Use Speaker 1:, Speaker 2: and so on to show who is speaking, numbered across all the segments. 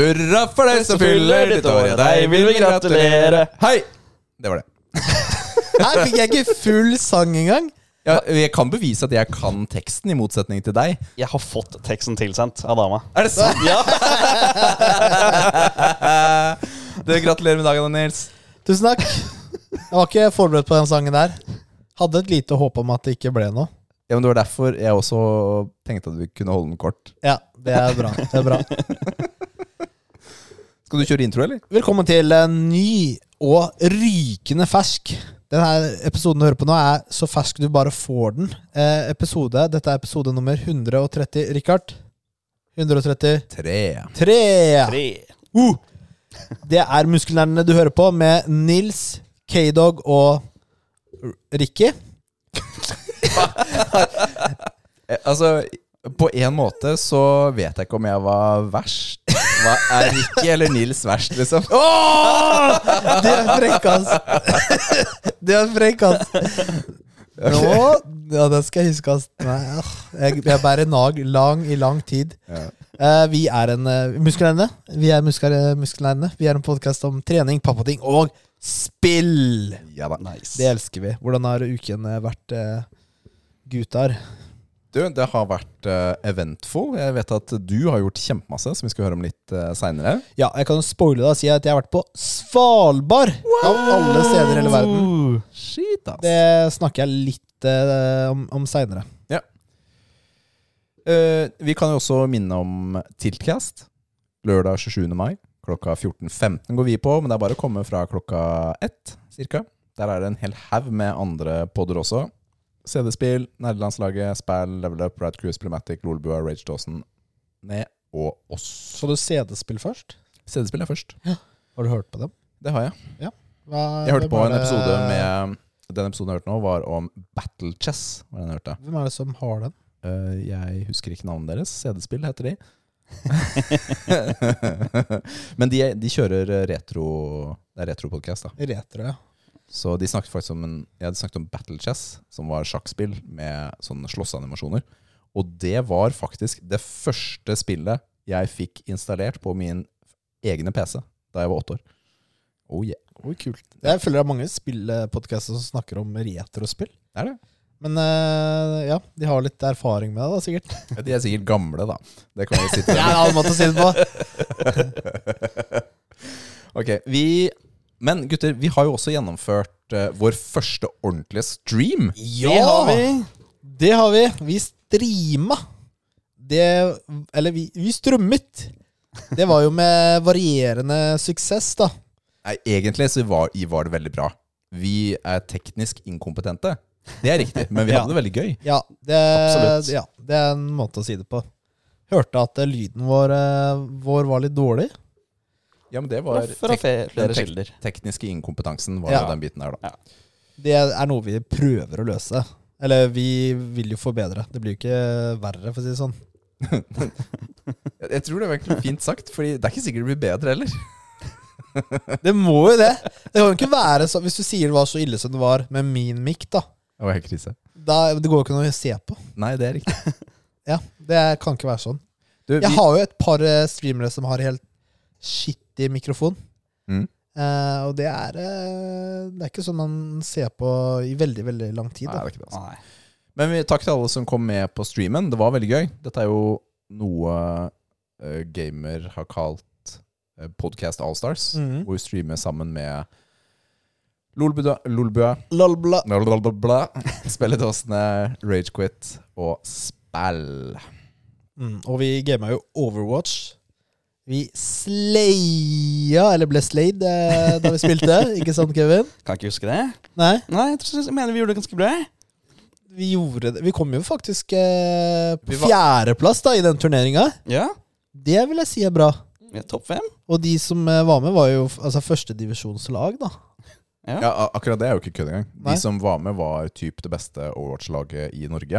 Speaker 1: Hurra for deg som fyller ditt år, og deg vil vi gratulere. Hei! Det var det.
Speaker 2: Her fikk jeg ikke full sang engang.
Speaker 1: Ja, jeg kan bevise at jeg kan teksten, i motsetning til deg.
Speaker 3: Jeg har fått teksten tilsendt av dama.
Speaker 1: Er det sant?
Speaker 3: Ja,
Speaker 1: Det Gratulerer med dagen, Nils.
Speaker 2: Tusen takk. Jeg var ikke forberedt på den sangen der. Hadde et lite håp om at det ikke ble noe.
Speaker 1: Ja, men Det var derfor jeg også tenkte at vi kunne holde den kort.
Speaker 2: Ja, det er bra. Det er bra.
Speaker 1: Skal du kjøre intro, eller?
Speaker 2: Velkommen til en ny og rykende fersk. Denne episoden du hører på nå, er så fersk du bare får den. Eh, episode, Dette er episode nummer 130. Richard? 133.
Speaker 1: Tre.
Speaker 3: tre.
Speaker 2: Uh! Det er muskelnerdene du hører på, med Nils, K-Dog og R- Ricky.
Speaker 1: Eh, Altså, på en måte så vet jeg ikke om jeg var verst. Hva er Ricky eller Nils verst, liksom?
Speaker 2: Det er frekk, ass! Det er frekk, ass! Nå, ja, det skal jeg huske, ass. Nei, ah, jeg, jeg bærer nag lang i lang tid. Eh, vi er en uh, muskelnerdene. Vi er musker, muskelnerdene. Vi er en podkast om trening, pappating og spill!
Speaker 1: Ja da.
Speaker 2: Det elsker vi. Hvordan har uken eh, vært, eh, gutar?
Speaker 1: Du, det har vært eh, eventful. Jeg vet at du har gjort kjempemasse, som vi skal høre om litt uh, seinere.
Speaker 2: Ja, jeg kan jo spoile da og si at jeg har vært på Svalbard! Av alle steder i hele verden.
Speaker 1: Shit, ass.
Speaker 2: Det snakker jeg litt eh, om, om seinere.
Speaker 1: Eh, vi kan jo også minne om Tiltcast. Lørdag 27. mai klokka 14.15 går vi på, men det er bare å komme fra klokka ett cirka. Der er det en hel haug med andre podder også. CD-spill, Nerdelandslaget, Spæl, Level Up, Rad Cruise, Problematic, Lolbua, Rage Dawson, ned og oss.
Speaker 2: Så du CD-spill først?
Speaker 1: CD-spill er først.
Speaker 2: Har du hørt på dem?
Speaker 1: Det har jeg.
Speaker 2: Hva-
Speaker 1: Jeg hørte
Speaker 2: hvem
Speaker 1: på
Speaker 2: er
Speaker 1: en
Speaker 2: det-
Speaker 1: episode med Den episoden jeg hørte nå, var om Battle Chess. Var den jeg hørte.
Speaker 2: Hvem er det som har den?
Speaker 1: Eh, jeg husker ikke navnet deres. CD-spill heter de. Men de, de kjører retro Det er retropodkast, da.
Speaker 2: Retro, ja.
Speaker 1: Så de snakket faktisk om en, ja, de snakket om Battle Chess, som var sjakkspill med sånne slåssanimasjoner. Og det var faktisk det første spillet jeg fikk installert på min egne PC da jeg var åtte år. Oh yeah.
Speaker 2: Oi, kult. Jeg føler det er mange spillpodkaster som snakker om retrospill.
Speaker 1: Det er det.
Speaker 2: Men eh, ja, de har litt erfaring med det, da, sikkert.
Speaker 1: Ja, De er sikkert gamle, da. Det kan vi
Speaker 2: Det
Speaker 1: sitte
Speaker 2: er en annen måte å si det på.
Speaker 1: Ok, vi Men gutter, vi har jo også gjennomført eh, vår første ordentlige stream.
Speaker 2: Ja! Det har vi. Det har vi. Vi streama. Det Eller, vi, vi strømmet. Det var jo med varierende suksess, da.
Speaker 1: Nei, egentlig så var, var det veldig bra. Vi er teknisk inkompetente. Det er riktig, men vi
Speaker 2: Ja.
Speaker 1: hadde det veldig gøy.
Speaker 2: Ja, det,
Speaker 3: Absolutt.
Speaker 2: ja, det er en måte å si det på. Hørte at eh, lyden vår, eh, vår var litt dårlig.
Speaker 1: Ja, men det var
Speaker 3: Og Fra
Speaker 1: tek
Speaker 3: fe- flere
Speaker 1: den tek-
Speaker 3: kilder.
Speaker 1: tekniske inkompetansen var
Speaker 2: Ja.
Speaker 1: jo den biten der, da.
Speaker 2: Det er noe vi prøver å løse. Eller vi vil jo forbedre. Det blir jo ikke verre, for å si det sånn.
Speaker 1: Jeg, jeg tror det var egentlig fint sagt, Fordi det er ikke sikkert det blir bedre heller.
Speaker 2: Det må jo det! Det kan jo ikke være så, Hvis du sier det var så ille som det var med min mic, da,
Speaker 1: Det var helt krise.
Speaker 2: da Det går jo ikke noe å se på.
Speaker 1: Nei, det er riktig.
Speaker 2: Ja, Det kan ikke være sånn.
Speaker 1: Du, vi,
Speaker 2: Jeg har jo et par eh, streamere som har helt skittig mikrofon.
Speaker 1: Mm.
Speaker 2: Eh, og det er eh, Det er ikke sånn man ser på i veldig, veldig lang tid.
Speaker 1: nei,
Speaker 2: Da.
Speaker 1: det er ikke det, altså.
Speaker 3: Nei.
Speaker 1: Men vi, takk til alle som kom med på streamen. Det var veldig gøy. Dette er jo noe eh, gamer har kalt eh, Podcast Allstars,
Speaker 2: Mhm.
Speaker 1: hvor vi streamer sammen med Lolbua, Lolbua
Speaker 2: Lolbla.
Speaker 1: blablabla, Spelledåsene, Ragequit og Spell.
Speaker 2: Mm, og vi gama jo Overwatch. Vi slaya, eller ble slaid, eh, da vi spilte. ikke sant, Kevin?
Speaker 3: Kan ikke huske det.
Speaker 2: Nei,
Speaker 3: Nei, jeg, tror, jeg mener vi gjorde det ganske bra.
Speaker 2: vi gjorde det. Vi kom jo faktisk eh,
Speaker 1: Vi
Speaker 2: på
Speaker 1: var-
Speaker 2: fjerdeplass da, i den turneringa.
Speaker 3: Ja.
Speaker 2: Det vil jeg si er bra.
Speaker 3: Vi er topp fem.
Speaker 2: Og de som eh, var med, var jo f- altså, førstedivisjonslag, da.
Speaker 3: Ja.
Speaker 1: Ja, a- akkurat det er jo ikke kødd engang.
Speaker 2: Nei.
Speaker 1: De som var med, var typ det beste Overwatch-laget i Norge.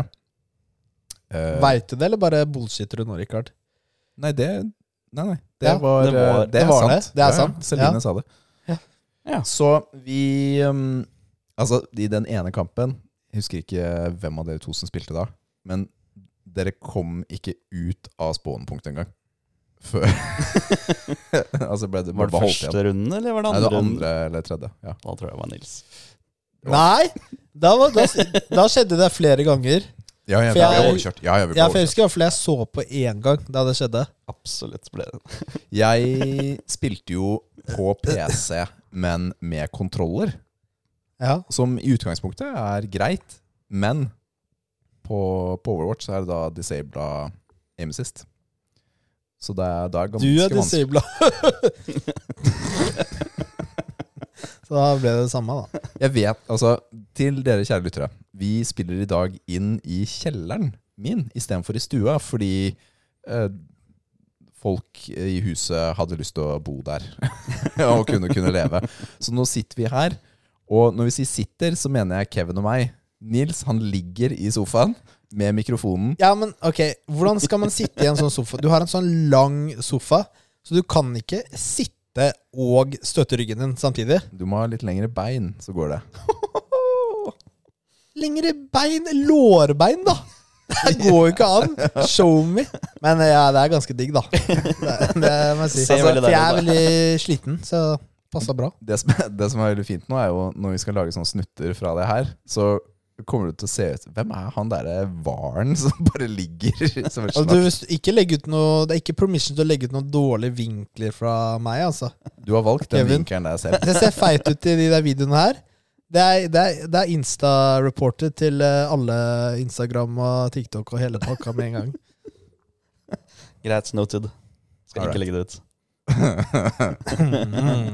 Speaker 1: Eh,
Speaker 2: Veit du det, eller bare bullshitter du nå, Rikard?
Speaker 1: Nei, det Nei, nei. Det,
Speaker 2: Ja,
Speaker 1: var,
Speaker 3: det var-
Speaker 1: eh, det
Speaker 2: det
Speaker 1: var
Speaker 2: var
Speaker 1: sant.
Speaker 2: det. Det er sant.
Speaker 1: Celine
Speaker 2: Ja.
Speaker 1: sa det.
Speaker 2: Ja.
Speaker 3: Ja.
Speaker 1: Så vi um, Altså, i den ene kampen Jeg husker ikke hvem av dere to som spilte da, men dere kom ikke ut av spånepunktet engang. Før Altså ble det bare
Speaker 3: Var det
Speaker 1: holdt igjen.
Speaker 3: første runde, eller var det
Speaker 1: Nei,
Speaker 3: andre?
Speaker 1: det var
Speaker 3: runde?
Speaker 1: andre eller tredje. Ja.
Speaker 3: Da tror jeg det var Nils.
Speaker 2: Nei! Da, var, da, da skjedde det flere ganger.
Speaker 1: Ja, ja,
Speaker 2: For
Speaker 1: vi ble
Speaker 2: jeg-
Speaker 1: overkjørt. Ja, ja, vi ble
Speaker 2: Jeg
Speaker 1: overkjørt.
Speaker 2: husker iallfall jeg så på én gang da det skjedde.
Speaker 3: Absolutt ble det.
Speaker 1: Jeg spilte jo på PC, men med kontroller.
Speaker 2: Ja.
Speaker 1: Som i utgangspunktet er greit, men på, på Overwatch så er det da disabla aim assist. Så det er, da er
Speaker 2: Du
Speaker 1: ganske
Speaker 2: er
Speaker 1: vanskelig.
Speaker 2: disabla. Så da ble det det samme, da.
Speaker 1: Jeg vet, altså, til dere kjære lyttere, vi spiller i dag inn i kjelleren min istedenfor i stua, fordi eh, folk i huset hadde lyst til å bo der og kunne, kunne leve. Så nå sitter vi her, og når vi sier sitter, så mener jeg Kevin og meg. Nils han ligger i sofaen med mikrofonen.
Speaker 2: Ja, men ok, Hvordan skal man sitte i en sånn sofa? Du har en sånn lang sofa, så du kan ikke sitte og støtte ryggen din samtidig.
Speaker 1: Du må ha litt lengre bein, så går det.
Speaker 2: Lengre bein, lårbein, da! Det går jo ikke an! Show me! Men ja, det er ganske digg, da. Det, det må jeg si. Altså,
Speaker 3: Ser veldig
Speaker 2: for jeg er
Speaker 3: deilig
Speaker 2: veldig sliten, så passa bra.
Speaker 1: Det som, det som er veldig fint nå, er jo når vi skal lage sånne snutter fra det her, så kommer det til å se ut Hvem er han derre varen som bare ligger som et
Speaker 2: Og du,
Speaker 1: slags
Speaker 2: hvis du ikke legge ut noe, det er ikke permission til å legge ut noen dårlige vinkler fra meg, altså.
Speaker 1: Du har valgt den
Speaker 2: Kevin.
Speaker 1: vinkelen der selv.
Speaker 2: Det ser feit ut i de der videoene her. Det er, det er, det er Insta-reporter til eh, alle Instagram og TikTok og hele pakka med en gang.
Speaker 3: Greit, noted. Skal
Speaker 1: Alright.
Speaker 3: ikke legge det ut.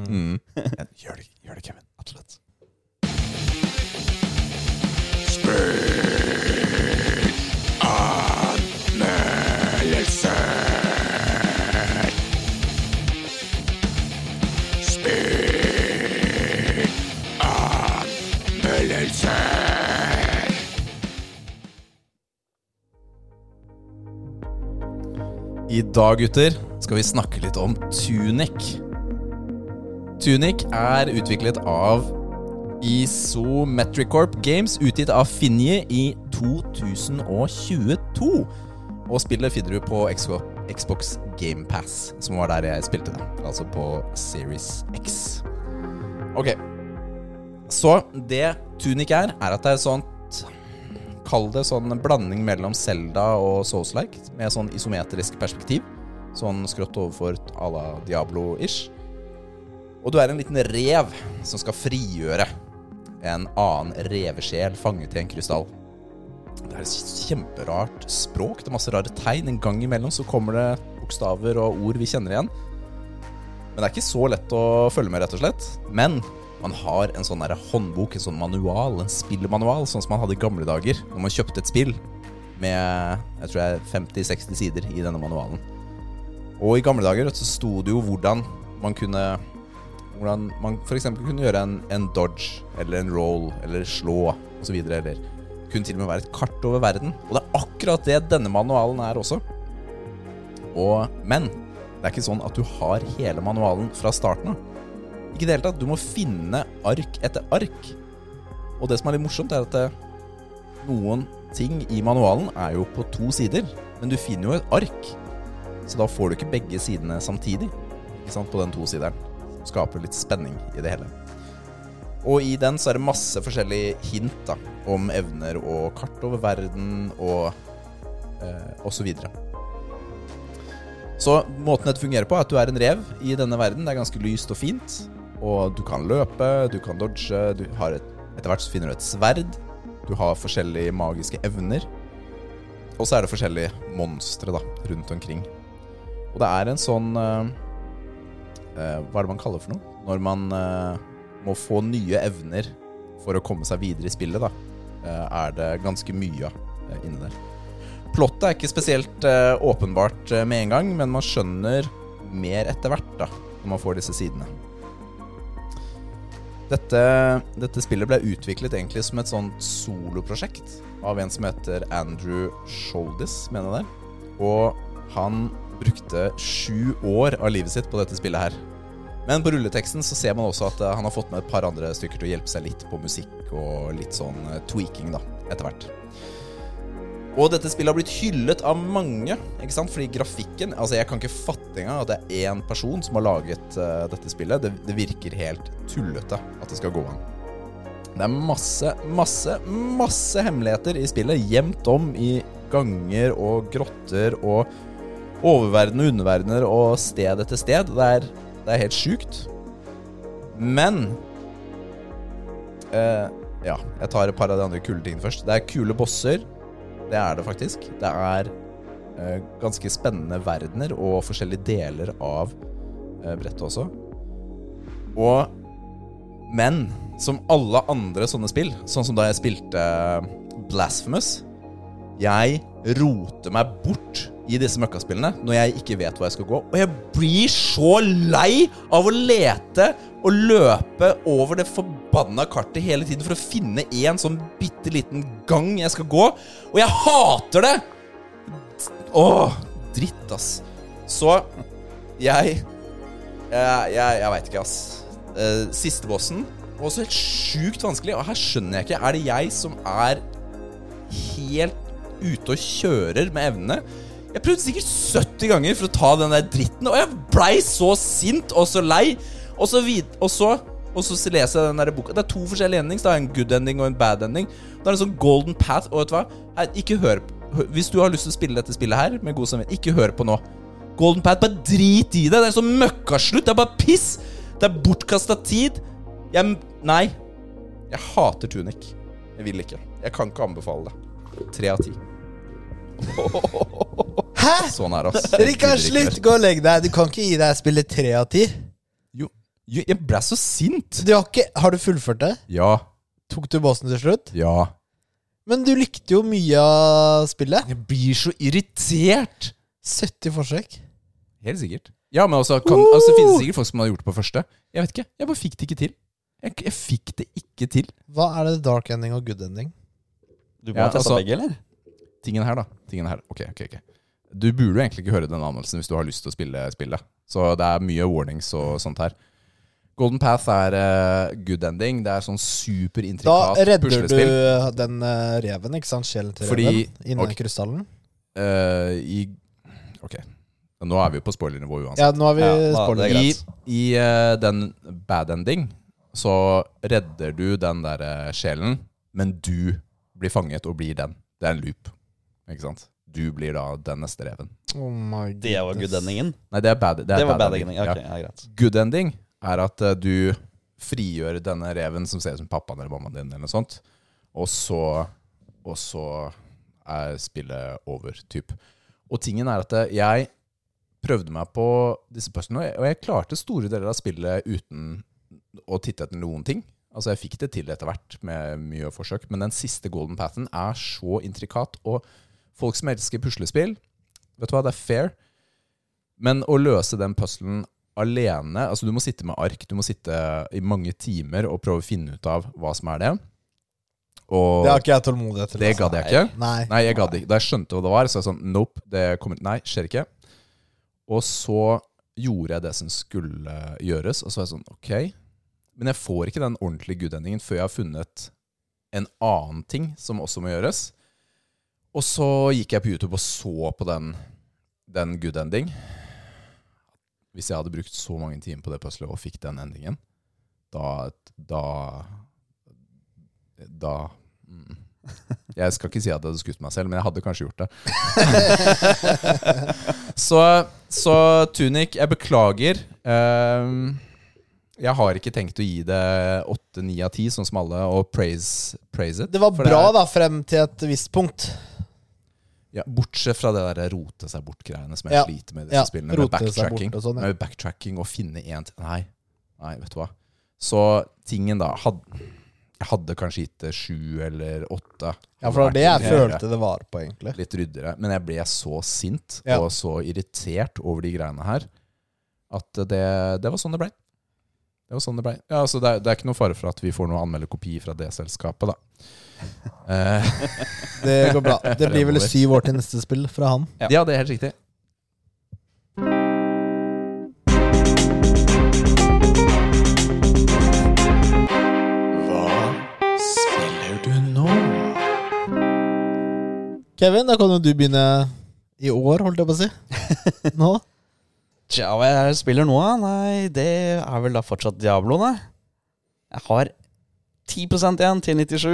Speaker 1: Mm. Gjør, det, gjør det, Kevin.
Speaker 3: Absolutt.
Speaker 1: I dag, gutter, skal vi snakke litt om Tunic. Tunic er utviklet av Isometricorp Games, utgitt av Finje i 2022. Og spillet finner du på Xbox- Xbox GamePass, som var der jeg spilte det. Altså på Series X. Ok. Så det Tunic er, er at det er et sånt Kall det sånn en blanding mellom Zelda og Souls-like, med sånn isometrisk perspektiv. Sånn skrått overfor à la Diablo-ish. Og du er en liten rev som skal frigjøre en annen revesjel fanget i en krystall. Det er et kjemperart språk. Det er masse rare tegn. En gang imellom så kommer det bokstaver og ord vi kjenner igjen. Men det er ikke så lett å følge med, rett og slett. Men man har en sånn derre håndbok, en sånn manual, en spillmanual, sånn som man hadde i gamle dager når man kjøpte et spill med jeg tror jeg 50-60 sider i denne manualen. Og i gamle dager vet du, så sto det jo hvordan man kunne Hvordan man f.eks. kunne gjøre en, en dodge eller en roll eller slå osv. Eller kunne til og med være et kart over verden. Og det er akkurat det denne manualen er også. Og, men det er ikke sånn at du har hele manualen fra starten av. Ikke i det hele tatt. Du må finne ark etter ark. Og det som er litt morsomt, er at eh, noen ting i manualen er jo på to sider, men du finner jo et ark. Så da får du ikke begge sidene samtidig ikke sant, på den tosideren. Som skaper litt spenning i det hele. Og i den så er det masse forskjellige hint da, om evner og kart over verden og, eh, og så videre. Så måten dette fungerer på er at du er en rev i denne verden. Det er ganske lyst og fint. Og du kan løpe, du kan dodge, du har et, etter hvert så finner du et sverd. Du har forskjellige magiske evner. Og så er det forskjellige monstre da, rundt omkring. Og det er en sånn eh, eh, Hva er det man kaller for noe? Når man eh, må få nye evner for å komme seg videre i spillet, da, eh, er det ganske mye uh, inni der. Plottet er ikke spesielt eh, åpenbart eh, med en gang, men man skjønner mer etter hvert da, når man får disse sidene. Dette, dette spillet ble utviklet egentlig som et sånt soloprosjekt av en som heter Andrew Sholdis, mener jeg det. er. Og han brukte sju år av livet sitt på dette spillet her. Men på rulleteksten så ser man også at eh, han har fått med et par andre stykker til å hjelpe seg litt på musikk og litt sånn eh, tweaking, da, etter hvert. Og dette spillet har blitt hyllet av mange, ikke sant? Fordi grafikken Altså, jeg kan ikke fatte engang at det er én person som har laget eh, dette spillet. Det, det virker helt tullete at det skal gå an. Det er masse, masse, masse hemmeligheter i spillet, gjemt om i ganger og grotter og oververden og underverdener og sted etter sted. Det er, det er helt sjukt. Men eh, Ja, jeg tar et par av de andre kule tingene først. Det er kule bosser. Det er det faktisk. Det er eh, ganske spennende verdener og forskjellige deler av eh, brettet også. Og Men som alle andre sånne spill, sånn som da jeg spilte eh, Blasphemous Jeg roter meg bort i disse møkkaspillene når jeg ikke vet hvor jeg skal gå. Og jeg blir så lei av å lete og løpe over det forbanna kartet hele tiden for å finne en sånn bitte liten gang jeg skal gå. Og jeg hater det! Åh, dritt, ass. Så jeg Jeg, jeg, jeg veit ikke, ass. Eh, Siste bossen var også helt sjukt vanskelig, og her skjønner jeg ikke. Er det jeg som er helt ute og kjører med evnene? Jeg prøvde sikkert 70 ganger for å ta den der dritten, og jeg blei så sint og så lei. Og så, vid og så, og så leser jeg den der boka. Det er to forskjellige endings. Det er en good ending og en bad ending. Det er en sånn golden path, og vet du hva? Nei, Ikke hør p- hø- Hvis du har lyst til å spille dette spillet her med god samvittighet, ikke hør på nå. Golden Path, bare drit i det. Det er sånn møkkaslutt. Det er bare piss. Det er bortkasta tid. Jeg Nei. Jeg hater tunic. Jeg vil ikke. Jeg kan ikke anbefale det. Tre av ti.
Speaker 2: Hæ?!
Speaker 1: Sånn er det, ass. Jeg gidder
Speaker 2: Rikard,
Speaker 1: ikke
Speaker 2: slutt! Gå og legg deg. Du kan ikke gi deg spillet tre av ti.
Speaker 1: mer. Jo, jo, jeg ble så sint.
Speaker 2: Du har, ikke, har du fullført det?
Speaker 1: Ja.
Speaker 2: Tok du bossen til slutt?
Speaker 1: Ja.
Speaker 2: Men du likte jo mye av spillet.
Speaker 1: Jeg blir så irritert.
Speaker 2: 70 forsøk.
Speaker 1: Helt sikkert. Ja, men altså, kan, altså, det finnes sikkert folk som har gjort det på første. Jeg vet ikke. Jeg bare fikk det ikke til. Jeg, jeg fikk det ikke til.
Speaker 2: Hva er det dark ending og good ending?
Speaker 3: Du må
Speaker 1: Ja,
Speaker 3: ha testa
Speaker 1: altså-
Speaker 3: begge, eller?
Speaker 1: Tingen her, da. Tingen her. Ok, ok, ok. Du burde jo egentlig ikke høre den anmeldelsen hvis du har lyst til å spille spillet. Så det er mye warnings og sånt her. Golden Path er eh, good ending. Det er sånn
Speaker 2: Da
Speaker 1: superintrikat
Speaker 2: redder du
Speaker 1: puslespill.
Speaker 2: den eh, reven, ikke sant? Sjelen til
Speaker 1: Fordi-
Speaker 2: reven inni
Speaker 1: ok.
Speaker 2: krystallen.
Speaker 1: Eh, I Ok. Nå er vi jo på spoilernivå uansett.
Speaker 2: Ja, nå har vi
Speaker 3: Ja, da-
Speaker 2: spoiler.
Speaker 3: det er greit.
Speaker 1: I, i eh, den bad ending så redder du den der eh, sjelen, men du blir fanget og blir den. Det er en loop, ikke sant? Du blir da den neste reven.
Speaker 2: Oh my
Speaker 3: Det var good
Speaker 2: goodness.
Speaker 3: endingen.
Speaker 1: Nei, det er bad, det er
Speaker 3: Det var bad
Speaker 1: ending.
Speaker 3: ending.
Speaker 1: Ja.
Speaker 3: Ok, ja, greit.
Speaker 1: Good ending er at eh, du frigjør denne reven som ser ut som pappaen eller mammaen din, eller noe sånt, og så, og så er spillet over, typ. Og tingen er at eh, jeg prøvde meg på disse puzzlene, og jeg- og jeg klarte store deler av spillet uten å titte etter noen ting. Altså, jeg fikk det til etter hvert med mye forsøk, men den siste golden pathen er så intrikat, og folk som elsker puslespill, vet du hva, det er fair, men å løse den puzzlen alene Altså, du må sitte med ark. Du må sitte i mange timer og prøve å finne ut av hva som er det. Og
Speaker 2: Det har ikke jeg tålmodighet til.
Speaker 1: det
Speaker 2: altså.
Speaker 1: gadd jeg ikke.
Speaker 2: Nei.
Speaker 1: Nei, jeg gadd ikke. Da jeg skjønte hva det var, så var jeg sånn Nope, det kommer Nei, skjer ikke. Og så gjorde jeg det som skulle gjøres, og så var jeg sånn Ok. Men jeg får ikke den ordentlige good-endingen før jeg har funnet en annen ting som også må gjøres. Og så gikk jeg på YouTube og så på den, den good-ending. Hvis jeg hadde brukt så mange timer på det puzzlet og fikk den endingen, da Da, da mm. Jeg skal ikke si at jeg hadde skutt meg selv, men jeg hadde kanskje gjort det. så, så Tunic, jeg beklager. Ehm, jeg har ikke tenkt å gi det åtte, ni av ti, sånn som alle, og praise, praise it.
Speaker 2: Det var
Speaker 1: For
Speaker 2: bra,
Speaker 1: er-
Speaker 2: da, frem til et visst punkt.
Speaker 1: ja, bortsett fra det der rote seg bort-greiene som jeg
Speaker 2: Ja.
Speaker 1: sliter med i disse
Speaker 2: Ja,
Speaker 1: spillene. Med
Speaker 2: rote seg
Speaker 1: backtracking,
Speaker 2: bort og sånn. Ja.
Speaker 1: med backtracking og finne én til Nei, nei, vet du hva. Så tingen, da had, Jeg hadde kanskje gitt det sju eller åtte.
Speaker 2: Ja, for det var det jeg
Speaker 1: Hadde vært
Speaker 2: følte det var på, egentlig.
Speaker 1: Litt ryddere. Men jeg ble så sint
Speaker 2: Ja.
Speaker 1: og så irritert over de greiene her at det, det var sånn det blei. Det var sånn det blei. Ja, altså, det, er, det er ikke noe fare for at vi får noe anmeldekopi fra det selskapet, da. Eh,
Speaker 2: Det går bra. Det blir vel
Speaker 1: Fremover.
Speaker 2: syv år til neste spill fra han.
Speaker 1: Ja. det er helt riktig. Hva spiller du nå?
Speaker 2: Kevin, da kan jo du begynne i år, holdt jeg på å si. Nå.
Speaker 3: Tja, hva jeg spiller nå? da? Nei, det er vel da fortsatt Diablo, da. Jeg har 10 igjen til 97.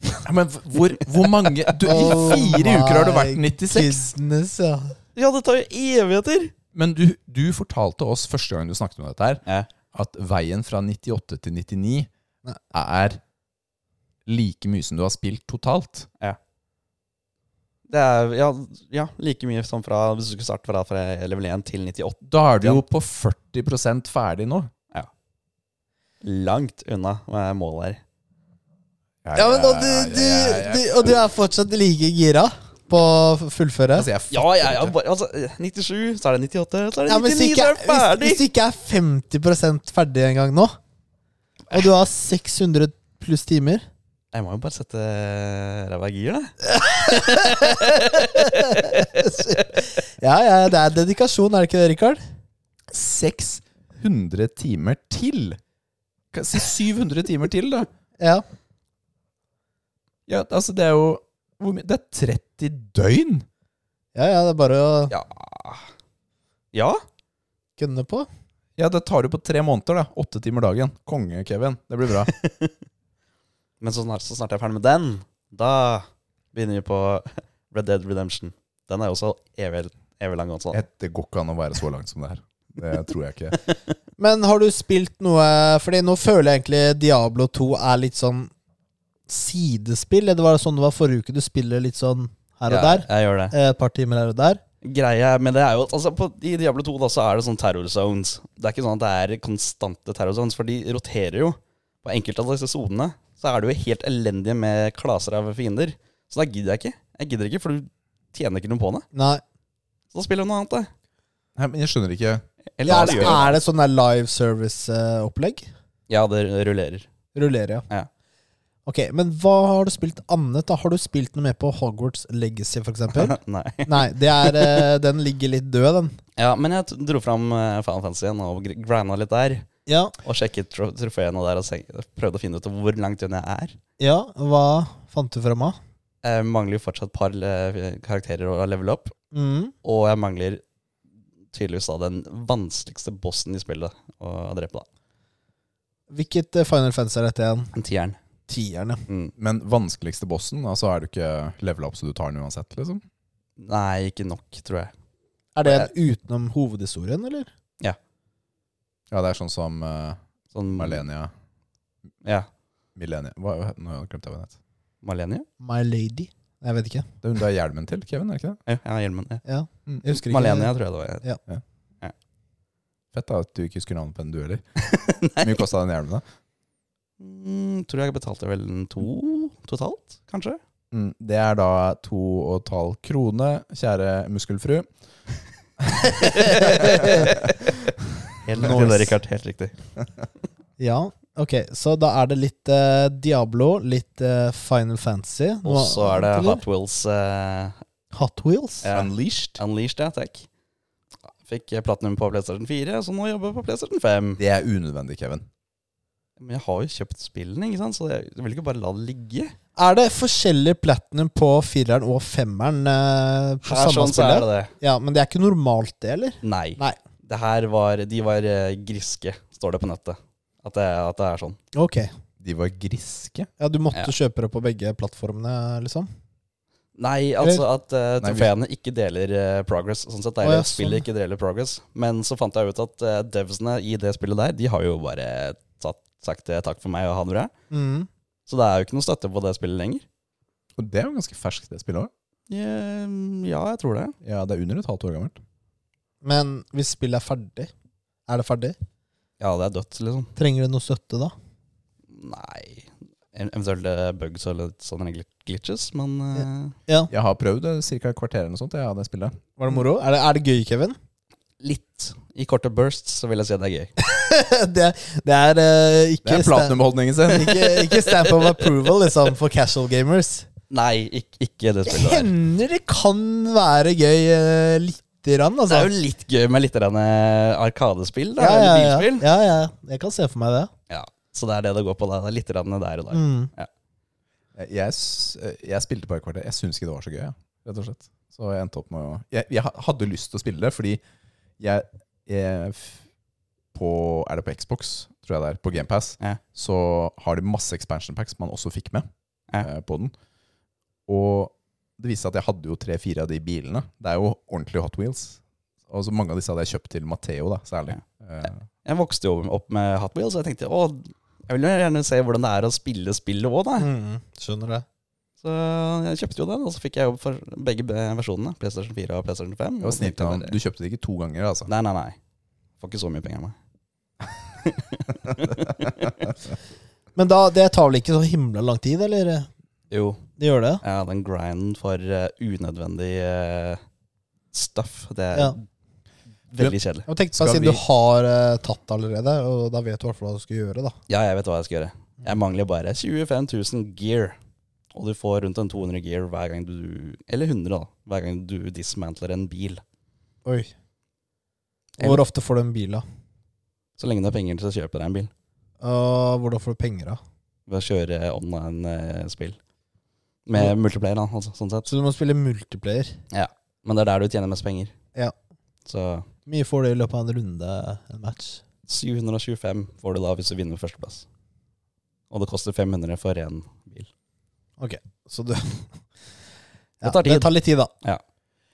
Speaker 1: Ja, men hvor, hvor mange du, I
Speaker 2: Oh
Speaker 1: fire uker har du vært
Speaker 2: my
Speaker 1: 96.
Speaker 2: Business, ja.
Speaker 3: Ja, det tar jo evigheter!
Speaker 1: Men du, du fortalte oss første gang du snakket om dette, her
Speaker 3: Ja.
Speaker 1: at veien fra 98 til 99 er like mye som du har spilt totalt.
Speaker 3: Det er ja, ja, like mye som fra, hvis du skulle starte fra, fra level 1 til 98.
Speaker 1: Da er du jo på 40 ferdig nå.
Speaker 3: Langt unna med målet her.
Speaker 2: ja men da, du, du, du, og du er fortsatt like gira på å fullføre?
Speaker 1: Altså, jeg
Speaker 3: Ja,
Speaker 1: fatter
Speaker 3: ja, ja,
Speaker 1: ikke.
Speaker 3: bare, altså, 97, så er det 98, så er det
Speaker 2: Ja, men
Speaker 3: 99,
Speaker 2: hvis, du
Speaker 3: så
Speaker 2: ikke,
Speaker 3: er det
Speaker 2: er- hvis,
Speaker 3: ferdig!
Speaker 2: hvis du ikke er 50 ferdig en gang nå, og du har 600 pluss timer
Speaker 3: Jeg må jo bare sette eh, ræva i gir, da.
Speaker 2: Ja, ja, det er dedikasjon, er det ikke det, Rikard?
Speaker 1: 600 timer til! Kan jeg Si 700 timer til, da.
Speaker 2: Ja.
Speaker 1: Ja, altså, det er jo hvor mye? Det er 30 døgn!
Speaker 2: ja, ja, det er bare å
Speaker 3: Ja. Ja,
Speaker 2: gunne på.
Speaker 1: Ja, det tar jo på tre måneder, da. Åtte timer dagen. Konge, Kevin. Det blir bra.
Speaker 3: men så snart, så snart jeg er ferdig med den, da begynner vi på Red Dead Redemption. Den er jo også evig, evig lang også. da.
Speaker 1: Jeg- Det går ikke an å være så langt som det her. Det tror jeg ikke.
Speaker 2: Men har du spilt noe Fordi nå føler jeg egentlig Diablo 2 er litt sånn sidespill. Eller var det sånn det var forrige uke? Du spiller litt sånn her og
Speaker 3: Ja,
Speaker 2: der.
Speaker 3: Jeg gjør det.
Speaker 2: eh, Et par timer her og der.
Speaker 3: Greia med det er jo at altså, på, I Diablo 2 da, så er det sånn terror zones. Det er ikke sånn at det er konstante terror zones, for de roterer jo. På enkelte av disse sonene så er det jo helt elendige med klaser av fiender. Så da gidder jeg ikke. Jeg gidder ikke, for du tjener ikke noe på det.
Speaker 2: Nei.
Speaker 3: Så da spiller du noe annet, da.
Speaker 1: Nei, men jeg skjønner ikke.
Speaker 3: Eller
Speaker 2: Ja,
Speaker 3: hva
Speaker 2: er,
Speaker 3: du
Speaker 2: det,
Speaker 3: gjør.
Speaker 2: er det sånn der live service-opplegg?
Speaker 3: Ja, det rullerer.
Speaker 2: Rullerer, ja.
Speaker 3: Ja.
Speaker 2: Ok, Men hva har du spilt annet? da? Har du spilt noe mer på Hogwarts Legacy, for eksempel?
Speaker 3: Nei.
Speaker 2: Nei, det er, eh, den ligger litt død, den.
Speaker 3: Ja, men jeg t- dro fram eh, Final Fantasy igjen og gr- granda litt der.
Speaker 2: Ja,
Speaker 3: Og sjekket tro- trofeene der og se, prøvde å finne ut hvor langt unna jeg er.
Speaker 2: ja hva fant du fram av?
Speaker 3: Jeg mangler jo fortsatt et par eh, karakterer å levele opp.
Speaker 2: Mm.
Speaker 3: Og jeg mangler tydeligvis da den vanskeligste bossen i spillet å drepe, da.
Speaker 2: Hvilket eh, Final Fantasy er dette igjen?
Speaker 3: En tieren.
Speaker 2: Tieren, ja.
Speaker 3: Mm.
Speaker 1: Men vanskeligste bossen, altså er du ikke level up så du tar den uansett, liksom?
Speaker 3: Nei, ikke nok, tror jeg.
Speaker 2: Er det en
Speaker 3: Eh,
Speaker 2: utenom hovedhistorien, eller?
Speaker 1: Ja, det er sånn som eh,
Speaker 3: Sånn
Speaker 1: Malenia
Speaker 3: Ja.
Speaker 1: Milenia Hva, Nå glemte jeg hva hun het.
Speaker 3: Malenia?
Speaker 2: My Lady? Jeg vet ikke.
Speaker 1: Det er hun du har hjelmen til, Kevin? er det ikke det?
Speaker 3: Ja, ja hjelmen. Ja.
Speaker 2: Ja.
Speaker 1: Mm.
Speaker 2: Jeg husker ikke.
Speaker 3: Malenia, tror jeg det var.
Speaker 1: Fett da at du ikke husker navnet på henne, du heller. Hvor mye kosta den hjelmen, da?
Speaker 3: Mm, tror jeg betalte vel en to totalt, kanskje?
Speaker 1: Mm, det er da to og et halv krone, kjære muskelfru.
Speaker 3: Helt riktig,
Speaker 1: Nice.
Speaker 3: det, Richard. Helt riktig.
Speaker 2: Ja, ok. Så da er det litt eh, Diablo, litt eh, Final Fantasy.
Speaker 3: Og
Speaker 2: Noe
Speaker 3: så er det
Speaker 2: annet, eller?
Speaker 3: Hot Wheels eh,
Speaker 2: Hot Wheels.
Speaker 3: Ja.
Speaker 1: Unleashed.
Speaker 3: Unleashed, ja, takk. Fikk eh, platinum på PlayStation 4, så nå jobber jeg på PlayStation 5.
Speaker 1: Det er unødvendig, Kevin.
Speaker 3: Men jeg har jo kjøpt spillene, ikke sant? så jeg vil ikke bare la det ligge.
Speaker 2: Er det forskjellig platinum på fireren og femmeren eh, på
Speaker 3: Her
Speaker 2: samme
Speaker 3: sånn så er
Speaker 2: spillet?
Speaker 3: det det.
Speaker 2: Ja, men det er ikke normalt, det, eller?
Speaker 3: Nei.
Speaker 2: Nei.
Speaker 3: Det her var, de var eh, griske, står det på nettet. At det, at det er sånn.
Speaker 2: Ok.
Speaker 1: De var griske.
Speaker 2: Ja, du måtte
Speaker 3: Ja.
Speaker 2: kjøpe det på begge plattformene, liksom?
Speaker 3: Nei, altså at uh,
Speaker 1: Nei, vi-
Speaker 3: trofeene ikke deler eh, progress. Sånn sett,
Speaker 2: Å,
Speaker 3: eller
Speaker 2: ja,
Speaker 3: spillet
Speaker 2: sånn.
Speaker 3: ikke deler progress. Men så fant jeg ut at eh, devsene i det spillet der, de har jo bare tatt, sagt eh, takk for meg og ha det bra.
Speaker 2: Mm.
Speaker 3: Så det er jo ikke noe støtte på det spillet lenger.
Speaker 1: Og det er jo ganske ferskt, det spillet òg.
Speaker 3: Eh, ja, jeg tror det.
Speaker 1: Ja, det er under et halvt år gammelt.
Speaker 2: Men hvis spillet er ferdig, er det ferdig?
Speaker 3: Ja, det er dødt, liksom.
Speaker 2: Trenger det noe støtte, da?
Speaker 3: Nei. Ev- Eventuelt eh, bugs eller sånne gl- glitches, men eh,
Speaker 1: Jeg har prøvd ca. et kvarter eller noe sånt, jeg, av det spillet.
Speaker 2: Var det moro? Er det, er det gøy, Kevin?
Speaker 3: litt. I korte bursts så vil jeg si at det er gøy.
Speaker 2: det, det er eh,
Speaker 1: Det
Speaker 2: ikke
Speaker 1: er platinumholdningen sin!
Speaker 2: sta- ikke, ikke stamp of approval liksom, for casual gamers.
Speaker 3: Nei, ikke, ikke det
Speaker 2: Det
Speaker 3: spillet der.
Speaker 2: hender det kan være gøy uh, lite grann,
Speaker 3: Det
Speaker 2: altså.
Speaker 3: er jo litt gøy med litt grann, eh, arkadespill, da,
Speaker 2: ja, ja,
Speaker 3: eller
Speaker 2: ja.
Speaker 3: bilspill.
Speaker 2: ja, ja. Jeg kan se for meg det.
Speaker 3: Ja, Så det er det det går på. da. Det er litt grann der og der.
Speaker 2: Mm.
Speaker 1: Jeg, s- Eh, jeg spilte bare et kvarter. Jeg syns ikke det var så gøy, jeg, rett og slett. Så jeg endte opp med å Jeg, jeg ha- hadde lyst til å spille det, fordi jeg, jeg f- på, Er det på Xbox, tror jeg det er, på GamePass,
Speaker 3: Ja.
Speaker 1: så har de masse expansion packs man også fikk med
Speaker 3: Ja.
Speaker 1: eh, på den. Og det viste seg at jeg hadde jo tre-fire av de bilene. Det er jo ordentlig Hot Wheels. Og så mange av disse hadde jeg kjøpt til Matheo, da, særlig. Eh,
Speaker 3: Jeg vokste jo opp med Hot Wheels, og jeg tenkte å, jeg vil jo gjerne se hvordan det er å spille spillet òg, da.
Speaker 2: Mm, skjønner det.
Speaker 3: Så jeg kjøpte jo den, og så fikk jeg jobb for begge be- versjonene. PlayStation 4 og PlayStation 5.
Speaker 1: det var snilt av han. Du kjøpte det ikke to ganger, altså.
Speaker 3: Nei, nei, nei. Får ikke så mye penger av meg.
Speaker 2: Men da, det tar vel ikke så himla lang tid, eller?
Speaker 3: Jo,
Speaker 2: Det gjør det?
Speaker 3: jeg hadde en grind for eh, unødvendig eh, stuff. Det er
Speaker 2: Ja.
Speaker 3: veldig kjedelig.
Speaker 2: Jeg tenkte
Speaker 1: Skal
Speaker 2: bare Siden
Speaker 1: vi-
Speaker 2: du har eh, tatt det allerede, og da vet du i hvert fall hva du skal gjøre. da
Speaker 3: Ja, jeg vet hva jeg skal gjøre. Jeg mangler bare 25 000 gear. Og du får rundt en 200 gear hver gang du Eller 100, da. Hver gang du dismantler en bil.
Speaker 2: Oi Hvor ofte får du en bil, da?
Speaker 3: Så lenge du har penger til å kjøpe deg en bil.
Speaker 2: Og hvordan får du penger, da?
Speaker 3: Ved å kjøre online-spill. Med multiplayer, da, altså, sånn sett.
Speaker 2: Så du må spille multiplayer.
Speaker 3: Men det er der du tjener mest penger.
Speaker 2: Ja.
Speaker 3: Så
Speaker 2: Hvor mye får du i løpet av en runde, en match?
Speaker 3: 725 får du da hvis du vinner førsteplass. Og det koster 500 for én bil.
Speaker 2: Så du ja,
Speaker 3: Det tar tid.
Speaker 2: Det tar litt tid, da.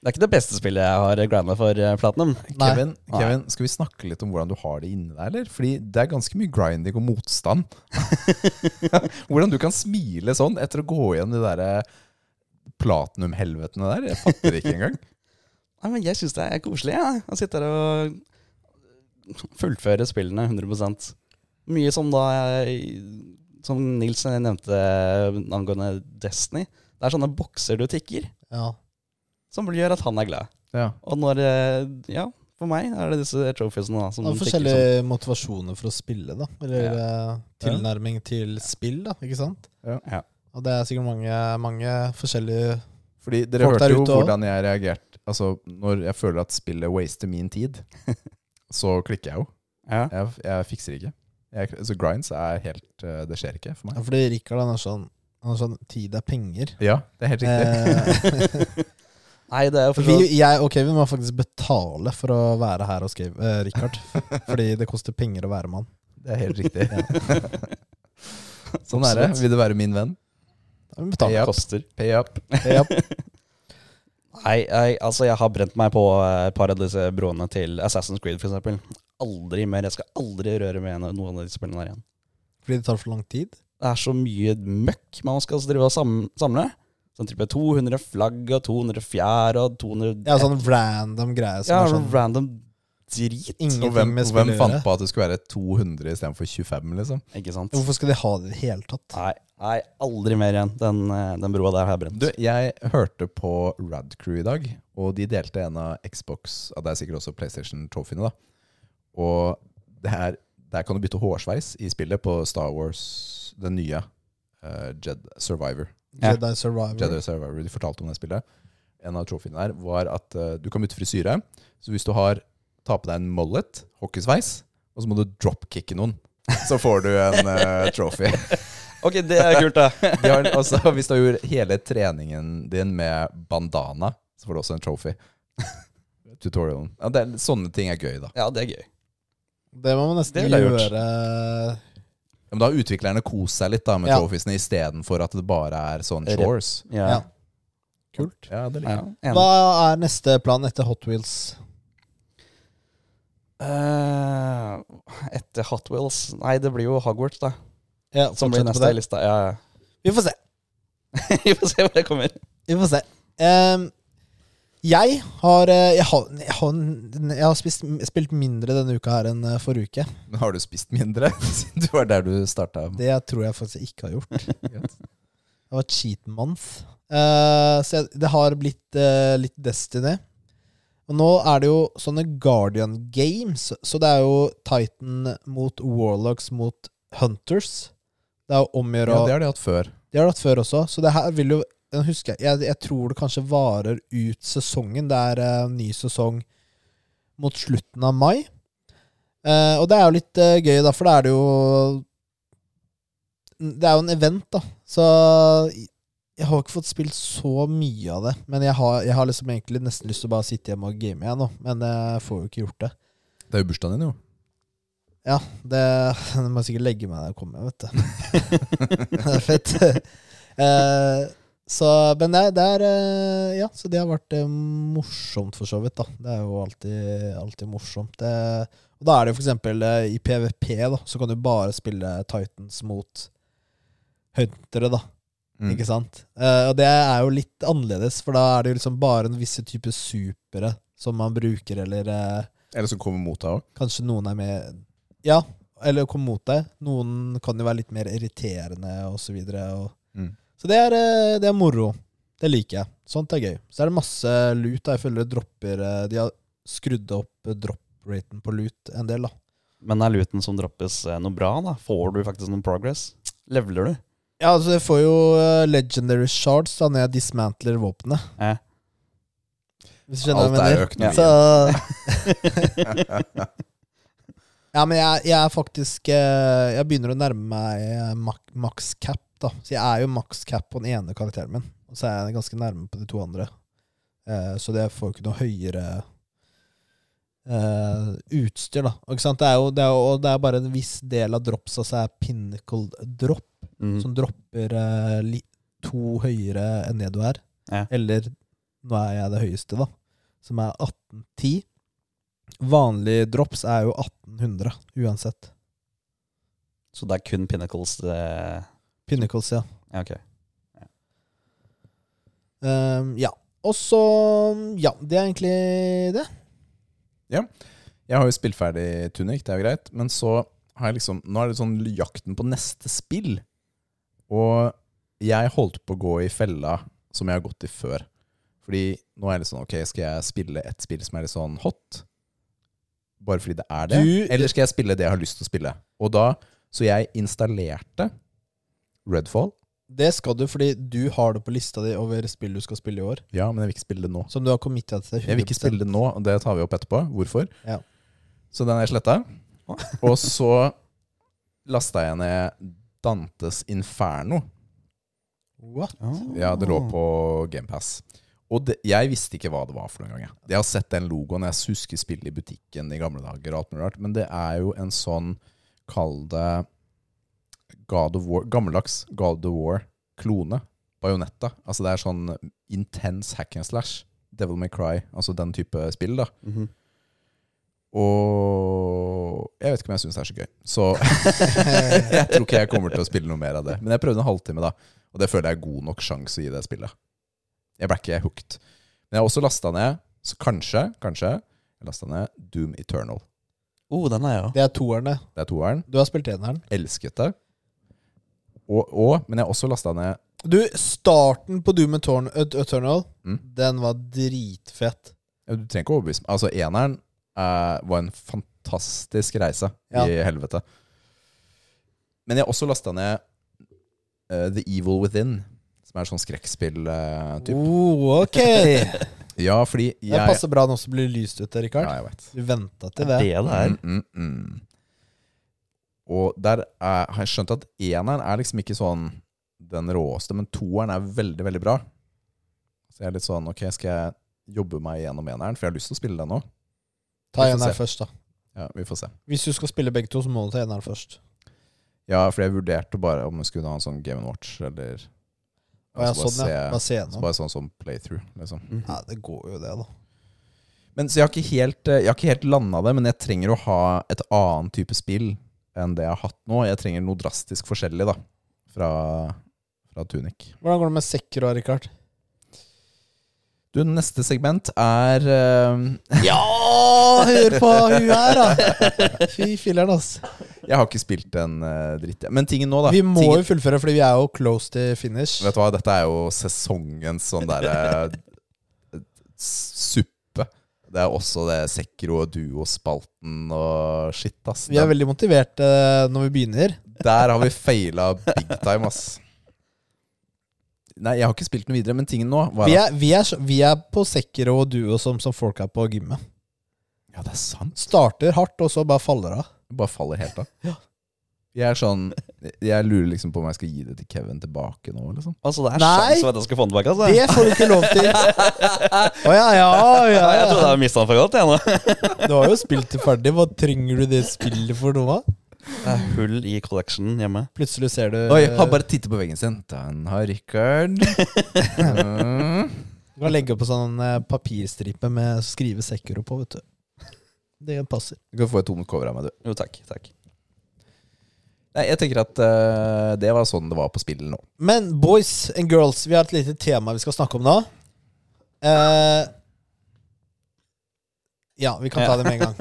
Speaker 3: Det er ikke det beste spillet jeg har grinda for eh, Platinum.
Speaker 2: Nei.
Speaker 1: Kevin, Kevin, skal vi snakke litt om hvordan du har det inni deg, eller? Fordi det er ganske mye grinding og motstand. hvordan du kan smile sånn etter å gå igjen de der eh, platinum-helvetene der. Jeg fatter det ikke engang.
Speaker 3: Nei, men jeg syns det er koselig ja. å sitte her og fullføre spillene 100 Mye som da jeg, Som Nils nevnte angående Destiny. Det er sånne bokser du tikker,
Speaker 2: Ja.
Speaker 3: som gjør at han er glad.
Speaker 1: Ja.
Speaker 3: Og når eh, Ja, for meg er det disse trophiesene da, som
Speaker 2: Det er
Speaker 3: tikker som-
Speaker 2: forskjellige motivasjoner for å spille, da. Eller eh, tilnærming til spill, da. Ikke sant?
Speaker 1: Ja.
Speaker 3: Ja.
Speaker 2: Og det er sikkert mange, mange forskjellige
Speaker 1: Fordi dere
Speaker 2: Folk der
Speaker 1: hørte jo
Speaker 2: ute også.
Speaker 1: hvordan jeg reagerte. Altså, når jeg føler at spillet waster min tid, så klikker jeg jo.
Speaker 3: Ja.
Speaker 1: Jeg, jeg fikser ikke. Jeg, så grinds er helt eh, Det skjer ikke for
Speaker 2: ja,
Speaker 1: meg.
Speaker 2: Fordi Rikard han er sånn Han er sånn Tid er penger.
Speaker 1: Ja, det er helt riktig.
Speaker 2: Eh,
Speaker 3: Nei, det er jo for så
Speaker 2: vi, jeg og Kevin må faktisk betale for å være her hos Kev- eh, Rikard. Fordi det koster penger å være med han.
Speaker 1: Det er helt riktig. sånn er det. Vil du være min venn?
Speaker 2: Da må vi betale.
Speaker 1: Ja.
Speaker 3: koster.
Speaker 1: Pay up.
Speaker 2: Ja.
Speaker 3: Nei, jeg, altså jeg har brent meg på eh, et par av disse broene til Assassin's Creed f.eks. Aldri mer. Jeg skal aldri røre med no- noen av disse spillene der igjen.
Speaker 2: Fordi det tar for lang tid.
Speaker 3: Det er så mye møkk man skal drive og sam- samle. Sånn type 200 flagg og 200 fjær og 200
Speaker 2: Ja, sånn random greie som
Speaker 3: ja,
Speaker 2: er sånn
Speaker 3: random drit.
Speaker 1: Og
Speaker 2: ingenting
Speaker 1: hvem,
Speaker 2: med
Speaker 1: og
Speaker 2: spill
Speaker 1: hvem
Speaker 2: å
Speaker 1: fant
Speaker 2: gjøre.
Speaker 1: på at det skulle være 200 istedenfor 25, liksom?
Speaker 3: Ikke sant?
Speaker 2: Hvorfor skal de ha det i det hele tatt?
Speaker 3: Nei, nei, aldri mer igjen. Den, eh, den broa der har jeg brent.
Speaker 1: Du, jeg hørte på Rad Crew i dag, og de delte en av Xbox ja, Det er sikkert også PlayStation-trofeene, da. Og det her, der kan du bytte hårsveis i spillet på Star Wars, den nye eh, Jed Survivor.
Speaker 3: Ja.
Speaker 2: Jedi Survivor.
Speaker 1: Jedi Survivor, De fortalte om det spillet. En av trofeene der var at eh, du kan bytte frisyre. Så hvis du har ta på deg en mullet, hockeysveis, og så må du dropkicke noen, så får du en eh, trophy.
Speaker 3: Ok, det er kult, da.
Speaker 1: De har, altså, hvis du har gjort hele treningen din med bandana, så får du også en trophy. Tutorialen. Ja, det er, sånne ting er gøy, da.
Speaker 3: Ja, det er gøy.
Speaker 2: Det må man nesten
Speaker 3: Det ville jeg gjort.
Speaker 2: gjøre
Speaker 1: Ja, Men da har utviklerne kost seg litt da med
Speaker 2: Ja.
Speaker 1: trophiesene, istedenfor at det bare er sånn
Speaker 3: Rip.
Speaker 1: shores.
Speaker 3: Ja,
Speaker 2: Ja. Kult.
Speaker 1: Ja, det
Speaker 3: ja.
Speaker 1: liker jeg.
Speaker 3: enig.
Speaker 2: Hva er neste plan etter Hot Wheels?
Speaker 3: Eh, etter Hot Wheels Nei, det blir jo Hogwarts, da.
Speaker 2: Ja,
Speaker 3: Som blir
Speaker 2: fortsette på
Speaker 3: neste i
Speaker 2: det.
Speaker 3: lista. Ja, ja.
Speaker 2: Vi får se.
Speaker 3: Vi får se hvor det kommer.
Speaker 2: Vi får se. Ehm, jeg har eh, Jeg har, jeg har, jeg har spist, spilt mindre denne uka her enn eh, forrige uke.
Speaker 1: Men har du spist mindre siden du var der du starta?
Speaker 2: Det tror jeg faktisk jeg ikke har gjort.
Speaker 1: Greit.
Speaker 2: Det var cheat month. Eh, så jeg, det har blitt eh, litt Destiny. Og nå er det jo sånne Guardian Games, så det er jo Titan mot Warlocks mot Hunters. Det er jo om å
Speaker 1: Ja,
Speaker 2: gjøre å
Speaker 1: det har de hatt før.
Speaker 2: De har det hatt før også, så det her vil jo jeg husker, jeg, jeg tror det kanskje varer ut sesongen. Det er eh, ny sesong mot slutten av mai. Eh, og det er jo litt eh, gøy, da, for da er det jo Det er jo en event, da. Så jeg har ikke fått spilt så mye av det. Men jeg har, jeg har liksom egentlig nesten lyst til å bare sitte hjemme og game igjen nå. Men eh, jeg får jo ikke gjort det.
Speaker 1: Det er jo bursdagen din, jo.
Speaker 2: Ja, det jeg må sikkert legge meg der jeg kommer, vet du. det er fett. Eh, så, men det, er- det er eh, Ja, så det har vært eh, morsomt, for så vidt. da Det er jo alltid, alltid morsomt. Det, og da er det jo for eksempel eh, i PVP, da, så kan du bare spille Titans mot Huntere, da.
Speaker 1: Mm.
Speaker 2: Ikke sant? Eh, og det er jo litt annerledes, for da er det jo liksom bare en visse type supere som man bruker, eller eh,
Speaker 1: Eller som kommer mot deg òg.
Speaker 2: Kanskje noen er mer Ja, eller kom mot deg. Noen kan jo være litt mer irriterende og Så, videre, og.
Speaker 1: Mm.
Speaker 2: så det, er, eh, det er moro. Det liker jeg. Sånt er gøy. Så er det masse lut. Da. Jeg føler det dropper eh, De har skrudd opp eh, drop-raten på lut en del, da.
Speaker 3: Men er luten som droppes eh, noe bra, da? Får du faktisk noen progress? Leveler du?
Speaker 2: Ja, altså jeg får jo eh, legendary shards da når jeg dismantler våpenet.
Speaker 3: Eh.
Speaker 2: Hvis du skjønner
Speaker 1: Alt
Speaker 2: hva jeg
Speaker 1: er
Speaker 2: mener.
Speaker 1: økonomi.
Speaker 2: Så Ja, men jeg, jeg er faktisk eh, Jeg begynner å nærme meg eh, mak- max cap, da. Så jeg er jo max cap på den ene karakteren min, og så er jeg ganske nærme på de to andre. Eh, så det får jo ikke noe høyere eh, utstyr, da. Og Ikke sant? Det er jo det er, jo- og det er bare en viss del av dropsa som er pinnacle drop,
Speaker 3: Mm.
Speaker 2: som dropper eh, li, to høyere enn det du er.
Speaker 3: Ja.
Speaker 2: Eller nå er jeg det høyeste, da, som er 1810. Vanlig drops er jo 1800, uansett.
Speaker 3: Så det er kun pinnacles eh,
Speaker 2: Pinnacles, ja.
Speaker 3: Ja, ok.
Speaker 2: Ehm, ja. Og så Ja, det er egentlig det.
Speaker 1: Jeg har jo spilt ferdig Tunic, det er jo greit. Men så har jeg liksom Nå er det sånn jakten på neste spill. Og jeg holdt på å gå i fella som jeg har gått i før. Fordi nå er det sånn Ok, skal jeg spille et spill som er litt sånn hot? Bare fordi det er det?
Speaker 2: Du-
Speaker 1: Eller skal jeg spille det jeg har lyst til å spille? Og da Så jeg installerte Redfall.
Speaker 2: Det skal du, fordi du har det på lista di over spill du skal spille i år.
Speaker 1: Ja, men jeg vil ikke spille det nå.
Speaker 2: Som du har committa til. 100%.
Speaker 1: Jeg vil ikke spille det nå, og det tar vi opp etterpå. Hvorfor?
Speaker 2: Ja.
Speaker 1: Så den er sletta. Og så lasta jeg ned Dantes Inferno.
Speaker 2: What?
Speaker 1: Ja, det lå på GamePass. Og det, jeg visste ikke hva det var for noen gang. jeg. Jeg har sett den logoen, jeg husker spillet i butikken i gamle dager, og alt mulig rart, men det er jo en sånn, kall det God of War, gammeldags God of War-klone. Bajonetta. Altså det er sånn intens hack and slash. Devil May Cry, altså den type spill, da.
Speaker 3: Mhm.
Speaker 1: Og jeg vet ikke om jeg syns det er så gøy. Så jeg tror ikke jeg kommer til å spille noe mer av det. Men jeg prøvde en halvtime, da. Og det føler jeg er god nok sjanse å gi det spillet. Jeg ble ikke hooked. Men jeg har også lasta ned, så kanskje, kanskje Jeg lasta ned Doom Eternal.
Speaker 3: Oh, den er jeg òg.
Speaker 2: Det er toerne.
Speaker 1: Det er toeren.
Speaker 2: Du har spilt eneren.
Speaker 1: Elsket det. Og, og Men jeg har også lasta ned
Speaker 2: Du, starten på Doom Etern- Eternal,
Speaker 1: Mm.
Speaker 2: den var dritfett.
Speaker 1: Ja, Du trenger ikke å overbevise meg. Altså, eneren eh, var en fantastisk reise
Speaker 2: Ja.
Speaker 1: i helvete. Men jeg har også lasta ned eh, The Evil Within, som er sånn skrekkspill-type.
Speaker 2: Oh, ok!
Speaker 1: ja, fordi
Speaker 2: Oh. Det
Speaker 1: jeg
Speaker 2: passer bra når det blir lyst ute, Rikard.
Speaker 1: Ja, jeg vet.
Speaker 2: Du venta til
Speaker 3: Det
Speaker 2: det.
Speaker 3: det er.
Speaker 1: Mm, mm, mm. Og der er, har jeg skjønt at eneren er liksom ikke sånn den råeste, men toeren er veldig, veldig bra. Så jeg er litt sånn Ok, skal jeg jobbe meg gjennom eneren? For jeg har lyst til å spille den nå.
Speaker 2: Ta
Speaker 1: Vi får
Speaker 2: eneren
Speaker 1: se.
Speaker 2: først, da.
Speaker 1: Ja, vi får se.
Speaker 2: Hvis du skal spille begge to, så må du ta eneren først.
Speaker 1: Ja, for jeg vurderte bare om jeg skulle ha en sånn Game Watch eller
Speaker 2: Og jeg
Speaker 1: altså
Speaker 2: sånn, ja.
Speaker 1: bare,
Speaker 2: Bare se
Speaker 1: se, så
Speaker 2: gjennom.
Speaker 1: bare sånn som playthrough, liksom.
Speaker 3: Mhm.
Speaker 2: Ja, det går jo det, da.
Speaker 1: Men så jeg har ikke helt, eh, jeg har ikke helt landa det, men jeg trenger å ha et annet type spill enn det jeg har hatt nå. Jeg trenger noe drastisk forskjellig, da, fra, fra Tunic.
Speaker 2: Hvordan går det med sekker og Rikard?
Speaker 1: Du, neste segment er eh,
Speaker 2: Ja! Hør på hun her, da! Fy filler'n, ass.
Speaker 1: Jeg har ikke spilt en eh, dritt, jeg. men tingen nå, da.
Speaker 2: Vi må
Speaker 1: tingen,
Speaker 2: jo fullføre, fordi vi er jo close til finish.
Speaker 1: Vet du hva, dette er jo sesongens sånn derre suppe. Det er også det Sekro og Duo-spalten og shit, ass.
Speaker 2: Vi er veldig motiverte eh, når vi begynner.
Speaker 1: Der har vi feila big time, ass. Nei, jeg har ikke spilt noe videre, men tingen nå var
Speaker 2: Vi
Speaker 1: at
Speaker 2: er, vi er, så- vi er på sekker og duo som, som folk er på gymmet.
Speaker 1: Ja, det er sant.
Speaker 2: Starter hardt, og så bare faller av.
Speaker 1: Bare faller helt av. Jeg er sånn Jeg lurer liksom på om jeg skal gi det til Kevin tilbake nå, liksom.
Speaker 3: Altså, det er
Speaker 2: Nei.
Speaker 3: sjans for at jeg skal få den tilbake. Altså.
Speaker 2: Det får du ikke lov til! Å ja, ja, ja,
Speaker 3: Nei, jeg
Speaker 2: ja.
Speaker 3: trodde jeg mista den for godt. Jeg, nå.
Speaker 2: Du har jo spilt det ferdig. Hva trenger du det spillet for noe? av?
Speaker 3: Det er hull i collectionen hjemme.
Speaker 2: Plutselig ser du
Speaker 1: Oi, han bare titter på veggen sin. Den har Rikard. Mm.
Speaker 2: Du kan legge på sånn eh, papirstripe med skrive Sekuro på, vet du. Det passer.
Speaker 1: Du kan få et tomt cover av meg, du.
Speaker 3: Jo, takk. takk.
Speaker 1: Nei, jeg tenker at eh, det var sånn det var på spillet nå.
Speaker 2: Men boys and girls, vi har et lite tema vi skal snakke om nå. Eh, ja, vi kan ta det med en gang.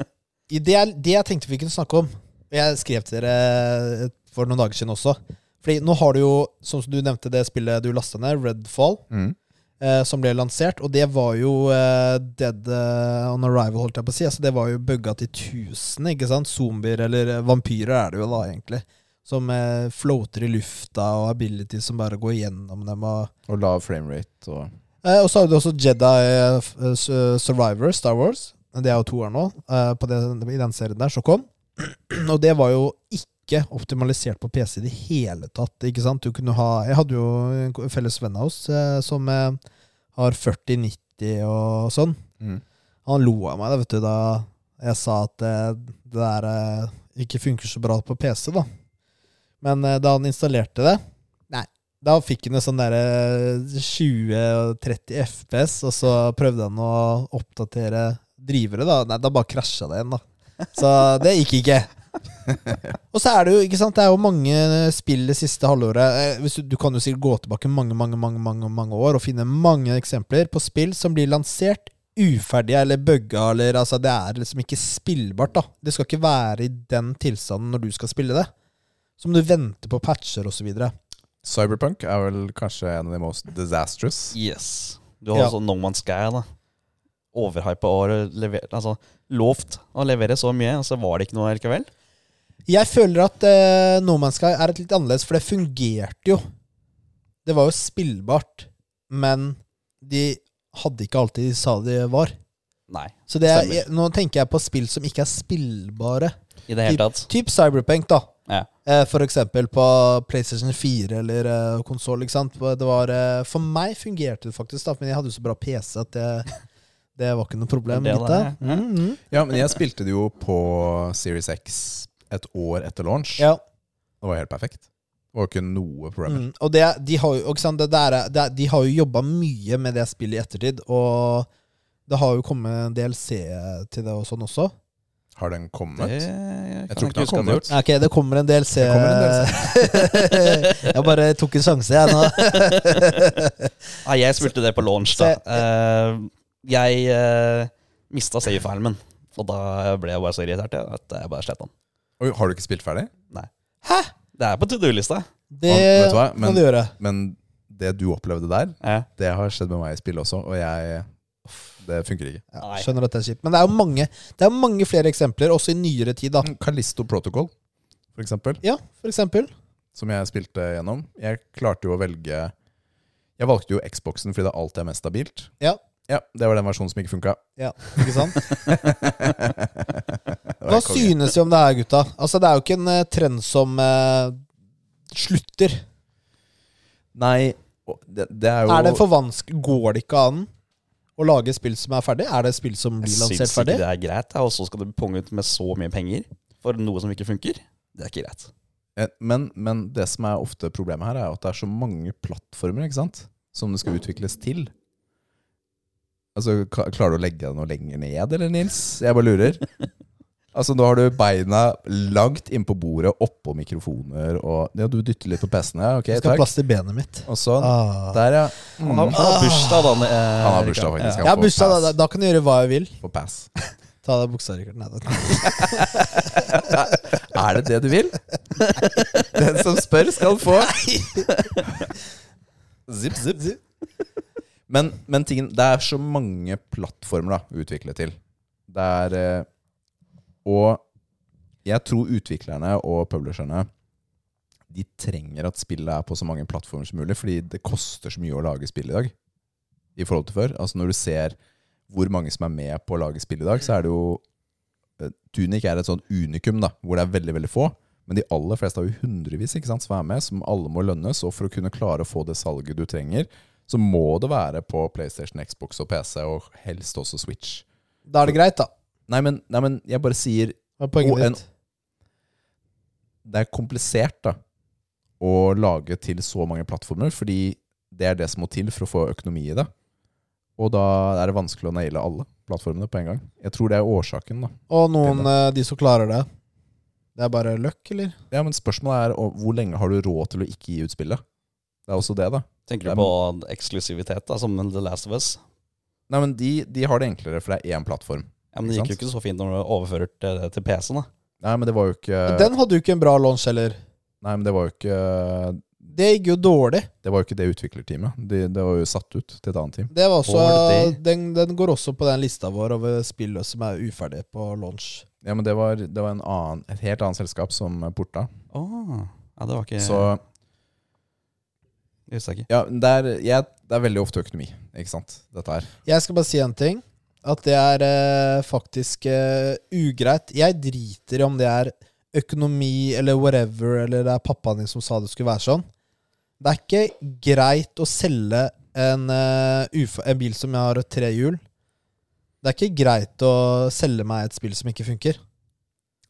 Speaker 2: I Det, jeg- det jeg tenkte vi kunne snakke om Jeg skrev til dere for noen dager siden også. Fordi nå har du jo, som du nevnte, det spillet du lasta ned, Redfall.
Speaker 1: Mm.
Speaker 2: eh, som ble lansert, og det var jo eh, Dead eh, on Arrival, holdt jeg på å si. Altså, det var jo bugga til tusen, ikke sant? Zombier, eller eh, vampyrer er det jo da, egentlig. Som eh, floater i lufta, og abilities som bare går gjennom dem. Og,
Speaker 1: Og lav framerate og
Speaker 2: eh, og så har du også Jedi eh, f- eh, Su- Survivor, Star Wars. Det er jo toeren nå, eh, på den- i den serien der, så kom. Og det var jo ikke optimalisert på PC i det hele tatt. ikke sant? Du kunne ha, jeg hadde jo en ko- felles venn av oss eh, som eh, har 40-90 og sånn.
Speaker 1: mm.
Speaker 2: Han lo av meg da, vet du, da jeg sa at eh, det der eh, ikke funker så bra på PC, da. Men eh, da han installerte det Nei. Da fikk han en sånn derre 20-30 FPS, og så prøvde han å oppdatere drivere, da. Nei, da bare krasja det igjen, da. Så det gikk ikke. Og så er det jo ikke sant, det er jo mange eh, spill det siste halvåret Eh, hvis du, du kan jo sikkert gå tilbake mange mange, mange, mange, mange år og finne mange eksempler på spill som blir lansert uferdige eller bugga. Eller, altså, det er liksom ikke spillbart. da Det skal ikke være i den tilstanden når du skal spille det. Så må du vente på patcher osv.
Speaker 1: Cyberpunk er vel kanskje en av de most disastrous.
Speaker 3: Yes. Du har
Speaker 2: Ja.
Speaker 3: også No Man's Sky. da. Overhypa og lever, altså, lovt å levere så mye, og så var det ikke noe likevel.
Speaker 2: Jeg føler at eh, No Man's Sky er et litt annerledes, for det fungerte jo. Det var jo spillbart, men de hadde ikke alltid de sa de var.
Speaker 3: Nei,
Speaker 2: Så det er,
Speaker 3: Stemmer.
Speaker 2: jeg, nå tenker jeg på spill som ikke er spillbare.
Speaker 3: i det hele tatt.
Speaker 2: Typ Cyberpunk, da.
Speaker 3: Ja.
Speaker 2: Eh, for eksempel på PlayStation 4 eller eh, konsoll. ikke sant? Hvor Det var, eh, for meg fungerte det faktisk, da, men jeg hadde jo så bra PC at det, det var ikke noe problem.
Speaker 3: Det
Speaker 2: Det,
Speaker 3: var det, ja.
Speaker 2: Mm, mm.
Speaker 1: Ja, men jeg spilte det jo på Series X et år etter launch.
Speaker 2: Ja.
Speaker 1: Det var helt perfekt. Det var jo ikke noe problemer.
Speaker 2: Mm, og det, de har jo, ikke sant, det der, er- det, er- de har jo jobba mye med det spillet i ettertid, og det har jo kommet en DLC til det og sånn også.
Speaker 1: Har den kommet?
Speaker 3: Det
Speaker 1: jeg
Speaker 3: kan
Speaker 1: tror ikke den har
Speaker 3: huske at jeg har
Speaker 1: kommet.
Speaker 3: gjort.
Speaker 2: Nei, Ok, det kommer en DLC.
Speaker 1: Det kommer en
Speaker 2: jeg bare tok en sjanse, jeg nå.
Speaker 3: Nei, Ah, jeg spilte det på launch, da.
Speaker 2: Så-
Speaker 3: Eh, jeg uh, mista save-filen min. Og da ble jeg bare så irritert jeg, at jeg bare sletta den.
Speaker 1: Oi, har du ikke spilt ferdig?
Speaker 3: Det er på to do-lista.
Speaker 2: Det
Speaker 1: Vet du hva? Men-
Speaker 2: kan du gjøre.
Speaker 1: Men det du opplevde der,
Speaker 3: Ja.
Speaker 1: det har skjedd med meg i spillet også, og jeg uff, Det funker ikke.
Speaker 2: Ja,
Speaker 3: Nei.
Speaker 2: skjønner at det er kjipt. Men det er jo mange, det er mange flere eksempler, også i nyere tid,
Speaker 1: Mm.
Speaker 2: da.
Speaker 1: Kalisto Protocol, for eksempel,
Speaker 2: Ja, for eksempel.
Speaker 1: som jeg spilte gjennom. Jeg klarte jo å velge Jeg valgte jo Xboxen fordi det er alltid er mest stabilt.
Speaker 2: Ja.
Speaker 1: ja Det var den versjonen som ikke funka.
Speaker 2: Ja, ikke sant? Hva synes vi om det her, gutta? Altså, det er jo ikke en eh, trend som eh, slutter.
Speaker 1: Nei, og det, det er jo
Speaker 2: Er det for vanskelig? Går det ikke an å lage spill som er ferdig? Er det spill som blir
Speaker 3: Jeg
Speaker 2: lansert
Speaker 3: syns ikke
Speaker 2: ferdig?
Speaker 3: det er greit, da, og så skal du punge ut med så mye penger for noe som ikke funker. Det er ikke greit.
Speaker 1: Eh, Men, men det som er ofte problemet her, er at det er så mange plattformer ikke sant? som det skal utvikles til. Altså, ka- Klarer du å legge deg noe lenger ned, eller, Nils? Jeg bare lurer. Altså, Nå har du beina langt innpå bordet, oppå mikrofoner og Ja, du dytter litt på PC-en, ja. Ok,
Speaker 2: Jeg skal ha
Speaker 1: takk.
Speaker 2: plass til benet mitt.
Speaker 1: Og sånn.
Speaker 2: Ah.
Speaker 1: Der, ja.
Speaker 3: Han har,
Speaker 1: Mm.
Speaker 3: han har bursdag, da. eh,
Speaker 1: Han har bursdag,
Speaker 3: Rikard.
Speaker 1: faktisk.
Speaker 2: Ja,
Speaker 1: Han får
Speaker 2: bursdag, da,
Speaker 1: pass.
Speaker 2: da kan du gjøre hva jeg vil.
Speaker 1: Får pass.
Speaker 2: Ta av deg buksa, Rikard. Nei, da.
Speaker 1: Er det det du vil? Den som spør, skal få. Zipp, zipp, zipp. Men, men tingen, det er så mange plattformer da, å utvikle til. Det er eh, Og jeg tror utviklerne og publisherne De trenger at spillet er på så mange plattformer som mulig, fordi det koster så mye å lage spill i dag i forhold til før. Altså Når du ser hvor mange som er med på å lage spill i dag, så er det jo eh, Tunic er et sånt unikum, da, hvor det er veldig veldig få. Men de aller fleste har jo hundrevis ikke sant, som er med, som alle må lønnes. Og for å kunne klare å få det salget du trenger, så må det være på PlayStation, Xbox og PC, og helst også Switch.
Speaker 2: Da er det greit, da.
Speaker 1: Nei, men, nei, men jeg bare sier
Speaker 2: Hva er poenget
Speaker 1: Og en-
Speaker 2: ditt?
Speaker 1: det er komplisert da å lage til så mange plattformer, fordi det er det som må til for å få økonomi i det. Og da er det vanskelig å naile alle plattformene på en gang. Jeg tror det er årsaken, da.
Speaker 2: Og noen, eh, de som klarer det. Det er bare løkk, eller?
Speaker 1: Ja, Men spørsmålet er og hvor lenge har du råd til å ikke gi ut spillet? Det er også det, da.
Speaker 3: Tenker
Speaker 1: Dem-
Speaker 3: du på eksklusivitet, da, som The Last of Us?
Speaker 1: Nei, men de, de har det enklere, for det er én plattform.
Speaker 3: Ja, men Det
Speaker 1: Ikke
Speaker 3: gikk jo ikke så fint når du overfører til, til PC-en. da.
Speaker 1: Nei, men det var jo ikke
Speaker 2: Den hadde jo ikke en bra launch heller.
Speaker 1: Nei, men det var jo ikke
Speaker 2: Det gikk jo dårlig.
Speaker 1: Det var jo ikke det utviklerteamet. De, det var jo satt ut til et annet team.
Speaker 2: Det var også,
Speaker 3: Dårlig.
Speaker 2: den, den går også på den lista vår over spill som er uferdige på launch.
Speaker 1: Ja, men det var, det var en annen, et helt annet selskap som porta.
Speaker 3: Åh, ja, det var ikke
Speaker 1: Så
Speaker 3: Jeg husker ikke.
Speaker 1: Ja, men det er, jeg, det er veldig ofte økonomi, ikke sant? Dette her.
Speaker 2: Jeg skal bare si en ting. At det er eh, faktisk eh, ugreit. Jeg driter i om det er økonomi eller whatever, eller det er pappaen din som sa det skulle være sånn. Det er ikke greit å selge en, eh, uf en bil som har tre hjul. Det er ikke greit å selge meg et spill som ikke funker.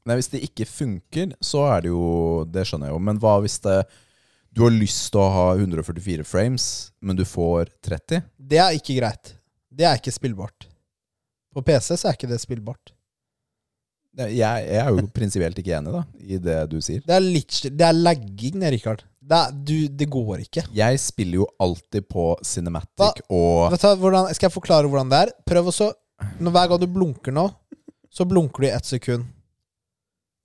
Speaker 1: Nei, hvis det ikke funker, så er det jo Det skjønner jeg jo, men hva hvis det Du har lyst til å ha 144 frames, men du får 30?
Speaker 2: Det er ikke greit. Det er ikke spillbart. På PC så er ikke det spillbart.
Speaker 1: Jeg, jeg er jo prinsipielt ikke enig da i det du sier.
Speaker 2: Det er, litt, det er lagging, det, Richard. Det, er, du, det går ikke.
Speaker 1: Jeg spiller jo alltid på cinematic og
Speaker 2: Vet du, hva, hvordan, skal jeg forklare hvordan det er? Prøv også når, Hver gang du blunker nå, så blunker du i ett sekund.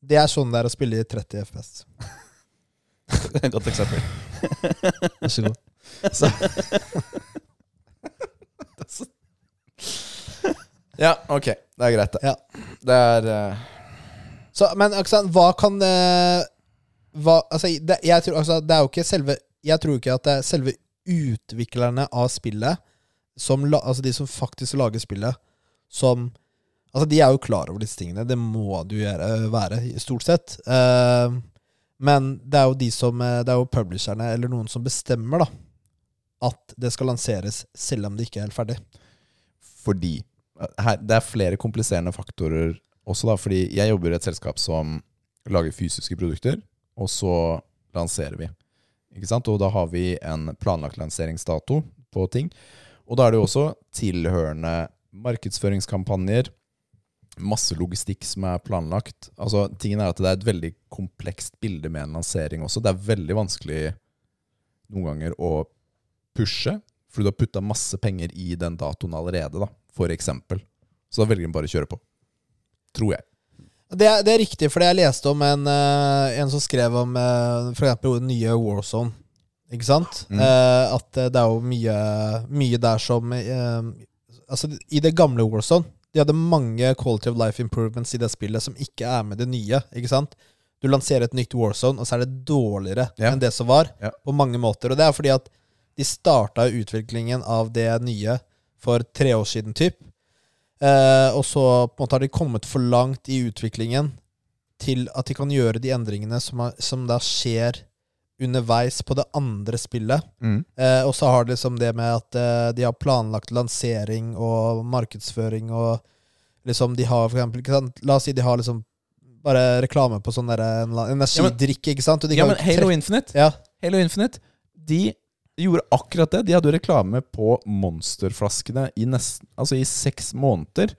Speaker 2: Det er sånn det er å spille i 30 FPS.
Speaker 3: Et Godt eksempel.
Speaker 2: Vær så god.
Speaker 1: Ja, ok. Det er greit, det.
Speaker 2: Ja.
Speaker 1: Det er eh,
Speaker 2: Så, men Aksan, hva kan eh, hva, altså, det, jeg, tror, altså, det er jo ikke selve, jeg tror ikke at det er selve utviklerne av spillet, som, la- altså de som faktisk lager spillet, som Altså, de er jo klar over disse tingene. Det må du gjøre, være, stort sett. Eh, men det er jo de som eh, Det er jo publisherne, eller noen som bestemmer, da, at det skal lanseres selv om det ikke er helt ferdig.
Speaker 1: fordi eh, her, Det er flere kompliserende faktorer også, da. Fordi jeg jobber i et selskap som lager fysiske produkter, og så lanserer vi. Ikke sant? Og da har vi en planlagt lanseringsdato på ting. Og da er det jo også tilhørende markedsføringskampanjer, masse logistikk som er planlagt. Altså, tingen er at det er et veldig komplekst bilde med en lansering også. Det er veldig vanskelig noen ganger å pushe, fordi du har putta masse penger i den datoen allerede, da, for eksempel. Så da velger de bare å kjøre på. Tror jeg.
Speaker 2: Det er, det er riktig, for jeg leste om en, eh, en som skrev om eh, for eksempel den nye Warzone. Ikke sant?
Speaker 1: Mm.
Speaker 2: Eh, at eh, det er jo mye, mye der som eh, Altså, i det gamle Warzone De hadde mange quality of life improvements i det spillet som ikke er med det nye. Ikke sant? Du lanserer et nytt Warzone, og så er det dårligere
Speaker 1: Ja.
Speaker 2: enn det som var.
Speaker 1: Ja.
Speaker 2: På mange måter. Og det er fordi at de starta utviklingen av det nye for tre år siden, typ. Eh, og så på en måte har de kommet for langt i utviklingen til at de kan gjøre de endringene som, er, som da skjer underveis på det andre spillet. Eh, og så har de liksom det med at eh, de har planlagt lansering og markedsføring og liksom de har for eksempel, ikke sant? La oss si de har liksom bare reklame på sånn derre en eller annen energidrikke, ikke sant? Og de
Speaker 1: Ja,
Speaker 2: kan
Speaker 1: men
Speaker 2: jo
Speaker 1: Halo
Speaker 2: trekke-
Speaker 1: Infinite
Speaker 2: ja.
Speaker 1: Halo Infinite De gjorde akkurat det. De hadde jo reklame på monsterflaskene i, nesten, altså i seks måneder.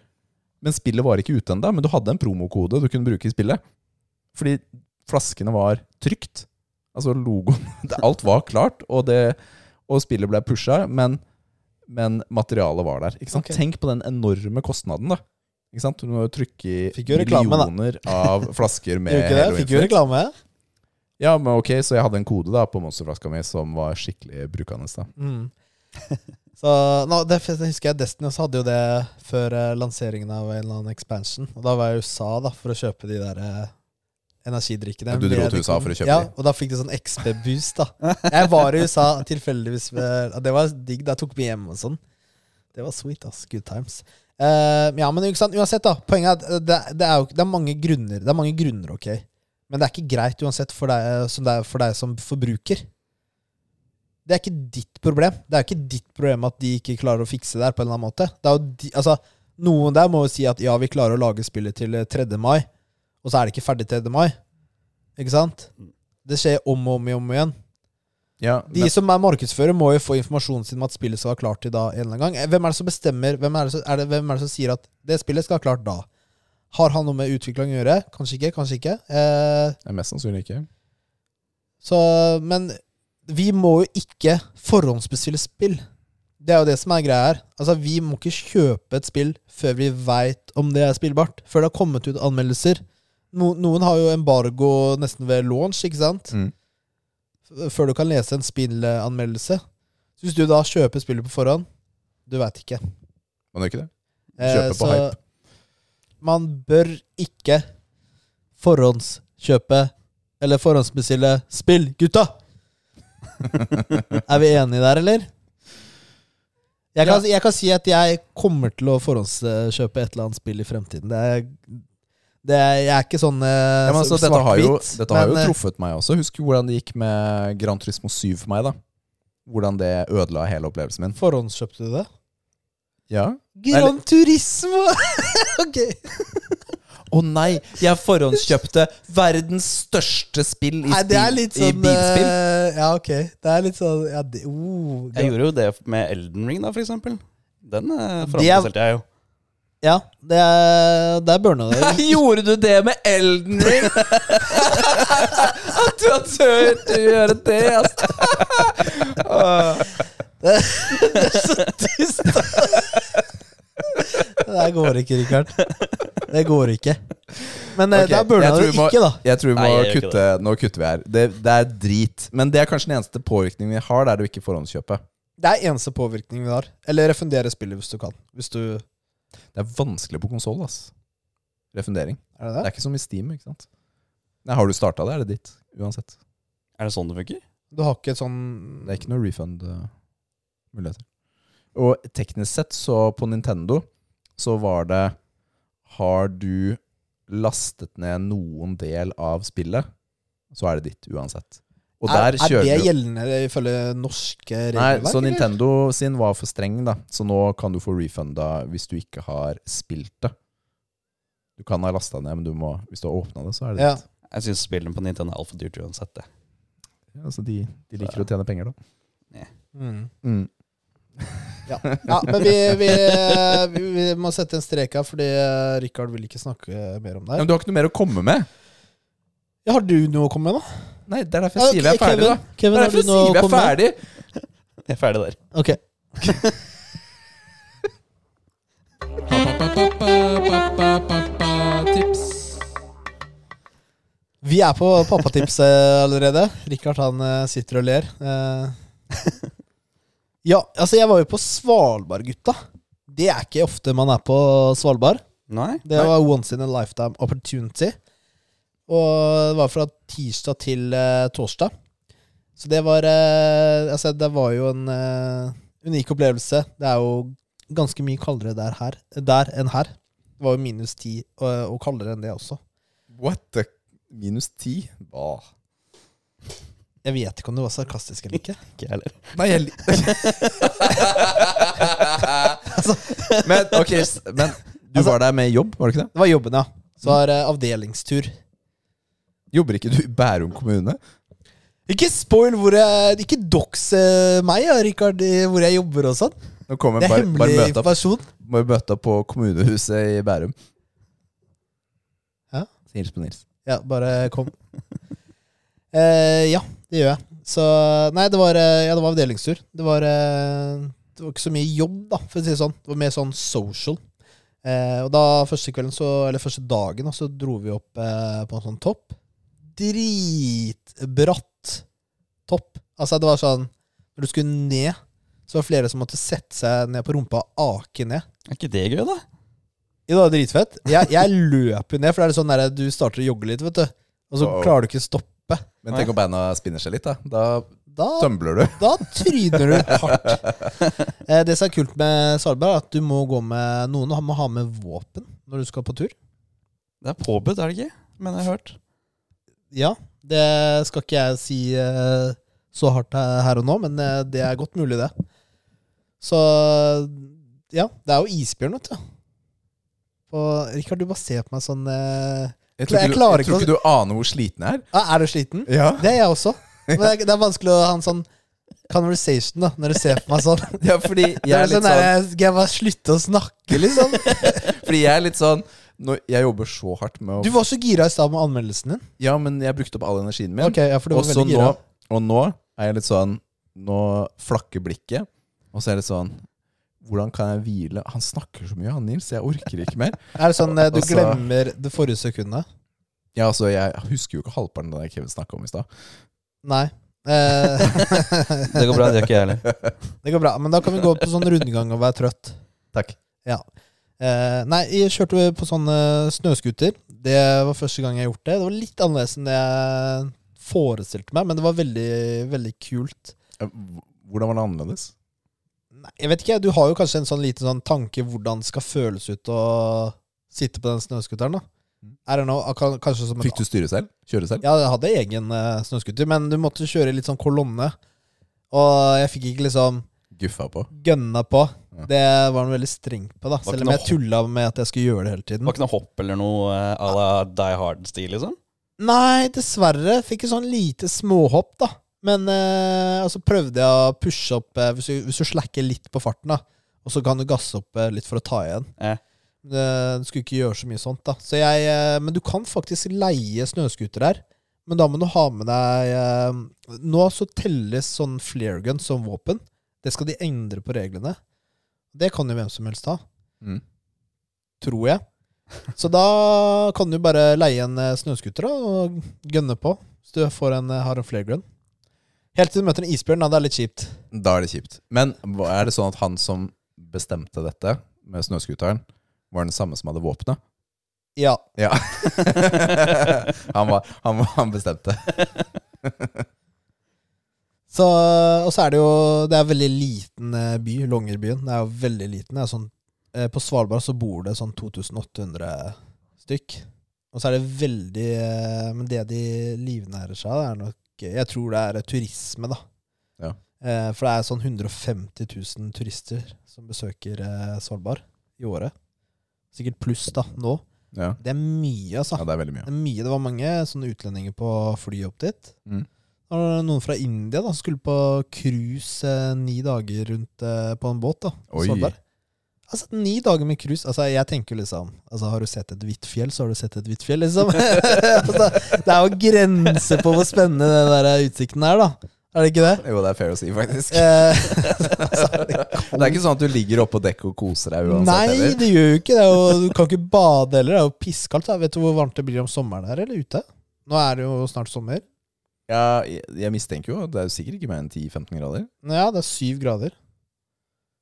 Speaker 1: Men spillet var ikke ute ennå. Men du hadde en promokode du kunne bruke i spillet. Fordi flaskene var trygt. Altså logoen det- Alt var klart, og, det, og spillet ble pusha, men, men materialet var der. Ikke sant?
Speaker 2: Ok.
Speaker 1: Tenk på den enorme kostnaden, da. Ikke sant? Du må jo trykke i
Speaker 2: Fikk jo reklame, da.
Speaker 1: millioner av flasker med
Speaker 2: Gjorde ikke det?
Speaker 1: Halo
Speaker 2: Fikk jo
Speaker 1: Infinite.
Speaker 2: reklame.
Speaker 1: Ja, men ok, så jeg hadde en kode da på monsterflaska mi som var skikkelig brukende. da.
Speaker 2: Mm. Så nå, det, jeg husker jeg Destiny også hadde jo det før eh, lanseringen av en eller annen expansion. Og da var jeg i USA da, for å kjøpe de der eh, energidrikkene.
Speaker 1: Ja, du dro
Speaker 2: Med
Speaker 1: til USA
Speaker 2: reklam-
Speaker 1: for å kjøpe
Speaker 2: ja,
Speaker 1: de.
Speaker 2: Og da fikk de sånn XB-boost, da. Jeg var i USA tilfeldigvis. ved- og Det var digg. Da tok vi hjem og sånn. Det var sweet, ass. Good times. Eh, ja, men ikke sant? uansett, da. Poenget er at eh, det, det, er jo, det er mange grunner. Det er mange grunner, ok. Men det er ikke greit uansett for deg eh, som, det er for deg som forbruker. Det er ikke ditt problem. Det er ikke ditt problem at de ikke klarer å fikse det her på en eller annen måte. Det er jo de, altså, noen der må jo si at ja, vi klarer å lage spillet til eh, 3. mai, og så er det ikke ferdig 3. mai. Ikke sant? Det skjer om og om, og om igjen.
Speaker 1: Ja,
Speaker 2: De
Speaker 1: men-
Speaker 2: som er markedsfører, må jo få informasjonen sin om at spillet skal være klart til da en eller annen gang. Eh, Hvem er det som bestemmer? Hvem er det som, er det, hvem er det som sier at det spillet skal være klart da? Har han noe med utvikling å gjøre? Kanskje ikke, kanskje ikke. Eh,
Speaker 1: det er mest sannsynlig ikke.
Speaker 2: så, men vi må jo ikke forhåndsbestille spill. Det er jo det som er greia her. Altså, vi må ikke kjøpe et spill før vi veit om det er spillbart. Før det har kommet ut anmeldelser. No, noen har jo embargo nesten ved launch, ikke sant?
Speaker 1: Mm.
Speaker 2: F- Før du kan lese en spillanmeldelse. Så hvis du da kjøper spillet på forhånd, du veit ikke.
Speaker 1: Man gjør ikke det.
Speaker 2: Eh,
Speaker 1: Kjøpe på
Speaker 2: så
Speaker 1: hype.
Speaker 2: Man bør ikke forhåndskjøpe eller forhåndsbestille spill, gutta! er vi enige der, eller? Jeg kan, jeg kan si at jeg kommer til å forhåndskjøpe et eller annet spill i fremtiden. Det er, det er, jeg er ikke sånn eh,
Speaker 1: Ja, men altså, dette har jo,
Speaker 2: svart-hvitt,
Speaker 1: dette har
Speaker 2: men,
Speaker 1: jo
Speaker 2: eh,
Speaker 1: truffet meg også. Husk hvordan det gikk med Gran Turismo 7 for meg, da. Hvordan det ødela hele opplevelsen min.
Speaker 2: Forhåndskjøpte du det?
Speaker 1: Ja.
Speaker 2: Gran Turismo! ok.
Speaker 1: Å nei, jeg forhåndskjøpte verdens største spill i,
Speaker 2: Nei, det er litt
Speaker 1: spi- i
Speaker 2: sånn
Speaker 1: bilspill.
Speaker 2: eh, Ja, ok. Det er litt sånn ja, det, oh,
Speaker 3: Jeg gjorde jo det med Elden Ring, da, for eksempel. Den eh,
Speaker 2: Det er-
Speaker 3: forhåndsbestilte jeg jo.
Speaker 2: Ja, det er, det er burna det.
Speaker 1: Gjorde du det med Elden Ring? At du har turt å gjøre det, altså.
Speaker 2: Det der går ikke, Rikard. Det går ikke. Men eh,
Speaker 1: Ok,
Speaker 2: det er burna
Speaker 1: jeg tror
Speaker 2: det
Speaker 1: vi må-
Speaker 2: ikke, da.
Speaker 1: Jeg tror vi må
Speaker 3: Nei, jeg gjør ikke
Speaker 1: kutte Nå kutter vi her. Det, det er drit. Men det er kanskje den eneste påvirkningen vi har, der du ikke forhåndskjøper.
Speaker 2: Det er eneste påvirkning vi har. Eller refundere spillet hvis du kan. Hvis du
Speaker 1: Det er vanskelig på konsoll, ass. Refundering.
Speaker 2: Er det
Speaker 1: Det
Speaker 2: det?
Speaker 1: er ikke som i Steam, ikke sant. Nei, har du starta det, er det ditt. Uansett.
Speaker 3: Er det sånn det funker?
Speaker 2: Du har ikke et sånn
Speaker 1: Det er ikke noe refund-muligheter. Og teknisk sett, så på Nintendo, så var det Har du lastet ned noen del av spillet, så er det ditt uansett. Og
Speaker 2: er,
Speaker 1: der
Speaker 2: er
Speaker 1: kjører
Speaker 2: det
Speaker 1: du
Speaker 2: gjeldende ifølge norske
Speaker 1: Nei,
Speaker 2: regelverk?
Speaker 1: så
Speaker 2: eller?
Speaker 1: Nintendo sin var for streng, da. Så nå kan du få refunda hvis du ikke har spilt det. Du kan ha lasta ned, men du må, hvis du har åpna det, så er det
Speaker 2: Ja.
Speaker 1: ditt.
Speaker 3: Jeg syns spillene på Nintendo er altfor dyrt uansett. Det.
Speaker 1: Ja, altså de, de liker å tjene penger, da.
Speaker 2: Mm.
Speaker 1: Mm.
Speaker 2: Ja. ja, men vi, vi, vi, vi må sette en strek her, fordi eh, Rikard vil ikke snakke mer om
Speaker 1: Ja,
Speaker 2: det. her.
Speaker 1: men du har ikke noe mer å komme med?
Speaker 2: Ja, har du noe å komme med, da?
Speaker 1: Nei, det er derfor jeg sier vi er
Speaker 2: Ja, Kevin-
Speaker 1: ferdig, da.
Speaker 2: Kevin,
Speaker 1: Det er
Speaker 2: har
Speaker 1: derfor
Speaker 2: du
Speaker 1: jeg
Speaker 2: noe å
Speaker 1: sier vi er
Speaker 2: komme med?
Speaker 1: ferdig.
Speaker 3: Jeg er ferdig der.
Speaker 2: Ok. Vi er på pappatipset allerede. Rikard han eh, sitter og ler. Eh, Ja, altså jeg var jo på Svalbard, gutta. Det er ikke ofte man er på Svalbard.
Speaker 3: Nei?
Speaker 2: Det var once in a lifetime opportunity. Og det var fra tirsdag til eh, torsdag. Så det var eh, Altså, det var jo en eh, unik opplevelse. Det er jo ganske mye kaldere der, her, der enn her. Det var jo minus ti og, og kaldere enn det også.
Speaker 1: What the Minus ti? Hva?
Speaker 2: Jeg vet ikke om det var sarkastisk eller ikke.
Speaker 3: Ikke jeg heller.
Speaker 1: Nei, jeg li- Men ok, s- men du
Speaker 2: Altså-
Speaker 1: var der med jobb, var du ikke det?
Speaker 2: Det var jobben, ja. Så var det avdelingstur.
Speaker 1: Jobber ikke du i Bærum kommune?
Speaker 2: Ikke spoil hvor jeg Ikke dox eh, meg, ja, Rikard, i hvor jeg jobber og sånn.
Speaker 1: Nå kommer
Speaker 2: Det er
Speaker 1: bare, bare
Speaker 2: hemmelig
Speaker 1: møte opp,
Speaker 2: informasjon.
Speaker 1: bare møte opp på kommunehuset i Bærum.
Speaker 2: Hæ?
Speaker 1: Så Hils på Nils.
Speaker 2: Ja, bare kom. Eh, ja, det gjør jeg. Så Nei, det var, eh, ja, det var avdelingstur. Det var, eh, det var ikke så mye jobb, da, for å si det sånn. Det var mer sånn social. Eh, og da første kvelden, så, eller første dagen, da, så dro vi opp eh, på en sånn topp. Dritbratt topp. Altså, det var sånn Når du skulle ned, så var det flere som måtte sette seg ned på rumpa og ake ned.
Speaker 3: Er ikke det gøy, da?
Speaker 2: Jo, det var dritfett. Jeg, jeg løp jo ned, for det er sånn der, du starter å jogge litt, vet du. Og så
Speaker 1: Uh-oh.
Speaker 2: klarer du ikke å stoppe.
Speaker 1: Men tenk om beina spinner seg litt, da. Da
Speaker 2: Da,
Speaker 1: tømbler du.
Speaker 2: da tryner du hardt. Eh, det som er kult med Svalbard, er at du må gå med noen og må ha med våpen når du skal på tur.
Speaker 3: Det er påbudt, er det ikke? Men jeg har hørt.
Speaker 2: Ja, det skal ikke jeg si eh, så hardt her- her og nå, men eh, det er godt mulig, det. Så ja, det er jo isbjørn, vet du. Og Rikard, du bare ser på meg sånn eh,
Speaker 1: Jeg
Speaker 2: Jeg
Speaker 1: tror ikke, du,
Speaker 2: klarer
Speaker 1: jeg tror
Speaker 2: ikke å-
Speaker 1: ikke du aner hvor sliten jeg er.
Speaker 2: «Ah, Er du sliten?
Speaker 1: Ja.
Speaker 2: Det er jeg også. Men det er, det er vanskelig å ha en sånn conversation da, når du ser på meg sånn.
Speaker 1: ja, fordi jeg
Speaker 2: Det
Speaker 1: er
Speaker 2: er
Speaker 1: litt
Speaker 2: sånn
Speaker 1: sånn
Speaker 2: der, Skal jeg bare slutte å snakke, liksom?
Speaker 1: Fordi jeg er litt sånn når Jeg jobber så hardt med å
Speaker 2: Du var så gira i stad med anmeldelsen din.
Speaker 1: Ja, men jeg brukte opp all energien min.
Speaker 2: Ok, ja, for du
Speaker 1: og,
Speaker 2: var
Speaker 1: så
Speaker 2: veldig
Speaker 1: nå,
Speaker 2: gira.
Speaker 1: og nå er jeg litt sånn Nå flakker blikket, og så er det sånn Hvordan kan jeg hvile? Han snakker så mye, han Nils. Jeg orker ikke mer.
Speaker 2: Er det sånn eh, du
Speaker 1: Altså-
Speaker 2: glemmer det forrige sekundet?
Speaker 1: Ja, altså, Jeg husker jo ikke halvparten av det Kevin snakka om i stad.
Speaker 2: Nei. Eh,
Speaker 3: Det går bra, det gjør ikke jeg heller.
Speaker 2: Det går bra, men da kan vi gå på sånn rundgang og være trøtt.
Speaker 1: Takk.
Speaker 2: Ja. Eh, nei, jeg kjørte på sånn eh, snøskuter. Det var første gang jeg gjort det. Det var litt annerledes enn det jeg forestilte meg, men det var veldig, veldig kult.
Speaker 1: Eh, Hvordan var det annerledes?
Speaker 2: Nei, jeg vet ikke, du har jo kanskje en sånn liten sånn tanke hvordan det skal føles ut å sitte på den snøskuteren, da. I don't know, ak- kanskje som en
Speaker 1: Mm. Fikk du styre selv? Kjøre selv?
Speaker 2: Ja, jeg hadde egen eh, snøskuter, men du måtte kjøre i litt sånn kolonne. Og jeg fikk ikke liksom
Speaker 1: Guffa på?
Speaker 2: gønna på.
Speaker 1: Ja.
Speaker 2: Det var han veldig streng på, da.
Speaker 3: ikke
Speaker 2: Selv om
Speaker 3: noe
Speaker 2: jeg tulla med at jeg skulle gjøre det hele
Speaker 3: Det
Speaker 2: tiden.
Speaker 3: var ikke noe hopp eller noe eh, à la Die Hard-stil, liksom?
Speaker 2: Nei, dessverre. Fikk et sånn lite småhopp, da. Men eh, og så prøvde jeg å pushe opp eh, hvis, du, hvis du slacker litt på farten, da, og så kan du gasse opp eh, litt for å ta igjen.
Speaker 3: Ja.
Speaker 2: Eh, Du skulle ikke gjøre så mye sånt, da. Så jeg, eh, men du kan faktisk leie snøscooter her. Men da må du ha med deg eh, Nå så telles sånn flare gun som våpen. Det skal de endre på reglene. Det kan jo hvem som helst ha
Speaker 1: Mm.
Speaker 2: tror jeg. Så da kan du bare leie en eh, snøskuter da, og gønne på, hvis du får en, eh, har en flare gun. Helt til du møter en isbjørn, da. Det er litt kjipt.
Speaker 1: Da er det kjipt. Men hva- er det sånn at han som bestemte dette med snøscooteren, var den samme som hadde våpenet?
Speaker 2: Ja.
Speaker 1: Ja. han, var, han, var, han bestemte.
Speaker 2: Så, og så er det jo Det er en veldig liten eh, by, Longyearbyen. Det er jo veldig liten. Det er sånn, eh, på Svalbard så bor det sånn 2800 stykk. Og så er det veldig eh, Men det de livnærer seg av, det er nok Jeg tror det er eh, turisme, da.
Speaker 1: Ja.
Speaker 2: Eh, For det er sånn 150 000 turister som besøker eh, Svalbard i året. Sikkert pluss, da, nå.
Speaker 1: Ja.
Speaker 2: Det er mye, altså.
Speaker 1: ja, det er veldig mye.
Speaker 2: Det er mye, det var mange sånne utlendinger på fly opp dit.
Speaker 1: Mm.
Speaker 2: Da var det noen fra India da, som skulle på cruise eh, ni dager rundt eh, på en båt. da, på
Speaker 1: Oi.
Speaker 2: Svalbard. Altså, ni dager med cruise altså, Jeg tenker jo liksom altså, Har du sett et hvitt fjell, så har du sett et hvitt fjell, liksom. altså, det er jo grenser på hvor spennende den der utsikten er, da. Er det ikke det?
Speaker 1: Jo, det er fair å si, faktisk.
Speaker 2: Eh,
Speaker 1: Det er ikke sånn at du ligger oppå dekket og koser deg uansett.
Speaker 2: nei,
Speaker 1: heller.
Speaker 2: det gjør jo ikke det. Og du kan ikke bade heller. Det er jo pisskaldt. da. Vet du hvor varmt det blir om sommeren her, eller ute? Nå er det jo snart sommer.
Speaker 1: Ja, jeg, jeg mistenker jo at det er jo sikkert ikke mer enn 10-15 grader.
Speaker 2: Ja, det er syv grader.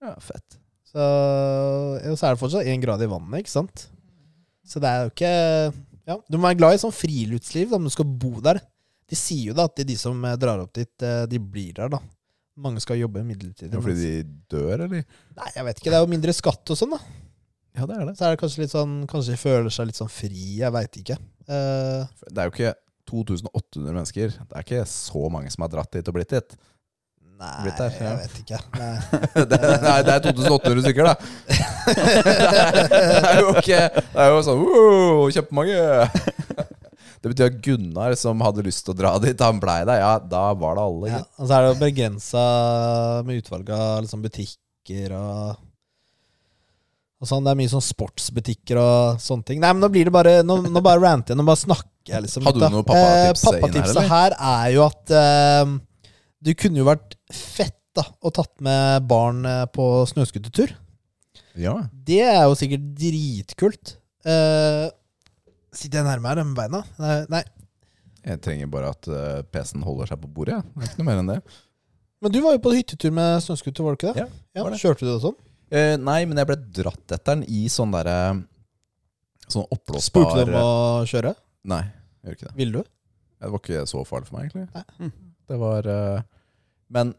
Speaker 1: Ja, fett.
Speaker 2: Så, og så er det fortsatt én grad i vannet, ikke sant? Så det er jo ikke ja, Du må være glad i sånn friluftsliv da, om du skal bo der. De sier jo da at de, de som eh, drar opp dit, eh, de blir der, da. Mange skal jobbe midlertidig.
Speaker 1: Det er fordi
Speaker 2: mens-
Speaker 1: de dør, eller?
Speaker 2: Nei, jeg vet ikke. Det er jo mindre skatt og sånn, da.
Speaker 1: Ja, det er det.
Speaker 2: Så er det kanskje litt sånn Kanskje de føler seg litt sånn fri, jeg veit ikke. Eh,
Speaker 1: Det er jo ikke 2800 mennesker. Det er ikke så mange som har dratt dit og blitt dit.
Speaker 2: nei,
Speaker 1: Blitt der, ja.
Speaker 2: jeg vet ikke. Nei.
Speaker 1: Det, nei, det er 2800 stykker, da. Det er jo ikke Det er jo sånn wow, kjempemange. Det betyr at Gunnar, som hadde lyst til å dra dit, han blei der. Ja, da var det alle.
Speaker 2: Ja,
Speaker 1: gitt.
Speaker 2: og så er det jo begrensa med utvalg av liksom butikker og og sånn, Det er mye sånn sportsbutikker og sånne ting. Nei, men Nå blir det bare Nå, nå bare ranter jeg. Nå bare snakker jeg, liksom.
Speaker 1: Hadde du
Speaker 2: litt, da. Eh,
Speaker 1: noe pappatips inn her,
Speaker 2: Pappatipset
Speaker 1: eller?
Speaker 2: her er jo at eh, du kunne jo vært fett da, og tatt med barn eh, på snøskutertur.
Speaker 1: Ja.
Speaker 2: Det er jo sikkert dritkult. Eh, sitter jeg nærme her med beina? Nei, nei.
Speaker 1: Jeg trenger bare at eh, PC-en holder seg på bordet. Ja. Det er ikke noe mer enn det.
Speaker 2: Men du var jo på hyttetur med snøskuter, var du ikke det?
Speaker 1: Ja, var det.
Speaker 2: Kjørte du det sånn?
Speaker 1: Eh, nei, men jeg ble dratt etter den i sånn derre Sånn oppblåsbar
Speaker 2: Spurte du om å kjøre?
Speaker 1: Nei, jeg gjør ikke det.
Speaker 2: Vil du?
Speaker 1: Det var ikke så farlig for meg, egentlig.
Speaker 2: Mm.
Speaker 3: Nei.
Speaker 1: Det var eh, Men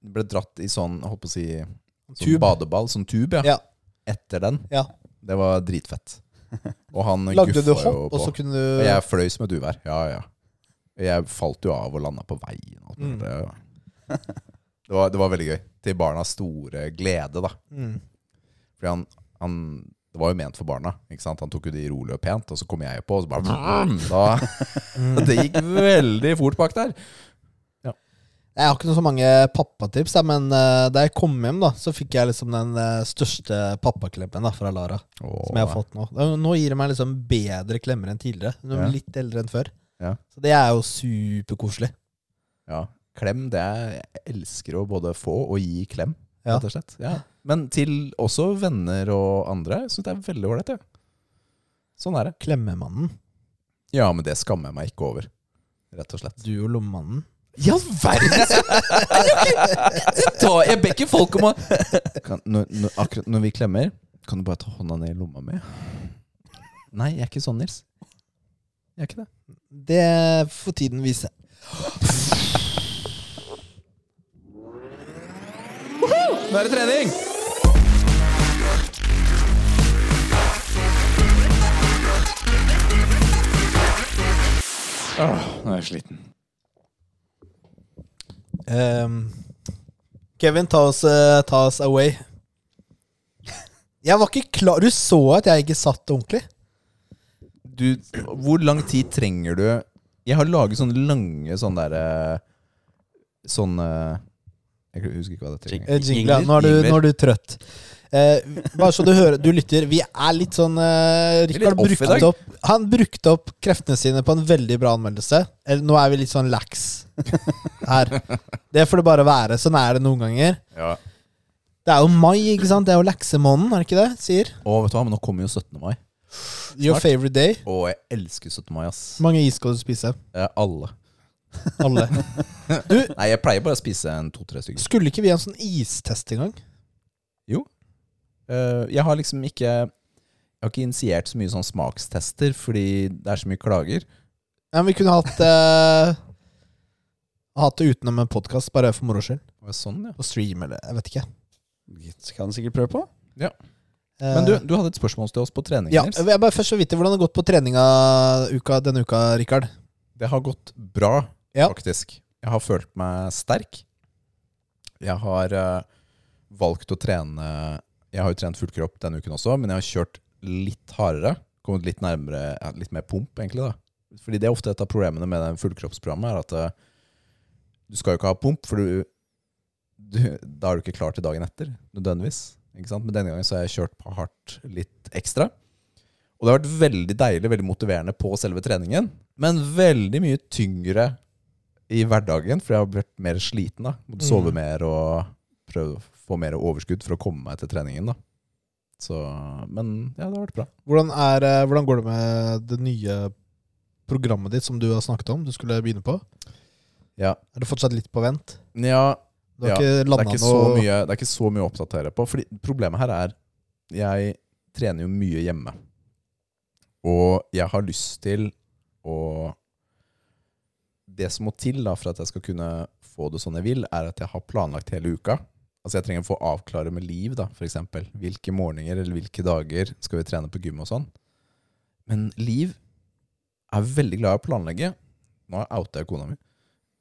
Speaker 1: jeg ble dratt i sånn, jeg holdt på å si sånn
Speaker 2: Tube.
Speaker 1: badeball, sånn tube, ja.
Speaker 2: Ja.
Speaker 1: Etter den.
Speaker 2: Ja.
Speaker 1: Det var dritfett. Og han
Speaker 2: Lagde du
Speaker 1: guffa jo
Speaker 2: hopp,
Speaker 1: på.
Speaker 2: og så kunne du
Speaker 1: Og jeg fløy som et uvær. Ja, ja. Jeg falt jo av og landa på veien. og alt
Speaker 2: Mm.
Speaker 1: mulig. Det, var, det var veldig gøy. Til barnas store glede, da.
Speaker 2: Mm.
Speaker 1: Fordi han, han Det var jo ment for barna. ikke sant? Han tok jo det rolig og pent, og så kom jeg på, og så bare da,
Speaker 2: Mm.
Speaker 1: Det gikk veldig fort bak der.
Speaker 2: Jeg har ikke noe så mange pappatips, da, men eh, da jeg kom hjem, da, så fikk jeg liksom den eh, største pappaklemmen da, fra Lara.
Speaker 1: Åh.
Speaker 2: Som jeg har fått nå. Da- Nå gir det meg liksom bedre klemmer enn tidligere. Nå er jeg
Speaker 1: Ja.
Speaker 2: Litt eldre enn før.
Speaker 1: Ja.
Speaker 2: Så det er jo superkoselig.
Speaker 1: Ja. Klem, det er Jeg elsker å både få og gi klem,
Speaker 2: Ja.
Speaker 1: rett og slett. Ja. Men til også venner og andre. Jeg syns det er veldig ålreit, jeg. Sånn er det.
Speaker 2: Klemmemannen.
Speaker 1: Ja, men det skammer jeg meg ikke over. Rett og slett.
Speaker 2: Du og lommemannen.
Speaker 1: I all verden! Jeg, tar- jeg ber ikke folk om å kan, når, når, Akkurat når vi klemmer, kan du bare ta hånda ned i lomma mi? Nei, jeg er ikke sånn, Nils. Jeg er ikke det.
Speaker 2: Det får tiden vise.
Speaker 1: Nå er det trening! Åh, nå er jeg sliten.
Speaker 2: Ehm, Kevin, ta oss, eh, ta oss away. Jeg var ikke klar Du så at jeg ikke satt ordentlig?
Speaker 1: du, hvor lang tid trenger du Jeg har laget sånne lange sånne der eh, Sånne Jeg husker ikke hva det trenger.
Speaker 2: Eh, Jingle, ja. nå, er du, nå er du trøtt. Eh, bare så du hører, du lytter. Vi er litt sånn eh,
Speaker 1: Vi er litt
Speaker 2: Rikard
Speaker 1: off i dag.
Speaker 2: brukte opp, han brukte opp kreftene sine på en veldig bra anmeldelse. Eller, nå er vi litt sånn lax her. Det får det bare være. Sånn er det noen ganger.
Speaker 1: Ja.
Speaker 2: Det er jo mai, ikke sant? Det er jo laksemåneden, er det ikke det? Sier.
Speaker 1: Å, vet du hva, men nå kommer jo 17. mai.
Speaker 2: Your favorite day.
Speaker 1: Å, jeg elsker 17. mai, ass.
Speaker 2: Hvor mange is skal du spise?
Speaker 1: Eh, alle.
Speaker 2: Alle.
Speaker 1: Nei, jeg pleier bare å spise en to-tre stykker.
Speaker 2: Skulle ikke vi ha en sånn istest engang?
Speaker 1: Eh, jeg har liksom ikke Jeg har ikke initiert så mye sånn smakstester, fordi det er så mye klager.
Speaker 2: Ja, men vi kunne hatt eh, Hatt det utenom en podkast, bare for moro skyld.
Speaker 1: Og Sånn, ja.
Speaker 2: På stream, eller jeg vet ikke.
Speaker 3: Det kan du sikkert prøve på.
Speaker 2: Eh,
Speaker 1: Men du, du hadde et spørsmål til oss på trening,
Speaker 2: Ja,
Speaker 1: Nils.
Speaker 2: jeg vil bare først så vidt hvordan det har gått på treninga uka, denne uka, Rikard.
Speaker 1: Det har gått bra,
Speaker 2: Ja.
Speaker 1: faktisk. Jeg har følt meg sterk. Jeg har eh, valgt å trene Jeg har jo trent full kropp denne uken også, men jeg har kjørt litt hardere. Kommet litt nærmere ja, Litt mer pump, egentlig. da Fordi det er ofte et av problemene med den fullkroppsprogrammet, er at eh, du skal jo ikke ha pump, for du, du, da er du ikke klar til dagen etter, nødvendigvis. Ikke sant? Men denne gangen så har jeg kjørt på hardt litt ekstra. Og det har vært veldig deilig, veldig motiverende på selve treningen, men veldig mye tyngre i hverdagen, for jeg har blitt mer sliten. da Måtte sove
Speaker 2: Mm.
Speaker 1: mer og prøve å få mer overskudd for å komme meg til treningen. da så, Men ja, det har vært bra.
Speaker 2: Hvordan, er, eh, hvordan går det med det nye programmet ditt som du har snakket om? Du skulle begynne på?
Speaker 1: Ja,
Speaker 2: Er du fortsatt litt på vent?
Speaker 1: ja
Speaker 2: Du har
Speaker 1: Ja,
Speaker 2: ikke
Speaker 1: det, er
Speaker 2: landa
Speaker 1: ikke så
Speaker 2: noe
Speaker 1: mye, det er ikke så mye å oppdatere på. Fordi problemet her er Jeg trener jo mye hjemme. Og jeg har lyst til å Det som må til da for at jeg skal kunne få det sånn jeg vil, er at jeg har planlagt hele uka. Altså Jeg trenger å få avklare med liv, da, f.eks. Hvilke morgener eller hvilke dager skal vi trene på gym og sånn. Men Liv er veldig glad i å planlegge. Nå outer jeg kona mi.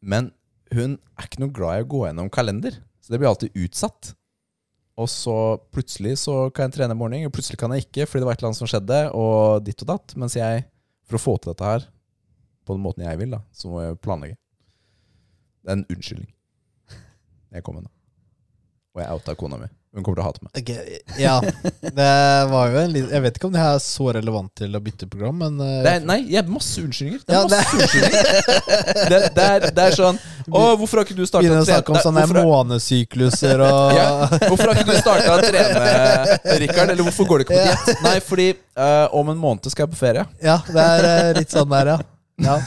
Speaker 1: Men hun er ikke noe glad i å gå gjennom kalender. Så det blir alltid utsatt. Og så plutselig så kan jeg trene i morgen, og plutselig kan jeg ikke fordi det var et eller annet som skjedde, og ditt og datt. Mens jeg, for å få til dette her på den måten jeg vil, da, så må jeg planlegge. Det er en unnskyldning. Jeg kom med nå. Og jeg outa kona mi. Hun kommer til å hate meg.
Speaker 2: Ok, Ja. Det var jo en liten Jeg vet ikke om det her er så relevant til å bytte program, men eh,
Speaker 1: Det er, nei, jeg har masse unnskyldninger. Det er
Speaker 2: Ja, det-
Speaker 1: masse unnskyldninger. Det, det, er, det er sånn Å, hvorfor har ikke du starta
Speaker 2: Begynner å snakke om sånne månesykluser og
Speaker 1: Ja. Hvorfor har ikke du starta å trene, Rikard? Eller hvorfor går du ikke på diett? Nei, fordi eh, om en måned skal jeg på ferie.
Speaker 2: Ja, det er eh, litt sånn der, ja. ja.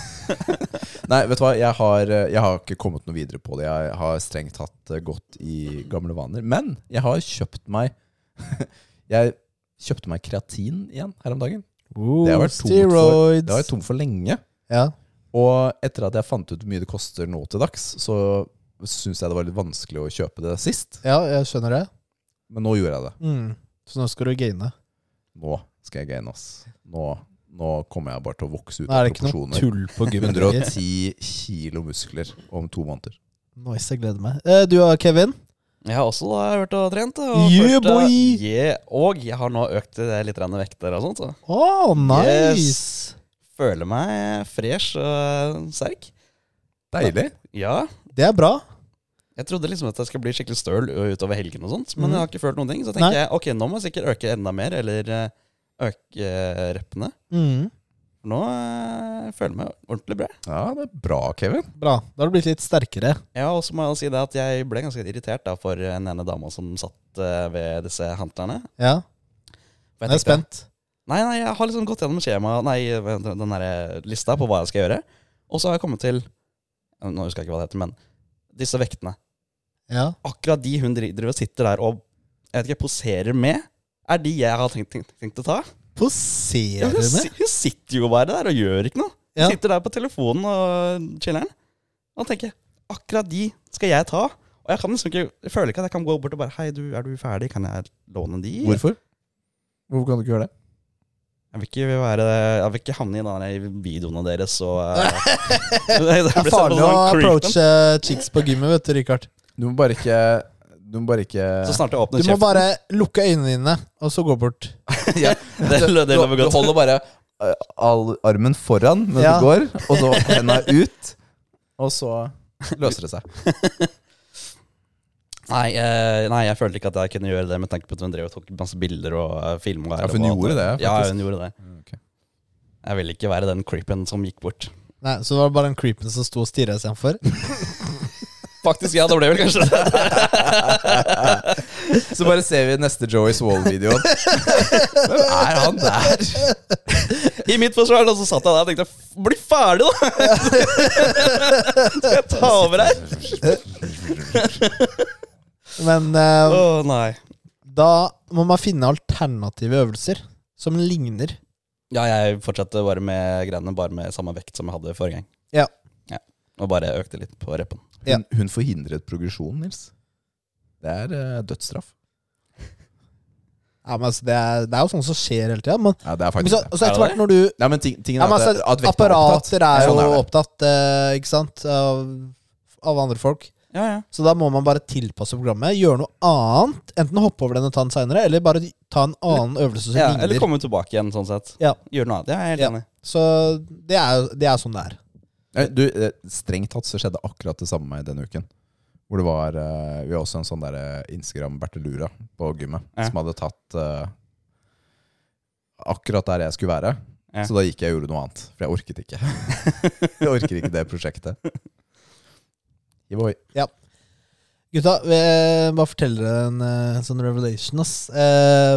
Speaker 1: Nei, vet du hva, jeg har, eh, jeg har ikke kommet noe videre på det. Jeg har strengt tatt eh, gått i gamle vaner. Men jeg har kjøpt meg Jeg kjøpte meg kreatin igjen her om dagen. Det har vært tomt for-
Speaker 2: Steroids.
Speaker 1: Det var jeg tom for lenge.
Speaker 2: Ja.
Speaker 1: Og etter at jeg fant ut hvor mye det koster nå til dags, så syns jeg det var litt vanskelig å kjøpe det sist.
Speaker 2: ja, jeg skjønner det.
Speaker 1: Men nå gjorde jeg det.
Speaker 2: Mm. Så nå skal du gaine.
Speaker 1: Nå skal jeg gaine, ass. Nå, Nå kommer jeg bare til å vokse ut
Speaker 2: Da
Speaker 1: av
Speaker 2: er det ikke noe
Speaker 1: proporsjoner.
Speaker 2: tull på gymmen.
Speaker 1: 110 kilo muskler om to måneder.
Speaker 2: Nice, jeg gleder meg. Eh, Du og Kevin?
Speaker 3: Jeg har også da vært og trent. Og,
Speaker 2: Yeah,
Speaker 3: første-
Speaker 2: boy!
Speaker 3: Yeah, og jeg har nå økt eh, litt grann vekter og sånt. Så.
Speaker 2: Å, nice!
Speaker 3: Yes. Føler meg fresh og sterk.
Speaker 1: Deilig.
Speaker 3: Ja.
Speaker 2: Det er bra.
Speaker 3: Jeg trodde liksom at jeg skulle bli skikkelig støl utover helgen, og sånt, men
Speaker 2: Mhm.
Speaker 3: jeg har ikke følt noen ting. Så
Speaker 2: Nei.
Speaker 3: tenker jeg ok, nå må jeg sikkert øke enda mer, eller eh, øke eh, reppene.
Speaker 2: Mm.
Speaker 3: Nå eh, føler jeg meg ordentlig bra.
Speaker 1: Ja, det er bra, Kevin.
Speaker 2: Bra. Da har du blitt litt sterkere.
Speaker 3: Ja, og så må jeg jo si det at jeg ble ganske irritert da, for den ene dama som satt eh, ved disse handlerne.
Speaker 2: Ja,
Speaker 3: For
Speaker 2: jeg er
Speaker 3: tenkte-
Speaker 2: spent.
Speaker 3: Nei, nei, jeg har liksom gått gjennom skjema, nei, vent, den der lista på hva jeg skal gjøre. Og så har jeg kommet til Nå husker jeg ikke hva det heter, men disse vektene.
Speaker 2: Ja.
Speaker 3: Akkurat de hun dri- driver og sitter der og jeg vet ikke, poserer med, er de jeg har tenkt, tenkt, tenkt å ta. Ja,
Speaker 2: Poserer
Speaker 3: hun,
Speaker 2: med?
Speaker 3: si- hun sitter jo bare der og gjør ikke noe. Hun
Speaker 2: Ja.
Speaker 3: sitter der på telefonen og chiller'n. Og tenker jeg, akkurat de skal jeg ta. Og jeg kan liksom ikke, jeg føler ikke at jeg kan gå bort og bare Hei, du, er du ferdig? Kan jeg låne de?
Speaker 1: Hvorfor? Hvorfor kan du ikke gjøre det?
Speaker 3: Jeg vil ikke, være, jeg vil ikke havne i den der videoene deres og eh, Det
Speaker 2: Det er
Speaker 3: blir sånn
Speaker 2: farlig å
Speaker 3: creep, men.
Speaker 2: approache chicks på gymmet, vet du, Richard.
Speaker 1: Du må bare ikke Du må bare ikke
Speaker 3: Så snart jeg
Speaker 2: Du
Speaker 3: åpner
Speaker 2: må
Speaker 3: kjeften.
Speaker 2: bare lukke øynene dine, og så gå bort.
Speaker 3: ja, det, det,
Speaker 1: Du,
Speaker 3: lover
Speaker 1: du
Speaker 3: godt.
Speaker 1: holder bare eh, all armen foran når
Speaker 2: Ja.
Speaker 1: du går, og så henda ut, og så løser det seg.
Speaker 3: Nei, eh, nei, jeg følte ikke at jeg kunne gjøre det med tanke på at hun drev og tok masse bilder og eh, filma.
Speaker 1: Ja, for hun gjorde det,
Speaker 3: Ja,
Speaker 1: faktisk.
Speaker 3: hun gjorde det.
Speaker 1: ok.
Speaker 3: Jeg ville ikke være den creepen som gikk bort.
Speaker 2: Nei, Så var det bare den creepen som sto og stirra istedenfor.
Speaker 3: Faktisk, ja, det ble vel kanskje det.
Speaker 1: Så bare ser vi neste Joey Swall-videoen. Hvem er han der?
Speaker 3: I mitt forsvar, da, så satt jeg der og tenkte "F- Bli ferdig, da! Skal jeg ta over her?
Speaker 2: Men eh,
Speaker 3: Å, nei.
Speaker 2: da må man finne alternative øvelser som ligner.
Speaker 3: Ja, jeg fortsatte bare med greiene Bare med samme vekt som jeg hadde forrige gang.
Speaker 2: Ja.
Speaker 3: ja. Og bare økte litt på reppen.
Speaker 2: Ja.
Speaker 1: Hun, hun forhindret progresjon, Nils. Det er eh, dødsstraff.
Speaker 2: Ja, men altså, det, er, det er jo sånt som skjer hele tida. Men,
Speaker 1: Ja, det er
Speaker 2: men
Speaker 1: faktisk
Speaker 2: så,
Speaker 1: det.
Speaker 3: Er
Speaker 2: så
Speaker 3: det
Speaker 2: etter hvert
Speaker 3: det?
Speaker 2: når du
Speaker 1: Nei, men ting, tingen
Speaker 2: ja, men
Speaker 1: er at,
Speaker 2: altså,
Speaker 1: at vekten er opptatt.
Speaker 2: Apparater er jo
Speaker 1: Sånn er det.
Speaker 2: opptatt, eh, ikke sant, av, av andre folk.
Speaker 3: Ja, ja.
Speaker 2: Så da må man bare tilpasse programmet. Gjøre noe annet. Enten hoppe over den og ta den seinere, eller bare ta en annen øvelse som
Speaker 3: ja
Speaker 2: ligner.
Speaker 3: eller komme tilbake igjen, sånn sett.
Speaker 2: Ja.
Speaker 3: Gjøre noe annet. Ja, jeg er helt
Speaker 2: Ja.
Speaker 3: enig.
Speaker 2: Så det er, jo- det er sånn det er.
Speaker 1: Nei, Du, eh, strengt tatt så skjedde akkurat det samme meg denne uken. Hvor det var eh, Vi har også en sånn der eh, Instagram-Bertelura på gymmet
Speaker 3: Ja.
Speaker 1: som hadde tatt eh, akkurat der jeg skulle være.
Speaker 3: Ja.
Speaker 1: Så da gikk jeg og gjorde noe annet, for jeg orket ikke. jeg orker ikke det prosjektet. Hivoi.
Speaker 2: Gutta, jeg bare fortell dere en eh, sånn revelation, ass. Eh,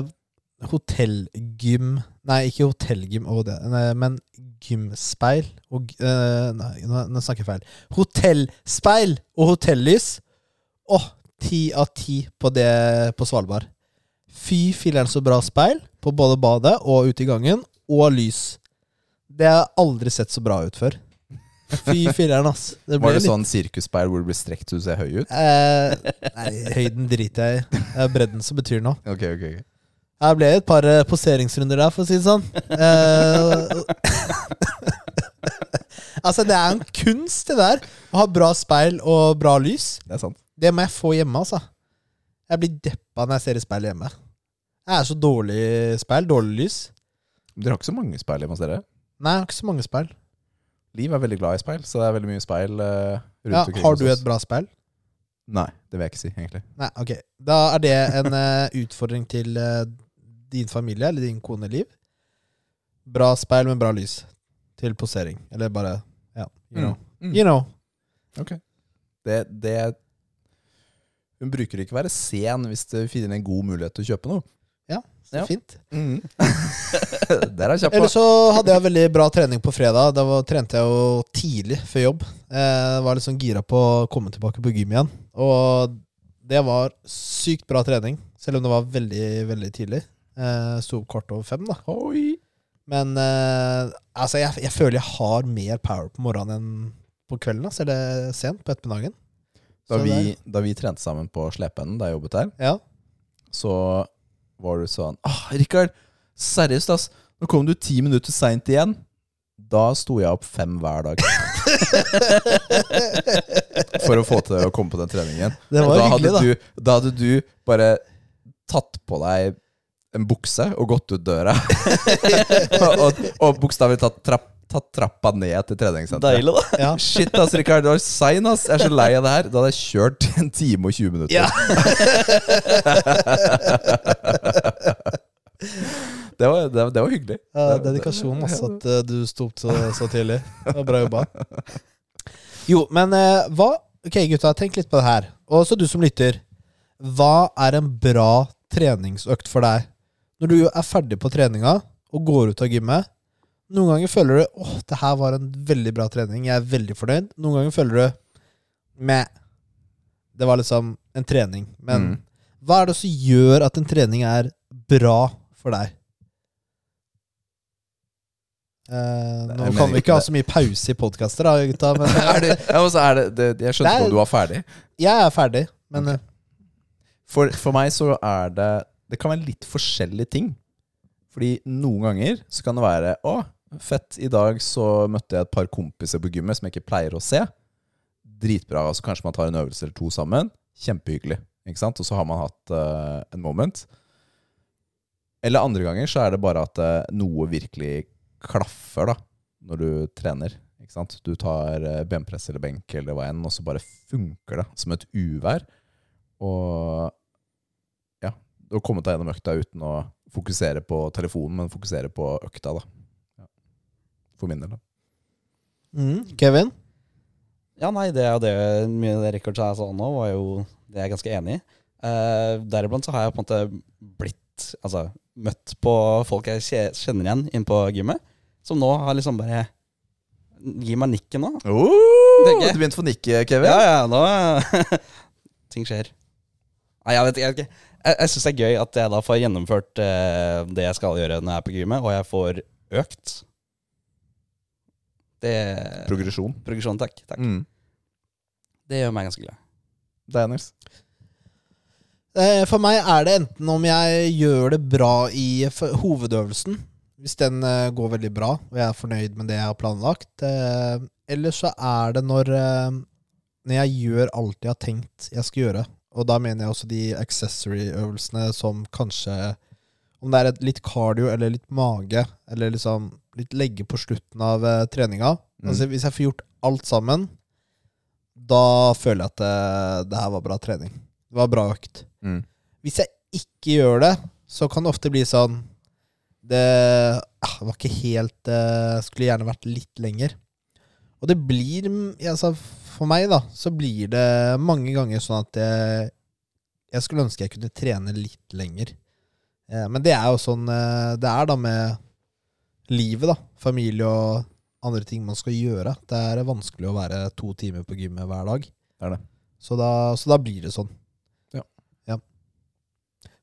Speaker 2: hotellgym Nei, ikke hotellgym, og det, nei, men gymspeil og g- eh, Nei, nå, nå snakker jeg feil. Hotellspeil og hotellys. Åh, ti av ti på det på Svalbard. Fy filler'n så bra speil på både badet og ute i gangen, og lys. Det har jeg aldri sett så bra ut før. Fy filler'n, ass. Det
Speaker 1: Var
Speaker 2: ble
Speaker 1: det
Speaker 2: litt
Speaker 1: sånn sirkusspeil hvor du blir strekt så du ser høy ut?
Speaker 2: Eh, nei, høyden driter jeg i. Det er bredden som betyr noe.
Speaker 1: Ok, ok, ok.
Speaker 2: Det ble et par eh, poseringsrunder der, for å si det sånn. Eh, altså, det er en kunst, det der. Å ha bra speil og bra lys.
Speaker 1: Det er sant.
Speaker 2: Det må jeg få hjemme, altså. Jeg blir deppa når jeg ser i speil hjemme. Jeg er så dårlig speil. Dårlig lys.
Speaker 1: Dere har ikke så mange speil hjemme hos dere?
Speaker 2: Nei, jeg har ikke så mange speil.
Speaker 1: Liv er veldig glad i speil, så det er veldig mye speil eh, rundt
Speaker 2: Ja,
Speaker 1: omkring
Speaker 2: har
Speaker 1: hos
Speaker 2: du
Speaker 1: oss.
Speaker 2: et bra speil?
Speaker 1: Nei, det vil jeg ikke si, egentlig.
Speaker 2: Nei, ok. Da er det en eh, utfordring til eh, din familie, eller din kone Liv. Bra speil med bra lys til posering. Eller bare Ja, you know.
Speaker 1: Mm.
Speaker 2: You know.
Speaker 1: Det, det Hun bruker ikke å være sen hvis du finner en god mulighet til å kjøpe noe.
Speaker 2: Så
Speaker 1: Ja.
Speaker 2: Fint.
Speaker 1: Der er kjappa.
Speaker 2: Mhm. Eller så hadde jeg veldig bra trening på fredag. Da var, trente jeg jo tidlig før jobb. Eh, var liksom gira på å komme tilbake på gym igjen. Og det var sykt bra trening, selv om det var veldig, veldig tidlig. Eh, Sto opp kvart over fem, da.
Speaker 1: Oi.
Speaker 2: Men eh, altså, jeg, jeg føler jeg har mer power på morgenen enn på kvelden. Altså, eller sent på ettermiddagen.
Speaker 1: Da,
Speaker 2: Så
Speaker 1: vi,
Speaker 2: det-
Speaker 1: da vi trente sammen på Slepeenden, da jeg jobbet der,
Speaker 2: Ja.
Speaker 1: så var du sånn ah, 'Rikard, seriøst, ass. Nå kom du ti minutter seint igjen. Da sto jeg opp fem hver dag. For å få til å komme på den treningen.
Speaker 2: Det var
Speaker 1: Og da
Speaker 2: hyggelig,
Speaker 1: hadde du, da hadde du bare tatt på deg en bukse og gått ut døra. og og bokstavelig talt trapp, tatt trappa ned til treningssenteret.
Speaker 3: Deilig, da.
Speaker 2: Ja.
Speaker 1: Shit, ass, Rikard. Du er sein, ass. Jeg er så lei av det her. Da hadde jeg kjørt en time og 20 minutter.
Speaker 2: Ja.
Speaker 1: det, var, det, var- det var hyggelig.
Speaker 2: Ja, dedikasjon, altså, at eh, du sto opp så, så tidlig. Det var bra jobba. Jo, men eh, hva Ok, gutta, tenk litt på det her. Og så du som lytter. Hva er en bra treningsøkt for deg? Når du er ferdig på treninga og går ut av gymmet. Noen ganger føler du åh, det her var en veldig bra trening, jeg er veldig fornøyd. Noen ganger føler du meh. Det var liksom en trening. Men
Speaker 1: Mm.
Speaker 2: hva er det som gjør at en trening er bra for deg? Eh, nå
Speaker 1: Jeg
Speaker 2: kan
Speaker 1: mener ikke
Speaker 2: vi ikke ha
Speaker 1: det.
Speaker 2: så mye pause i podkaster, da, gutta. Men
Speaker 1: Er det, ja, og så er det, det, jeg skjønte
Speaker 2: Det er-
Speaker 1: ikke om du var ferdig.
Speaker 2: jeg er ferdig. Men eh,
Speaker 1: For, for meg så er det Det kan være litt forskjellige ting. Fordi noen ganger så kan det være Å, fett, i dag så møtte jeg et par kompiser på gymmet som jeg ikke pleier å se. Dritbra. Og så kanskje man tar en øvelse eller to sammen. Kjempehyggelig. Ikke sant? Og så har man hatt eh, en moment. Eller andre ganger så er det bare at eh, noe virkelig klaffer da når du trener. Ikke sant? Du tar eh, benpress eller benk eller hva enn, og så bare funker det som et uvær. Og ja, å komme deg gjennom økta uten å fokusere på telefonen, men fokusere på økta, da. Ja. For min del, da.
Speaker 2: mm, Kevin?
Speaker 3: Ja, nei, det er jo det mye av det Rikard sa sa nå, var jo det jeg er ganske enig i. Eh, Deriblant så har jeg på en måte blitt Altså møtt på folk jeg kje- kjenner igjen inne på gymmet, som nå har liksom bare Gi meg nikken nå. Tenker jeg.
Speaker 1: Oh! du begynte å nikke, Kevin.
Speaker 3: Ja, ja, nå Ting skjer. Nei, jeg vet ikke. Jeg, vet ikke. jeg, jeg syns det er gøy at jeg da får gjennomført eh, det jeg skal gjøre når jeg er på gymmet, og jeg får økt. Det
Speaker 1: Progresjon.
Speaker 3: Progresjon, takk. takk.
Speaker 1: Mm.
Speaker 3: Det gjør meg ganske glad.
Speaker 1: Diners.
Speaker 2: Eh, For meg er det enten om jeg gjør det bra i f- hovedøvelsen, hvis den eh, går veldig bra, og jeg er fornøyd med det jeg har planlagt, eh, eller så er det når, eh, når jeg gjør alt jeg har tenkt jeg skal gjøre. Og da mener jeg også de accessory-øvelsene som kanskje Om det er et litt cardio eller litt mage, eller liksom litt legge på slutten av eh, treninga.
Speaker 1: Mm.
Speaker 2: Altså Hvis jeg får gjort alt sammen, da føler jeg at eh, det, det her var bra trening. Det var bra økt.
Speaker 1: Mm.
Speaker 2: Hvis jeg ikke gjør det, så kan det ofte bli sånn Det ah, var ikke helt eh, Skulle gjerne vært litt lenger. Og det blir mm, altså For meg, da, så blir det mange ganger sånn at jeg, jeg skulle ønske jeg kunne trene litt lenger. Eh, men det er jo sånn eh, det er da med livet, da. Familie og andre ting man skal gjøre. Det er vanskelig å være to timer på gymmet hver dag.
Speaker 1: Det er det.
Speaker 2: Så da, så da blir det sånn.
Speaker 1: Ja.
Speaker 2: Ja.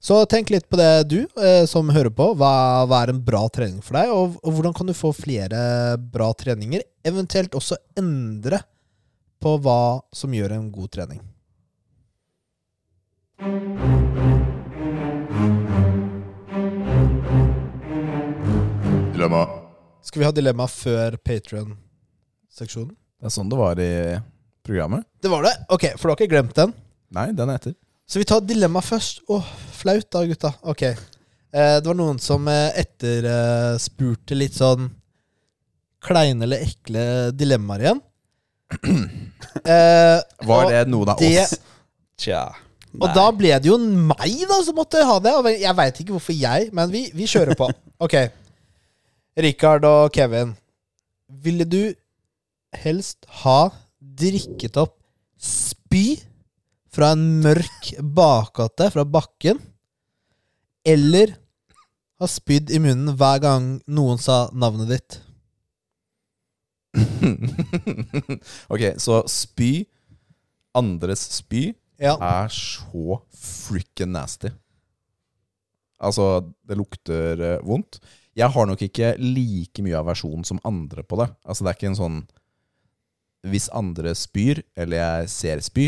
Speaker 2: Så tenk litt på det, du eh, som hører på. Hva, hva er en bra trening for deg? Og, og hvordan kan du få flere bra treninger? Eventuelt også endre på hva som gjør en god trening.
Speaker 1: Dilemma.
Speaker 2: Skal vi ha dilemma før Patrion-seksjonen?
Speaker 1: Det er sånn det var i programmet.
Speaker 2: Det var det! Ok, for du har ikke glemt den.
Speaker 1: Nei, den er etter.
Speaker 2: Så vi tar dilemma først. Åh, flaut da, gutta. Ok. Eh, det var noen som eh, etterspurte litt sånn kleine eller ekle dilemmaer igjen. Eh,
Speaker 1: Var
Speaker 2: og-
Speaker 1: det noen av
Speaker 2: det-
Speaker 1: oss?
Speaker 3: Tja.
Speaker 2: Og da ble det jo meg da som måtte ha det. Og jeg veit ikke hvorfor jeg, men vi, vi kjører på. Ok. Richard og Kevin. Ville du helst ha drikket opp spy fra en mørk bakgate fra bakken, eller ha spydd i munnen hver gang noen sa navnet ditt?
Speaker 1: ok, så spy. Andres spy
Speaker 2: Ja.
Speaker 1: er så freaking nasty. Altså, det lukter eh, vondt. Jeg har nok ikke like mye aversjon som andre på det. Altså, det er ikke en sånn Hvis andre spyr, eller jeg ser spy,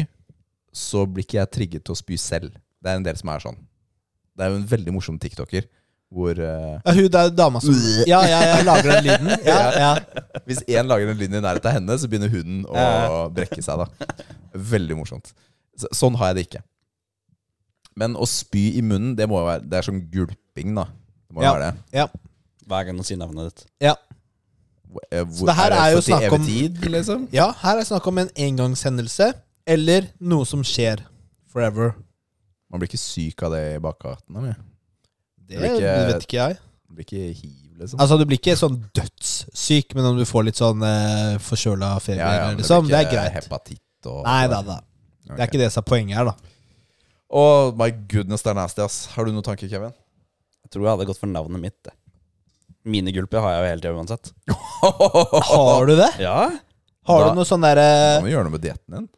Speaker 1: så blir ikke jeg trigget til å spy selv. Det er en del som er sånn. Det er jo en veldig morsom tiktoker hvor eh,
Speaker 2: Ja, hun der dama som Ja, ja, jeg lager den lyden. Ja, ja.
Speaker 1: Hvis én lager en linje i nærheten av henne, så begynner hunden å
Speaker 3: Ja.
Speaker 1: brekke seg. da Veldig morsomt. Så, sånn har jeg det ikke. Men å spy i munnen, det må jo være Det er som gulping, da. Det må jo
Speaker 2: Ja.
Speaker 1: være det.
Speaker 2: ja,
Speaker 3: Hver gang du sier navnet ditt.
Speaker 2: ja.
Speaker 1: Hvor, eh, hvor,
Speaker 2: Så det her er jo
Speaker 1: for til
Speaker 2: snakk om-
Speaker 1: evig tid, liksom?
Speaker 2: Ja, her er snakk om en engangshendelse eller noe som skjer forever.
Speaker 1: Man blir ikke syk av det i bakgatene. men.
Speaker 2: Det
Speaker 1: Blir ikke-
Speaker 2: vet ikke jeg.
Speaker 1: Man blir ikke hiv, liksom.
Speaker 2: Altså, du blir ikke sånn dødssyk, men om du får litt sånn eh, forkjøla feber,
Speaker 1: men
Speaker 2: liksom,
Speaker 1: blir
Speaker 2: det er
Speaker 1: ikke
Speaker 2: greit.
Speaker 1: Hepatitt og
Speaker 2: Nei da, da. Det er
Speaker 1: Ok.
Speaker 2: ikke det som er poenget her, da.
Speaker 1: Oh my goodness, det er nasty, ass. Har du noen tanker, Kevin?
Speaker 3: Jeg tror jeg hadde gått for navnet mitt. det. Minigulper har jeg jo hele tida uansett.
Speaker 2: Har du det?
Speaker 3: Ja?
Speaker 2: Har
Speaker 3: Da-
Speaker 2: du noe sånn der
Speaker 1: Du
Speaker 2: eh,
Speaker 1: må jo gjøre noe med dietten din.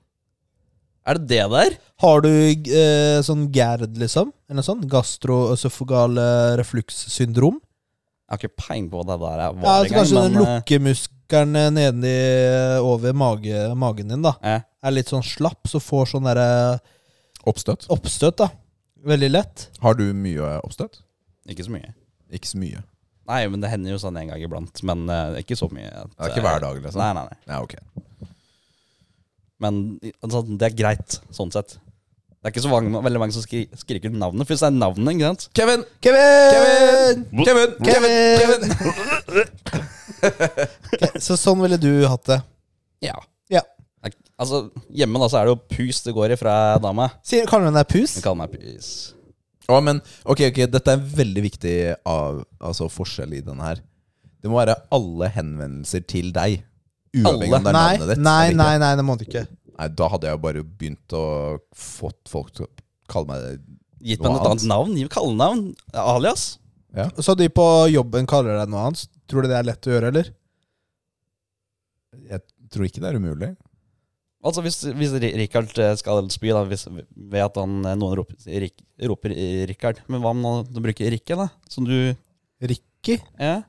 Speaker 3: Er det det der?
Speaker 2: Har du eh, sånn GERD, liksom? Eller noe sånt? Gastroøsofagal reflukssyndrom?
Speaker 3: Jeg har ikke peiling på hva det der er.
Speaker 2: Ja, så kanskje den
Speaker 3: eh,
Speaker 2: lukkemuskelen nedi over mage, magen din, da.
Speaker 3: eh,
Speaker 2: Er litt sånn slapp, så får sånn derre
Speaker 1: Oppstøt.
Speaker 2: oppstøt, da. Veldig lett.
Speaker 1: Har du mye oppstøt?
Speaker 3: ikke så mye.
Speaker 1: Ikke så mye.
Speaker 3: Nei, men det hender jo sånn en gang iblant. Men eh, ikke så mye. at,
Speaker 1: Det er ikke
Speaker 3: eh,
Speaker 1: hver dag, liksom?
Speaker 3: Nei, nei, nei.
Speaker 1: Ja, ok.
Speaker 3: Men altså, det er greit, sånn sett. Det er ikke så mange, veldig mange som skri skriker navnet. For hvis det er navnet, ikke sant?
Speaker 1: Kevin!
Speaker 2: Kevin!
Speaker 1: Kevin! Kevin!
Speaker 2: Kevin!
Speaker 1: Kevin!
Speaker 2: Så sånn ville du hatt det.
Speaker 3: Ja.
Speaker 2: Ja.
Speaker 3: Det er- Altså, hjemme da, så er det jo pus det går i fra dama.
Speaker 2: Sier, kaller du den deg pus?
Speaker 3: Hun kaller meg pus.
Speaker 1: Å, men ok, ok, dette er en veldig viktig av, altså, forskjell i denne her. Det må være alle henvendelser til deg. Uavhengig om det er
Speaker 2: Nei,
Speaker 1: navnet ditt.
Speaker 2: nei,
Speaker 1: eller ikke.
Speaker 2: nei, nei, det må du ikke.
Speaker 1: Nei, Da hadde jeg jo bare begynt å fått folk til å kalle meg det.
Speaker 3: Gitt
Speaker 1: Noe
Speaker 3: meg
Speaker 1: annet?
Speaker 3: et annet navn. Gi meg kallenavn. Alias.
Speaker 2: Så de på jobben kaller deg noe annet. Tror du det er lett å gjøre, eller?
Speaker 1: Jeg tror ikke det er umulig.
Speaker 3: Altså Hvis, hvis Ri- Richard eh, skal spy, da hvis, ved at han, eh, noen roper, Rik, roper eh, Richard Men hva om nå- du bruker Rikke, da? Som du
Speaker 2: Ricky?
Speaker 3: ja.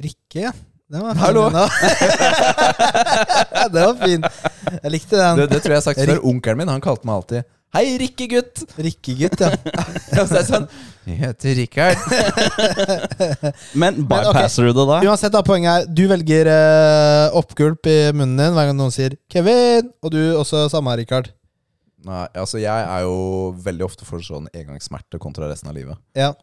Speaker 2: Rikke, ja. Den var fin.
Speaker 1: Hallo.
Speaker 2: den da. den var fin. Jeg likte den.
Speaker 1: Det, det tror jeg jeg har sagt før. Onkelen min han kalte meg alltid 'Hei, Rikke-gutt'.
Speaker 2: Rikkegutt, ja.
Speaker 1: Og så er jeg sånn 'Jeg heter Rikard'.
Speaker 3: Men
Speaker 2: ok.
Speaker 3: bypasser du det da?
Speaker 2: Uansett, da, poenget er du velger eh, oppgulp i munnen din hver gang noen sier 'Kevin', og du også samme, Rikard.
Speaker 1: Nei, altså jeg er jo veldig ofte for sånn engangssmerte kontra resten av livet.
Speaker 2: Ja.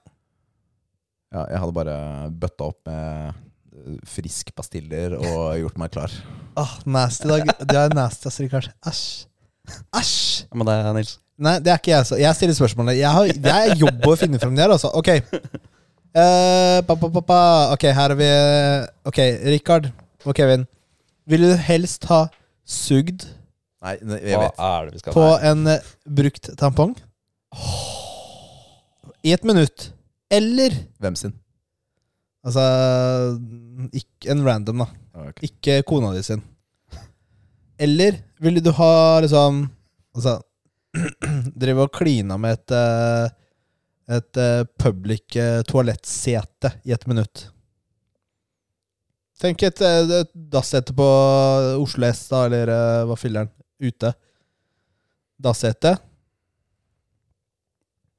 Speaker 1: Ja, jeg hadde bare bøtta opp med eh, frisk pastiller og gjort meg klar.
Speaker 2: Ah, nasty dag. Det er nasty, ass, Rikard. Æsj. Æsj.
Speaker 3: Ja, Men det, Nils
Speaker 2: Nei, det er ikke jeg. Så. Jeg stiller spørsmålet. Jeg har, det er jobb å finne frem det her, altså. Ok. Eh, pa, pa, pa, pa. Ok, her er vi eh, Ok, Rikard og Kevin. Ville du helst ha sugd
Speaker 1: Nei, ne- jeg
Speaker 3: Hva
Speaker 1: vet.
Speaker 3: er det vi skal
Speaker 2: på en eh, brukt tampong? I et minutt. Eller
Speaker 1: Hvem sin?
Speaker 2: Altså ikke, En random, da.
Speaker 1: Ok.
Speaker 2: Ikke kona di sin. Eller ville du ha liksom Altså Drive og klina med et eh, Et eh, public eh, toalettsete i et minutt. Tenk et, eh, et dassete på Oslo S, da, eller eh, hva filler'n, ute. Dassete.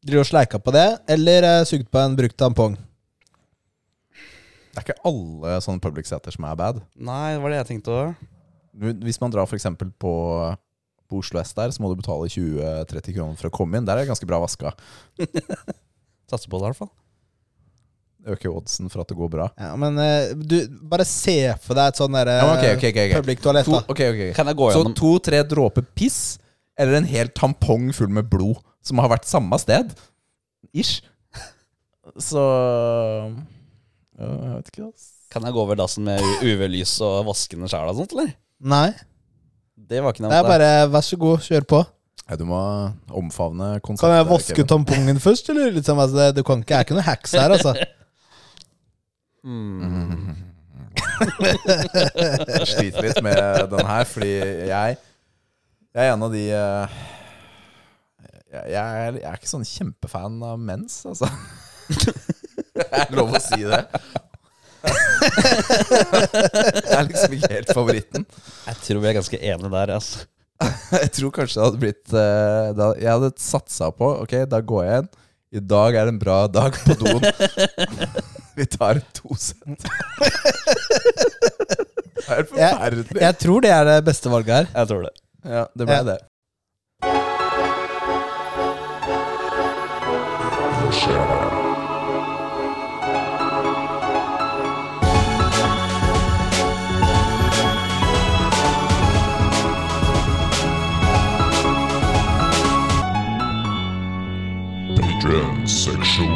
Speaker 2: Drive og sleika på det, eller eh, sugd på en brukt tampong.
Speaker 1: Det er ikke alle sånne public seter som er bad.
Speaker 3: Nei, det var det jeg tenkte òg.
Speaker 1: Hvis man drar for eksempel på, på Oslo S der, så må du betale 20-30 kroner for å komme inn. Der er det ganske bra vaska.
Speaker 3: Satser på det, i hvert fall.
Speaker 1: Øker oddsen for at det går bra.
Speaker 2: Ja, men eh, du, bare se for deg et sånn derre
Speaker 1: Ja, men ok, ok, ok, ok.
Speaker 2: public toalett,
Speaker 1: To,
Speaker 2: da.
Speaker 1: ok, ok, ok.
Speaker 3: Kan jeg gå
Speaker 1: Så
Speaker 3: gjennom
Speaker 1: to-tre dråper piss, eller en hel tampong full med blod, som har vært samme sted. Ish. Så ja, Jeg vet ikke, ass.
Speaker 3: Kan jeg gå over dassen med u- UV-lys og vaskende skjær og sånt, eller?
Speaker 2: Nei.
Speaker 3: Det var ikke
Speaker 2: Det
Speaker 3: nevnt.
Speaker 2: er bare vær så god, kjør på.
Speaker 1: Ja, du må omfavne konseptet.
Speaker 2: Kan jeg vaske
Speaker 1: Kevin.
Speaker 2: tampongen først, eller? Liksom, altså, det, du kan ikke, det er ikke noe hacks her, altså.
Speaker 1: Jeg sliter litt med den her, fordi jeg, jeg er en av de eh, jeg, jeg, er, jeg er ikke sånn kjempefan av mens, altså. Det er lov å si det. Det er liksom ikke helt favoritten.
Speaker 3: Jeg tror vi er ganske enige der. Altså.
Speaker 1: Jeg tror kanskje det hadde blitt eh, da, Jeg hadde satsa på Ok, da går jeg inn I dag er en bra dag på doen. Vi tar to sett. Det er helt forferdelig.
Speaker 2: Jeg tror det er det beste valget her.
Speaker 3: Jeg tror det.
Speaker 1: Ja, det ble
Speaker 2: Ja.
Speaker 1: det.
Speaker 4: Patreon section.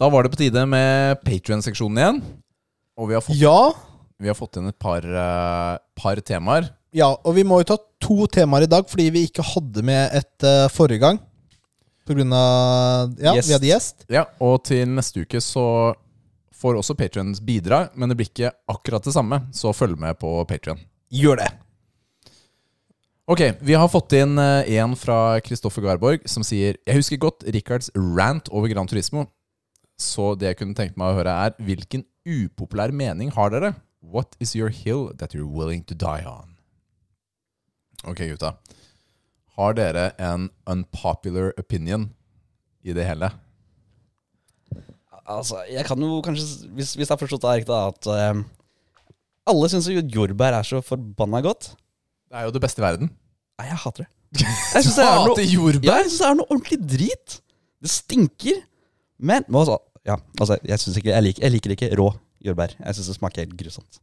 Speaker 1: Da var det på tide med Patrion-seksjonen igjen. Og vi har fått,
Speaker 2: Ja,
Speaker 1: vi har fått inn et par, eh, par temaer.
Speaker 2: ja, og vi må jo ta to temaer i dag, fordi vi ikke hadde med et eh, forrige gang. På grunn av Ja,
Speaker 3: Gjest.
Speaker 2: vi hadde gjest.
Speaker 1: Ja, og til neste uke så får også Patrions bidra, men det blir ikke akkurat det samme, så følg med på Patrion.
Speaker 2: Gjør det.
Speaker 1: Ok, vi har fått inn eh, en fra Kristoffer Garborg som sier Jeg husker godt Rikards rant over Gran Turismo. Så det jeg kunne tenke meg å høre er Hvilken upopulær mening har dere? What is your hill that you're willing to die on? Ok, gutta. Har dere en unpopular opinion i det hele?
Speaker 3: Altså, jeg kan jo kanskje, hvis, hvis jeg har forstått det riktig, da, at eh, alle syns jo jordbær er så forbanna godt.
Speaker 1: Det er jo det beste i verden.
Speaker 3: Nei, jeg hater det. Jeg synes
Speaker 1: Du
Speaker 3: det er noe,
Speaker 1: hater jordbær?
Speaker 3: ja, jeg synes det er noe ordentlig drit. Det stinker. Men, men altså, ja, altså jeg, synes ikke, jeg, liker, jeg liker ikke rå jordbær. Jeg syns det smaker helt grusomt.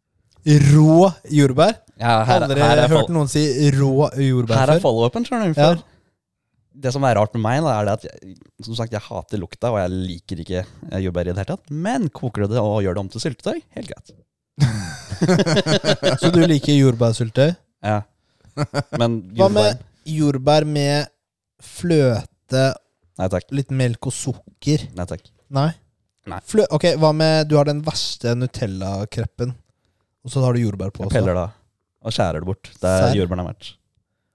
Speaker 2: Rå jordbær.
Speaker 3: Ja, her,
Speaker 2: Aldri hørt noen si rå
Speaker 3: Her
Speaker 2: jordbær
Speaker 3: er
Speaker 2: før.
Speaker 3: follow-upen, skjønner du.
Speaker 2: Ja.
Speaker 3: For Det som er rart med meg, da, er det at jeg, som sagt, jeg hater lukta, og jeg liker ikke eh, jordbær i det hele tatt. Men koker du det og gjør det om til syltetøy, helt greit.
Speaker 2: Så du liker jordbærsyltetøy?
Speaker 3: Ja. Men
Speaker 2: Hva
Speaker 3: jordbær
Speaker 2: med jordbær med fløte,
Speaker 3: Nei takk.
Speaker 2: litt melk og sukker?
Speaker 3: Nei takk.
Speaker 2: Nei.
Speaker 3: Nei.
Speaker 2: Flø ok, hva med Du har den verste Nutella-kreppen, og så har du jordbær på
Speaker 3: Jeg
Speaker 2: også.
Speaker 3: peller det av. Og skjærer det bort. Det
Speaker 2: Serr?
Speaker 3: er jordbærene har vært.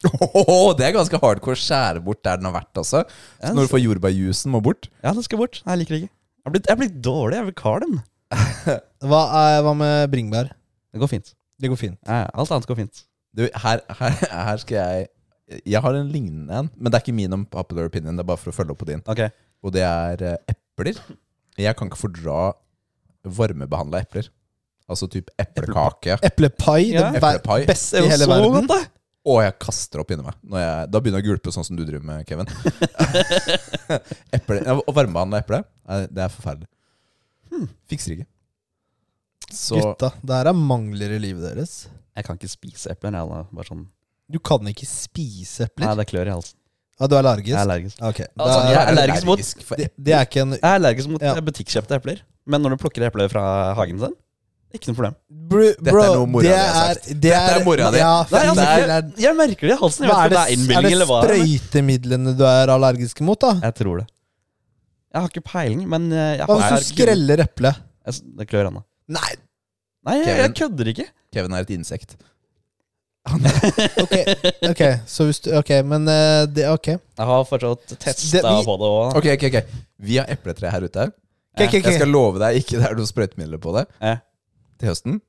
Speaker 1: Åhåhå, det er ganske hardcore å skjære bort der den har vært. Altså.
Speaker 3: Ja,
Speaker 1: Når du får jordbærjusen må bort.
Speaker 3: Ja, det skal bort. Nei, jeg liker det ikke. Jeg er blitt, jeg er blitt dårlig. Jeg vil kar dem.
Speaker 2: Hva, er, hva med bringebær?
Speaker 3: Det går fint.
Speaker 2: Det går fint.
Speaker 3: Ja, ja, alt annet går fint.
Speaker 1: Du, her, her, her skal jeg Jeg har en lignende en, men det er ikke min unpopular opinion. Det er bare for å følge opp på din.
Speaker 3: Ok.
Speaker 1: Og det er eh, epler. Jeg kan ikke fordra varmebehandla epler. Altså type eplekake.
Speaker 2: Eplepai.
Speaker 3: Ja.
Speaker 2: Det ver-
Speaker 1: Eplepai.
Speaker 2: beste i
Speaker 3: jo
Speaker 2: hele
Speaker 3: så
Speaker 2: verden.
Speaker 3: godt, da.
Speaker 1: Og jeg kaster opp inni meg. Når jeg, da begynner jeg å gulpe, sånn som du driver med, Kevin. eple, ja, varmebehandla eple, nei, det er forferdelig. Fikser ikke. Så
Speaker 2: Hmm. Gutta, det her er mangler i livet deres.
Speaker 3: Jeg kan ikke spise epler. Jeg, da. Bare sånn.
Speaker 2: Du kan ikke spise
Speaker 3: Nei,
Speaker 2: epler.
Speaker 3: det klør i halsen.
Speaker 2: Ja, du er allergisk?
Speaker 3: Jeg er allergisk.
Speaker 2: Ok, det,
Speaker 3: Altså,
Speaker 2: er,
Speaker 3: jeg er allergisk mot
Speaker 1: for
Speaker 2: det, det er ikke en
Speaker 3: Jeg er allergisk mot
Speaker 2: Ja.
Speaker 3: butikkjøpte epler. Men når du plukker epler fra hagen sin, ikke noe problem.
Speaker 2: Bro,
Speaker 1: Dette er noe mora
Speaker 2: det
Speaker 1: di har sagt.
Speaker 2: er- det
Speaker 1: Dette er mora di.
Speaker 2: Ja,
Speaker 3: Nei,
Speaker 2: fy
Speaker 3: altså, jeg,
Speaker 2: filler'n.
Speaker 3: jeg merker det i halsen. Jeg
Speaker 2: Hva
Speaker 3: vet
Speaker 2: er
Speaker 3: ikke om
Speaker 2: det,
Speaker 3: det er
Speaker 2: er
Speaker 3: innbilning
Speaker 2: det
Speaker 3: eller hva. men-
Speaker 2: sprøytemidlene du er allergisk mot, da?
Speaker 3: Jeg tror det. Jeg har ikke peiling, men eh, jeg
Speaker 2: Hva
Speaker 3: har
Speaker 2: hvis du skreller eplet?
Speaker 3: Jeg s- Det klør ennå.
Speaker 2: Nei,
Speaker 3: Nei, jeg, jeg
Speaker 1: Kevin.
Speaker 3: kødder ikke.
Speaker 1: Kevin er et insekt.
Speaker 2: ok, ok, så hvis du, ok, men eh, det, ok.
Speaker 3: Jeg har fortsatt
Speaker 2: Det-
Speaker 3: testa
Speaker 2: vi-
Speaker 3: på det òg.
Speaker 1: Ok, ok, ok Vi har epletre her ute.
Speaker 2: Ok, ok, Eh. ok.
Speaker 1: Jeg skal love deg ikke det er noen sprøytemidler på det.
Speaker 3: Ja.
Speaker 1: Til høsten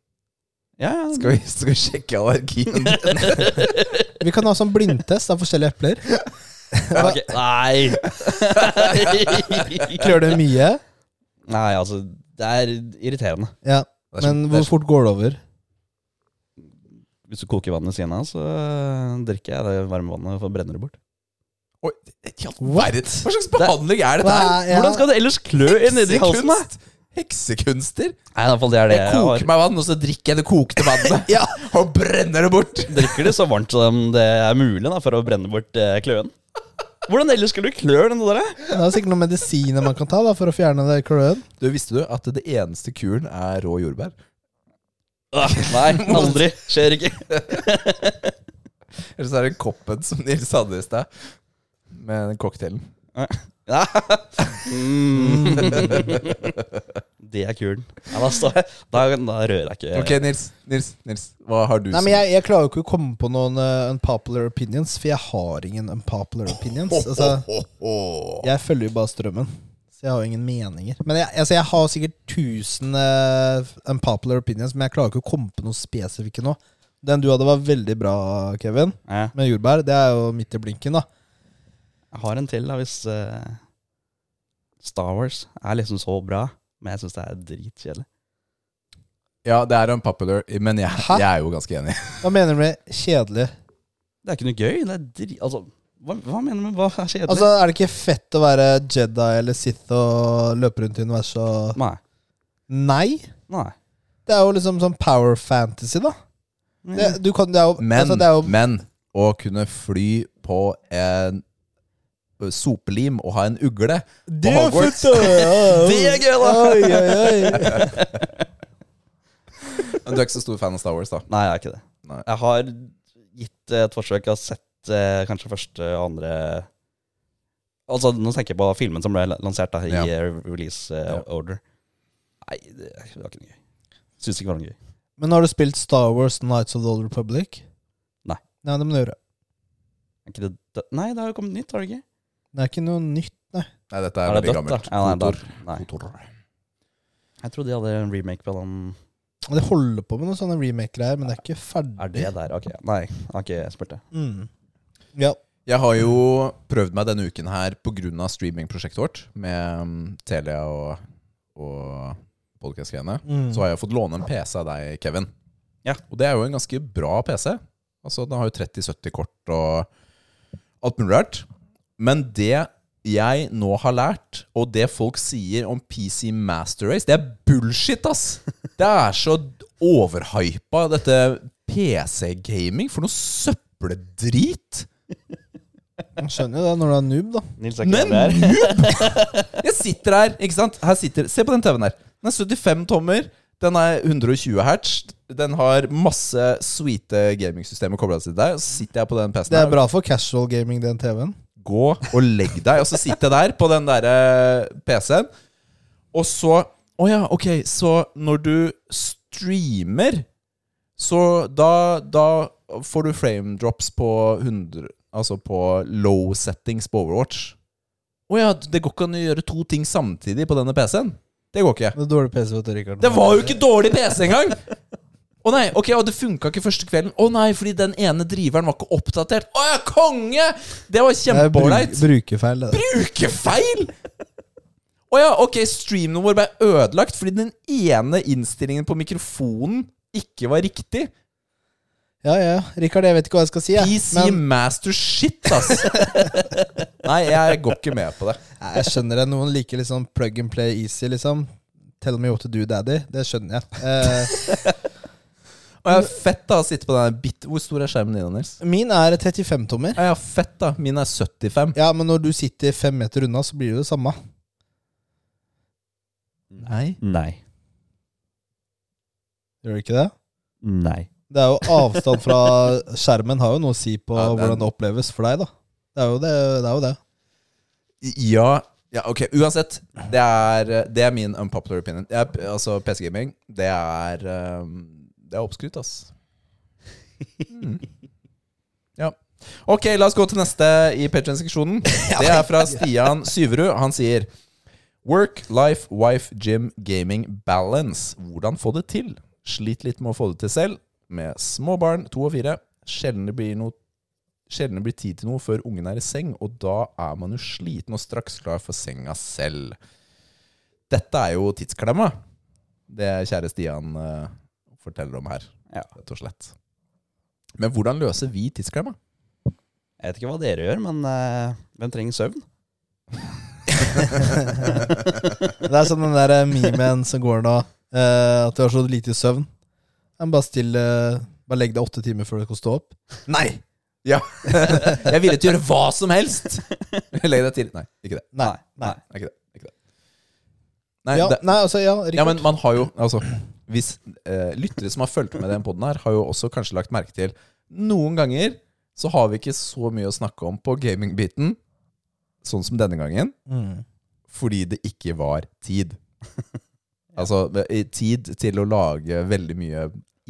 Speaker 3: Ja, ja.
Speaker 1: skal vi, skal vi sjekke allergien. din.
Speaker 2: Vi kan ha sånn blindtest av forskjellige epler.
Speaker 3: Ok, Nei!
Speaker 2: Klør det mye?
Speaker 3: Nei, altså. Det er irriterende.
Speaker 2: Ja,
Speaker 1: Det er
Speaker 2: men
Speaker 1: sånn- det er
Speaker 2: hvor fort går det over?
Speaker 3: Hvis du koker vannet ved siden av, så øh, drikker jeg det varme vannet og brenner det bort.
Speaker 1: Oi, i all verden. Hva slags behandling er dette her?
Speaker 2: Hva er- ja.
Speaker 3: Hvordan skal det ellers klø nedi halsen? da?
Speaker 1: Heksekunst? Heksekunster?
Speaker 3: Nei, i hvert fall det er det
Speaker 1: Jeg koker meg vann, og så drikker jeg det kokte vannet.
Speaker 2: Ja.
Speaker 1: Og brenner det bort.
Speaker 3: Drikker det så varmt som det er mulig da, for å brenne bort eh, kløen. Hvordan ellers skal du klø den der?
Speaker 2: Det er sikkert noen medisiner man kan ta da, for å fjerne det kløen.
Speaker 1: Du, Visste du at det eneste kuren er rå jordbær?
Speaker 3: Ah, nei, aldri. Skjer ikke.
Speaker 1: Eller så er det koppen som Nils hadde i stad, med den cocktailen.
Speaker 3: Ja. Mm. Det er kulen. Ja, da, står jeg, da, da rører jeg ikke.
Speaker 1: Ok, Nils, Nils, Nils, hva har du
Speaker 2: Nei, men jeg, jeg klarer jo ikke å komme på noen eh, unpopular opinions, for jeg har ingen unpopular opinions. Altså, jeg følger jo bare strømmen, så jeg har jo ingen meninger. Men jeg, altså, jeg har sikkert 1000 eh, unpopular opinions, men jeg klarer ikke å komme på noen spesifikke nå. Den du hadde, var veldig bra, Kevin.
Speaker 3: Ja.
Speaker 2: Med jordbær. Det er jo midt i blinken, da.
Speaker 3: Jeg har en til, da, hvis eh, Star Wars er liksom så bra. Men jeg syns det er dritkjedelig.
Speaker 1: Ja, det er unpopular, men jeg,
Speaker 2: Hæ?
Speaker 1: jeg er jo ganske enig.
Speaker 2: Hva mener du med kjedelig?
Speaker 3: Det er ikke noe gøy. Det er dri altså, hva, hva mener du med hva er kjedelig?
Speaker 2: Altså, Er det ikke fett å være Jedi eller Sith og løpe rundt i universet og
Speaker 3: nei.
Speaker 2: Nei!
Speaker 3: nei.
Speaker 2: Det er jo liksom sånn power fantasy, da. Det, du kan, det er jo,
Speaker 1: Men,
Speaker 2: altså, det er jo
Speaker 1: men å kunne fly på en ø, sopelim og ha en ugle
Speaker 2: Det
Speaker 1: er Hogwarts.
Speaker 2: fett, da. Ja, ja.
Speaker 3: Det er gøy, da.
Speaker 2: Oi, oi, oi.
Speaker 1: Men Du er ikke så stor fan av Star Wars, da?
Speaker 3: Nei, jeg er ikke det.
Speaker 1: Nei.
Speaker 3: Jeg har gitt eh, et forsøk. Jeg har sett eh, kanskje første og andre Altså, Nå tenker jeg på filmen som ble la- lansert da, i
Speaker 1: Ja.
Speaker 3: eh, release eh,
Speaker 1: Ja.
Speaker 3: order. Nei, det det var ikke noe gøy. Syns ikke det var noe gøy.
Speaker 2: Men har du spilt Star Wars Nights of the Old Republic?
Speaker 3: Nei.
Speaker 2: Nei, det må du gjøre.
Speaker 3: Er ikke det, det, nei, det har jo kommet nytt, har det ikke?
Speaker 2: Det er ikke noe nytt, nei.
Speaker 1: Nei, dette er,
Speaker 3: Er det
Speaker 1: veldig
Speaker 3: dødt, da?
Speaker 1: gammelt.
Speaker 3: Ja, nei, da?
Speaker 1: Kotor.
Speaker 3: nei.
Speaker 1: Kotor.
Speaker 3: Jeg trodde de hadde en remake på den.
Speaker 2: De holder på med noen sånne remaker-greier, men det er ikke ferdig.
Speaker 3: Er det der? Ok, Nei, jeg har ikke spurt det.
Speaker 2: Mm. Ja.
Speaker 1: Jeg har jo prøvd meg denne uken her pga. streamingprosjektet vårt med mm, Telia og, og podcast-greiene.
Speaker 2: Mm.
Speaker 1: Så har jeg fått låne en PC av deg, Kevin.
Speaker 3: Ja.
Speaker 1: Og det er jo en ganske bra PC. Altså, Den har jo 3070 kort og alt mulig rart. Men det jeg nå har lært, og det folk sier om PC Master Race, det er bullshit, ass! Det er så overhypa, dette PC-gaming. For noe søppeldrit!
Speaker 2: Man skjønner jo det når du er noob, da.
Speaker 3: Nils er
Speaker 1: Men
Speaker 3: ikke der.
Speaker 1: noob! Jeg sitter her, ikke sant? Her sitter, se på den TV-en her. Den er 75 tommer. Den er 120 hertz. Den har masse sweete gamingsystemer kobla til der. og Så sitter jeg på den PC-en
Speaker 2: Det
Speaker 1: her
Speaker 2: er bra for casual gaming, den TV-en.
Speaker 1: gå og legg deg. Og så sitter jeg der på den derre PC-en. Og så Å ja, ok, så når du streamer, så da, da får du frame drops på 100 Altså på low settings på Overwatch. Å ja, det går ikke an å gjøre to ting samtidig på denne PC-en. Det går ikke.
Speaker 2: Det er dårlig PC, vet du, Rikard.
Speaker 1: Det var jo ikke dårlig PC engang! Å nei, ok, og det funka ikke første kvelden. Å nei, fordi den ene driveren var ikke oppdatert. Å ja, konge! Det var
Speaker 2: Det er bru
Speaker 1: kjempeålreit.
Speaker 2: brukerfeil, det. der.
Speaker 1: Ukefeil! Å ja, ok, streamen vår ble ødelagt fordi den ene innstillingen på mikrofonen ikke var riktig.
Speaker 2: Ja, ja. Rikard, jeg vet ikke hva jeg skal si, jeg.
Speaker 1: PC
Speaker 2: Men
Speaker 1: master shit, ass! Nei, jeg går ikke med på det.
Speaker 2: Nei, jeg skjønner det. Noen liker liksom plug and play easy, liksom. Tell me what to do, daddy. Det skjønner jeg. Eh,
Speaker 1: Og jeg er fett da å sitte på den bit... Hvor stor er skjermen din, Nils?
Speaker 2: min er 35-tommer.
Speaker 1: Ja, ja, fett, da. Min er 75.
Speaker 2: Ja, men når du sitter fem meter unna, så blir det det samme.
Speaker 1: Nei.
Speaker 3: Nei.
Speaker 2: Gjør det ikke det?
Speaker 3: Nei.
Speaker 2: Det er jo avstand fra skjermen har jo noe å si på
Speaker 1: Ja, det er-
Speaker 2: hvordan det oppleves for deg, da. Det er jo det. det, er jo det.
Speaker 1: Ja, ja ok. Uansett. Det er, det er min unpopular opinion. Jeg, altså, PC-gaming, det er um, Det er oppskrytt, ass. Mm. Ja. Ok, la oss gå til neste i Patreon-seksjonen. Det er fra Stian Syverud. Han sier Work, life, wife, gym, gaming, balance. Hvordan få det til? Sliter litt med å få det til selv. Med små barn, to og fire. Sjelden det blir noe sjelden det blir tid til noe før ungen er i seng, og da er man jo sliten og straks klar for senga selv. Dette er jo tidsklemma, det kjære Stian eh, forteller om her,
Speaker 3: Ja.
Speaker 1: rett og slett. Men hvordan løser vi tidsklemma?
Speaker 3: Jeg vet ikke hva dere gjør, men eh, hvem trenger søvn?
Speaker 2: Det er sånn den der eh, memen som går nå, eh, at du har så lite søvn. Men bare stille Bare legg deg åtte timer før du skal stå opp. Nei!
Speaker 1: Jeg er villig til å gjøre hva som helst! Legg deg til. Nei, ikke det.
Speaker 2: Nei. Nei.
Speaker 1: Det er Ikke det. det er Ikke det. Nei,
Speaker 2: ja,
Speaker 1: det,
Speaker 2: nei, altså, ja,
Speaker 1: ja, men
Speaker 2: Rikard.
Speaker 1: man har jo altså, hvis, eh, Lyttere som har fulgt med den poden her, har jo også kanskje lagt merke til Noen ganger så har vi ikke så mye å snakke om på gamingbiten, sånn som denne gangen,
Speaker 2: Mm.
Speaker 1: fordi det ikke var tid. Altså det- i tid til å lage veldig mye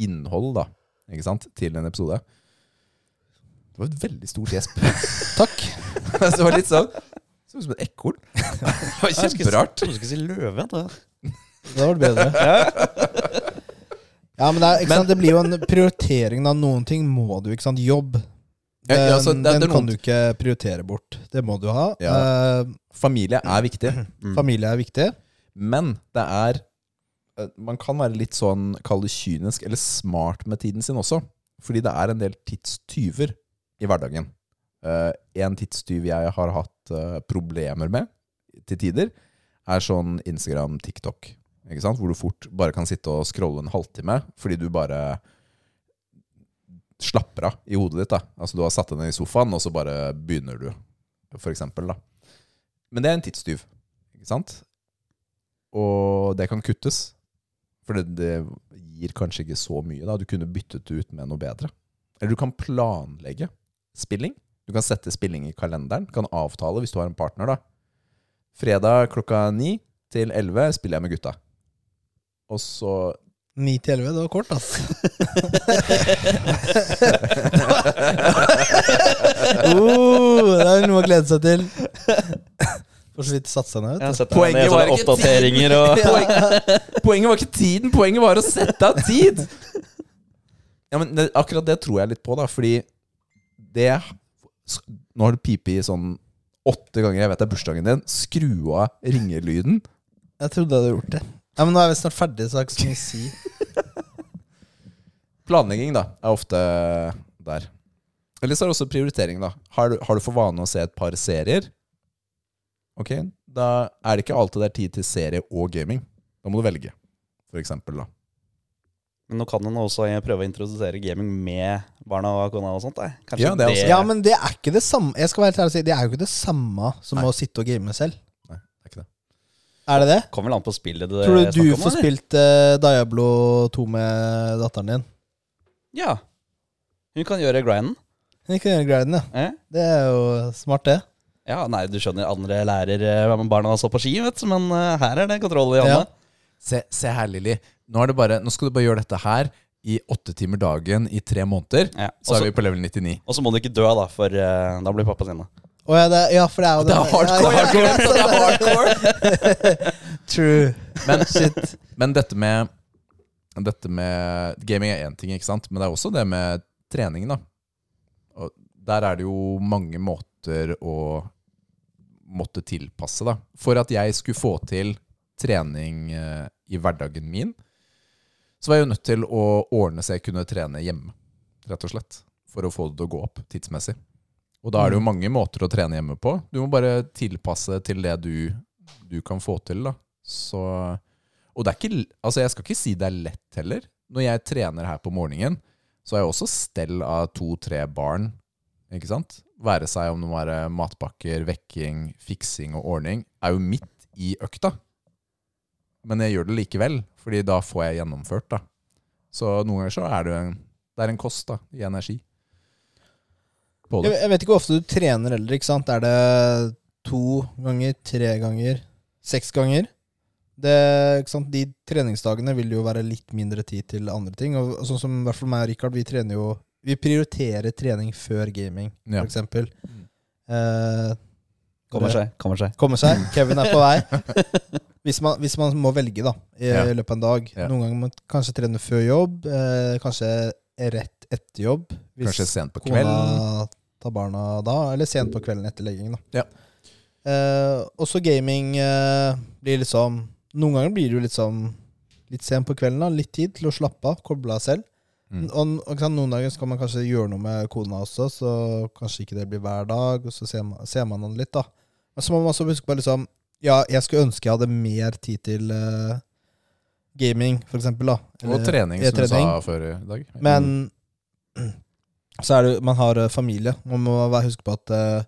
Speaker 1: innhold, da, ikke sant, til en episode. Det var et veldig stort gjesp.
Speaker 2: Takk.
Speaker 1: det var litt sånn så ut som et ekorn. Det var
Speaker 3: Jeg skulle-
Speaker 1: kjemperart.
Speaker 3: Jeg trodde du skulle si løve. Da.
Speaker 2: Det hadde vært bedre. Ja, men det, er, ikke sant? det blir jo en prioritering av noen ting må du, ikke sant. Jobb. Den,
Speaker 1: Ja, ja, altså, det- det
Speaker 2: den
Speaker 1: er
Speaker 2: kan
Speaker 1: noen-
Speaker 2: du ikke prioritere bort. Det må du ha.
Speaker 1: Ja. Mm.
Speaker 2: Eh,
Speaker 1: Familie er viktig,
Speaker 2: Familie er viktig.
Speaker 1: men det er eh, Man kan være litt sånn, kall det kynisk, eller smart med tiden sin også. Fordi det er en del tidstyver i hverdagen. Eh, en tidstyv jeg har hatt eh, problemer med til tider, er sånn Instagram, TikTok. Ikke sant? Hvor du fort bare kan sitte og scrolle en halvtime fordi du bare slapper av i hodet ditt. da Altså Du har satt deg ned i sofaen, og så bare begynner du, for eksempel. Da. Men det er en tidstyv. Ikke sant? Og det kan kuttes. For det, det gir kanskje ikke så mye. da Du kunne byttet det ut med noe bedre. Eller du kan planlegge spilling. Du kan sette spilling i kalenderen. Du kan avtale hvis du har en partner. da Fredag klokka ni til elleve spiller jeg med gutta. Og så
Speaker 2: 9 til 11, det var kort, altså. oh, det er noe å glede seg til. For så vidt satsa ned,
Speaker 3: Jeg har
Speaker 2: vet du.
Speaker 3: sett deg
Speaker 1: Poenget var ikke
Speaker 3: ned, så er det oppdateringer og
Speaker 1: Poen- Poenget var ikke tiden, poenget var å sette av tid! Ja, men det, akkurat det tror jeg litt på, da, fordi det s- Nå har du pipet i sånn åtte ganger, jeg vet det er bursdagen din. Skru av ringelyden.
Speaker 2: Jeg trodde jeg hadde gjort det. Ja, men nå er vi snart ferdige, så jeg har ikke så mye å si.
Speaker 1: Planlegging, da, er ofte der. Eller så er det også prioritering, da. Har du, har du for vane å se et par serier? Ok, da er det ikke alltid det er tid til serie og gaming. Da må du velge, for eksempel, da.
Speaker 3: Men nå kan man også prøve å introdusere gaming med barna og kona og sånt. da. Kanskje
Speaker 1: Ja, det er også-
Speaker 2: Ja, men det er ikke det samme Jeg skal være helt ærlig og si, det er jo ikke det samme som
Speaker 1: Nei.
Speaker 2: å sitte og game selv.
Speaker 1: Nei, det er ikke det.
Speaker 2: Er det det?
Speaker 3: kommer vel an på spillet det
Speaker 2: Tror
Speaker 3: er
Speaker 2: du
Speaker 3: snakk
Speaker 2: du
Speaker 3: om,
Speaker 2: får
Speaker 3: eller?
Speaker 2: spilt eh, Diablo 2 med datteren din?
Speaker 3: Ja. Hun kan gjøre grinden.
Speaker 2: Hun kan gjøre griden, ja.
Speaker 3: Eh?
Speaker 2: Det er jo smart, det.
Speaker 3: Ja, nei, du skjønner, andre lærer eh, hva med barna så på ski, vet du, men eh, her er det kontroll i hånda.
Speaker 2: Ja.
Speaker 1: Se, se her, Lilly. Nå, er det bare, nå skal du bare gjøre dette her i åtte timer dagen i tre måneder.
Speaker 3: Ja.
Speaker 1: Så er
Speaker 3: Også-
Speaker 1: vi på level 99.
Speaker 3: Og så må du ikke dø, da, for eh, da blir pappa sinna.
Speaker 2: Å, ja, det, ja, for det er jo
Speaker 1: Det er hardcore!
Speaker 2: Ja, ja,
Speaker 1: jeg glemte det er hardcore.
Speaker 2: True.
Speaker 1: Men, men dette med Dette med Gaming er én ting, ikke sant? men det er også det med trening. da Og Der er det jo mange måter å måtte tilpasse. da For at jeg skulle få til trening eh, i hverdagen min, så var jeg jo nødt til å ordne så jeg kunne trene hjemme, rett og slett. For å få det til å gå opp tidsmessig. Og da er det jo mange måter å trene hjemme på. Du må bare tilpasse det til det du, du kan få til, da. Så Og det er ikke l- Altså, jeg skal ikke si det er lett heller. Når jeg trener her på morgenen, så har jeg også stell av to-tre barn, ikke sant? Være seg om det må være matpakker, vekking, fiksing og ordning, er jo midt i økta. Men jeg gjør det likevel, fordi da får jeg gjennomført, da. Så noen ganger så er det jo en, det er en kost, da, i energi. På
Speaker 2: Jeg,
Speaker 1: det.
Speaker 2: jeg vet ikke hvor ofte du trener heller, ikke sant? Er det to ganger, tre ganger, seks ganger? Det, ikke sant? De treningsdagene vil jo være litt mindre tid til andre ting. Og, og sånn som i hvert fall meg og Richard, vi trener jo Vi prioriterer trening før gaming,
Speaker 1: Ja.
Speaker 2: for eksempel. Eh,
Speaker 3: Kommer seg, kommer seg.
Speaker 2: Komme seg. Kevin er på vei. Hvis man, hvis man må velge, da, i
Speaker 1: Ja.
Speaker 2: løpet av en dag.
Speaker 1: Ja.
Speaker 2: Noen ganger må man kanskje trene før jobb, eh, kanskje rett etter jobb. Hvis
Speaker 1: Kanskje sent på kvelden.
Speaker 2: kona tar barna da, eller sent på kvelden etter leggingen, da.
Speaker 1: Ja.
Speaker 2: Eh, også gaming eh, blir liksom Noen ganger blir det jo liksom litt sent på kvelden, da. Litt tid til å slappe av, koble av selv.
Speaker 1: Mm.
Speaker 2: Og, og ikke sant, Noen dager skal man kanskje gjøre noe med kona også, så kanskje ikke det blir hver dag. Og så ser man, ser man han litt, da. Men så må man også huske på liksom Ja, jeg skulle ønske jeg hadde mer tid til eh, gaming, for eksempel, da.
Speaker 1: Og
Speaker 2: Eller-
Speaker 1: trening, som du
Speaker 2: trening.
Speaker 1: sa før i dag.
Speaker 2: Men så er det jo- Man har eh, familie. Man må være- huske på at eh,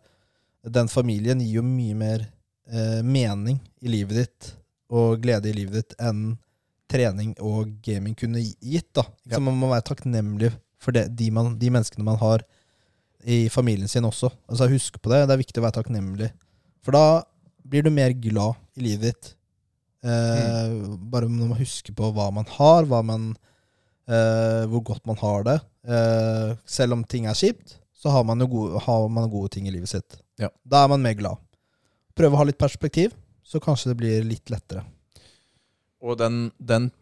Speaker 2: den familien gir jo mye mer eh, mening i livet ditt og glede i livet ditt enn trening og gaming kunne gi- gitt. da.
Speaker 1: Ja.
Speaker 2: Så man må være takknemlig for det, de, man, de menneskene man har i familien sin også. Altså Husk på det. Det er viktig å være takknemlig. For da blir du mer glad i livet ditt. Eh, Bare når man husker på hva man har, hva man, eh, hvor godt man har det. Eh, selv om ting er kjipt, så har man jo gode, har man gode ting i livet sitt.
Speaker 1: Ja.
Speaker 2: Da er man mer glad. Prøve å ha litt perspektiv, så kanskje det blir litt lettere.
Speaker 1: Og den, den,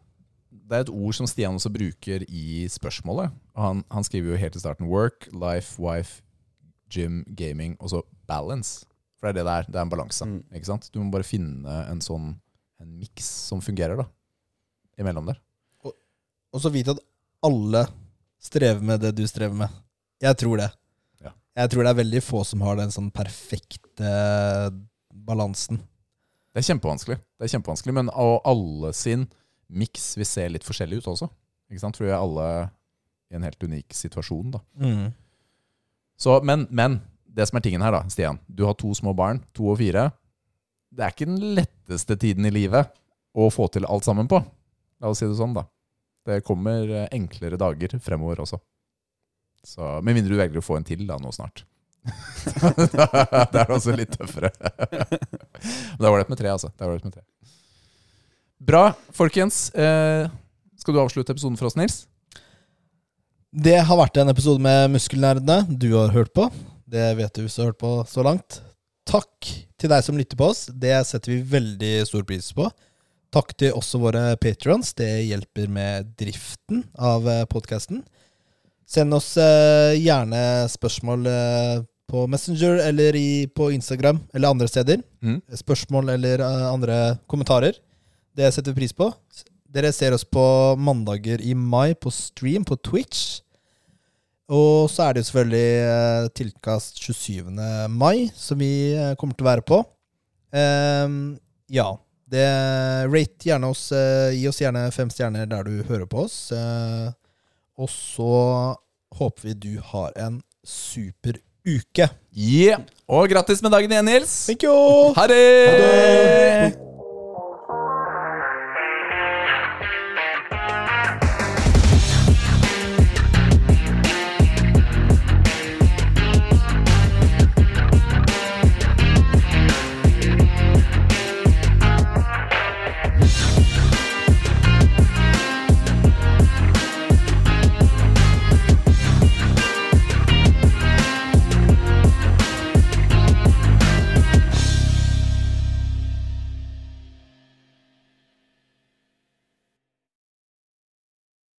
Speaker 1: det er et ord som Stian også bruker i spørsmålet. Og Han, han skriver jo helt i starten 'work, life, wife, gym, gaming' og så 'balance'. For det er det det er. Det er en balanse.
Speaker 3: Mm.
Speaker 1: ikke sant? Du må bare finne en sånn En miks som fungerer, da. Imellom der.
Speaker 2: Og så vite at alle strever med det du strever med. Jeg tror det.
Speaker 1: Ja.
Speaker 2: Jeg tror det er veldig få som har den sånn perfekte balansen.
Speaker 1: Det er kjempevanskelig. Det er kjempevanskelig, Men og alle sin miks vil se litt forskjellig ut også. Ikke sant? For vi er alle i en helt unik situasjon, da. Så, men, men det som er tingen her, da, Stian. Du har to små barn, to og fire. Det er ikke den letteste tiden i livet å få til alt sammen på. La oss si det sånn, da. Det kommer eh, enklere dager fremover også. Så, med mindre du velger å få en til da nå snart. da er det også litt tøffere. Men det var det med tre, altså. Det var det med tre. Bra, folkens. Eh, skal du avslutte episoden for oss, Nils?
Speaker 2: Det har vært en episode med Muskelnerdene du har hørt på. Det vet du hvis du har hørt på så langt. Takk til deg som lytter på oss. Det setter vi veldig stor pris på. Takk til også våre patrons. Det hjelper med driften av podkasten. Send oss eh, gjerne spørsmål eh, på Messenger eller i, på Instagram eller andre steder.
Speaker 1: Mm.
Speaker 2: Spørsmål eller eh, andre kommentarer. Det setter vi pris på. Dere ser oss på mandager i mai på stream på Twitch. Og så er det jo selvfølgelig eh, tilkast 27. mai, som vi eh, kommer til å være på. Ehm, ja. Det, rate gjerne oss. eh, gi oss gjerne fem stjerner der du hører på oss. Eh, og så håper vi du har en super uke.
Speaker 1: Yeah. Og grattis med dagen igjen, Nils.
Speaker 2: Thank you!
Speaker 1: Ha det!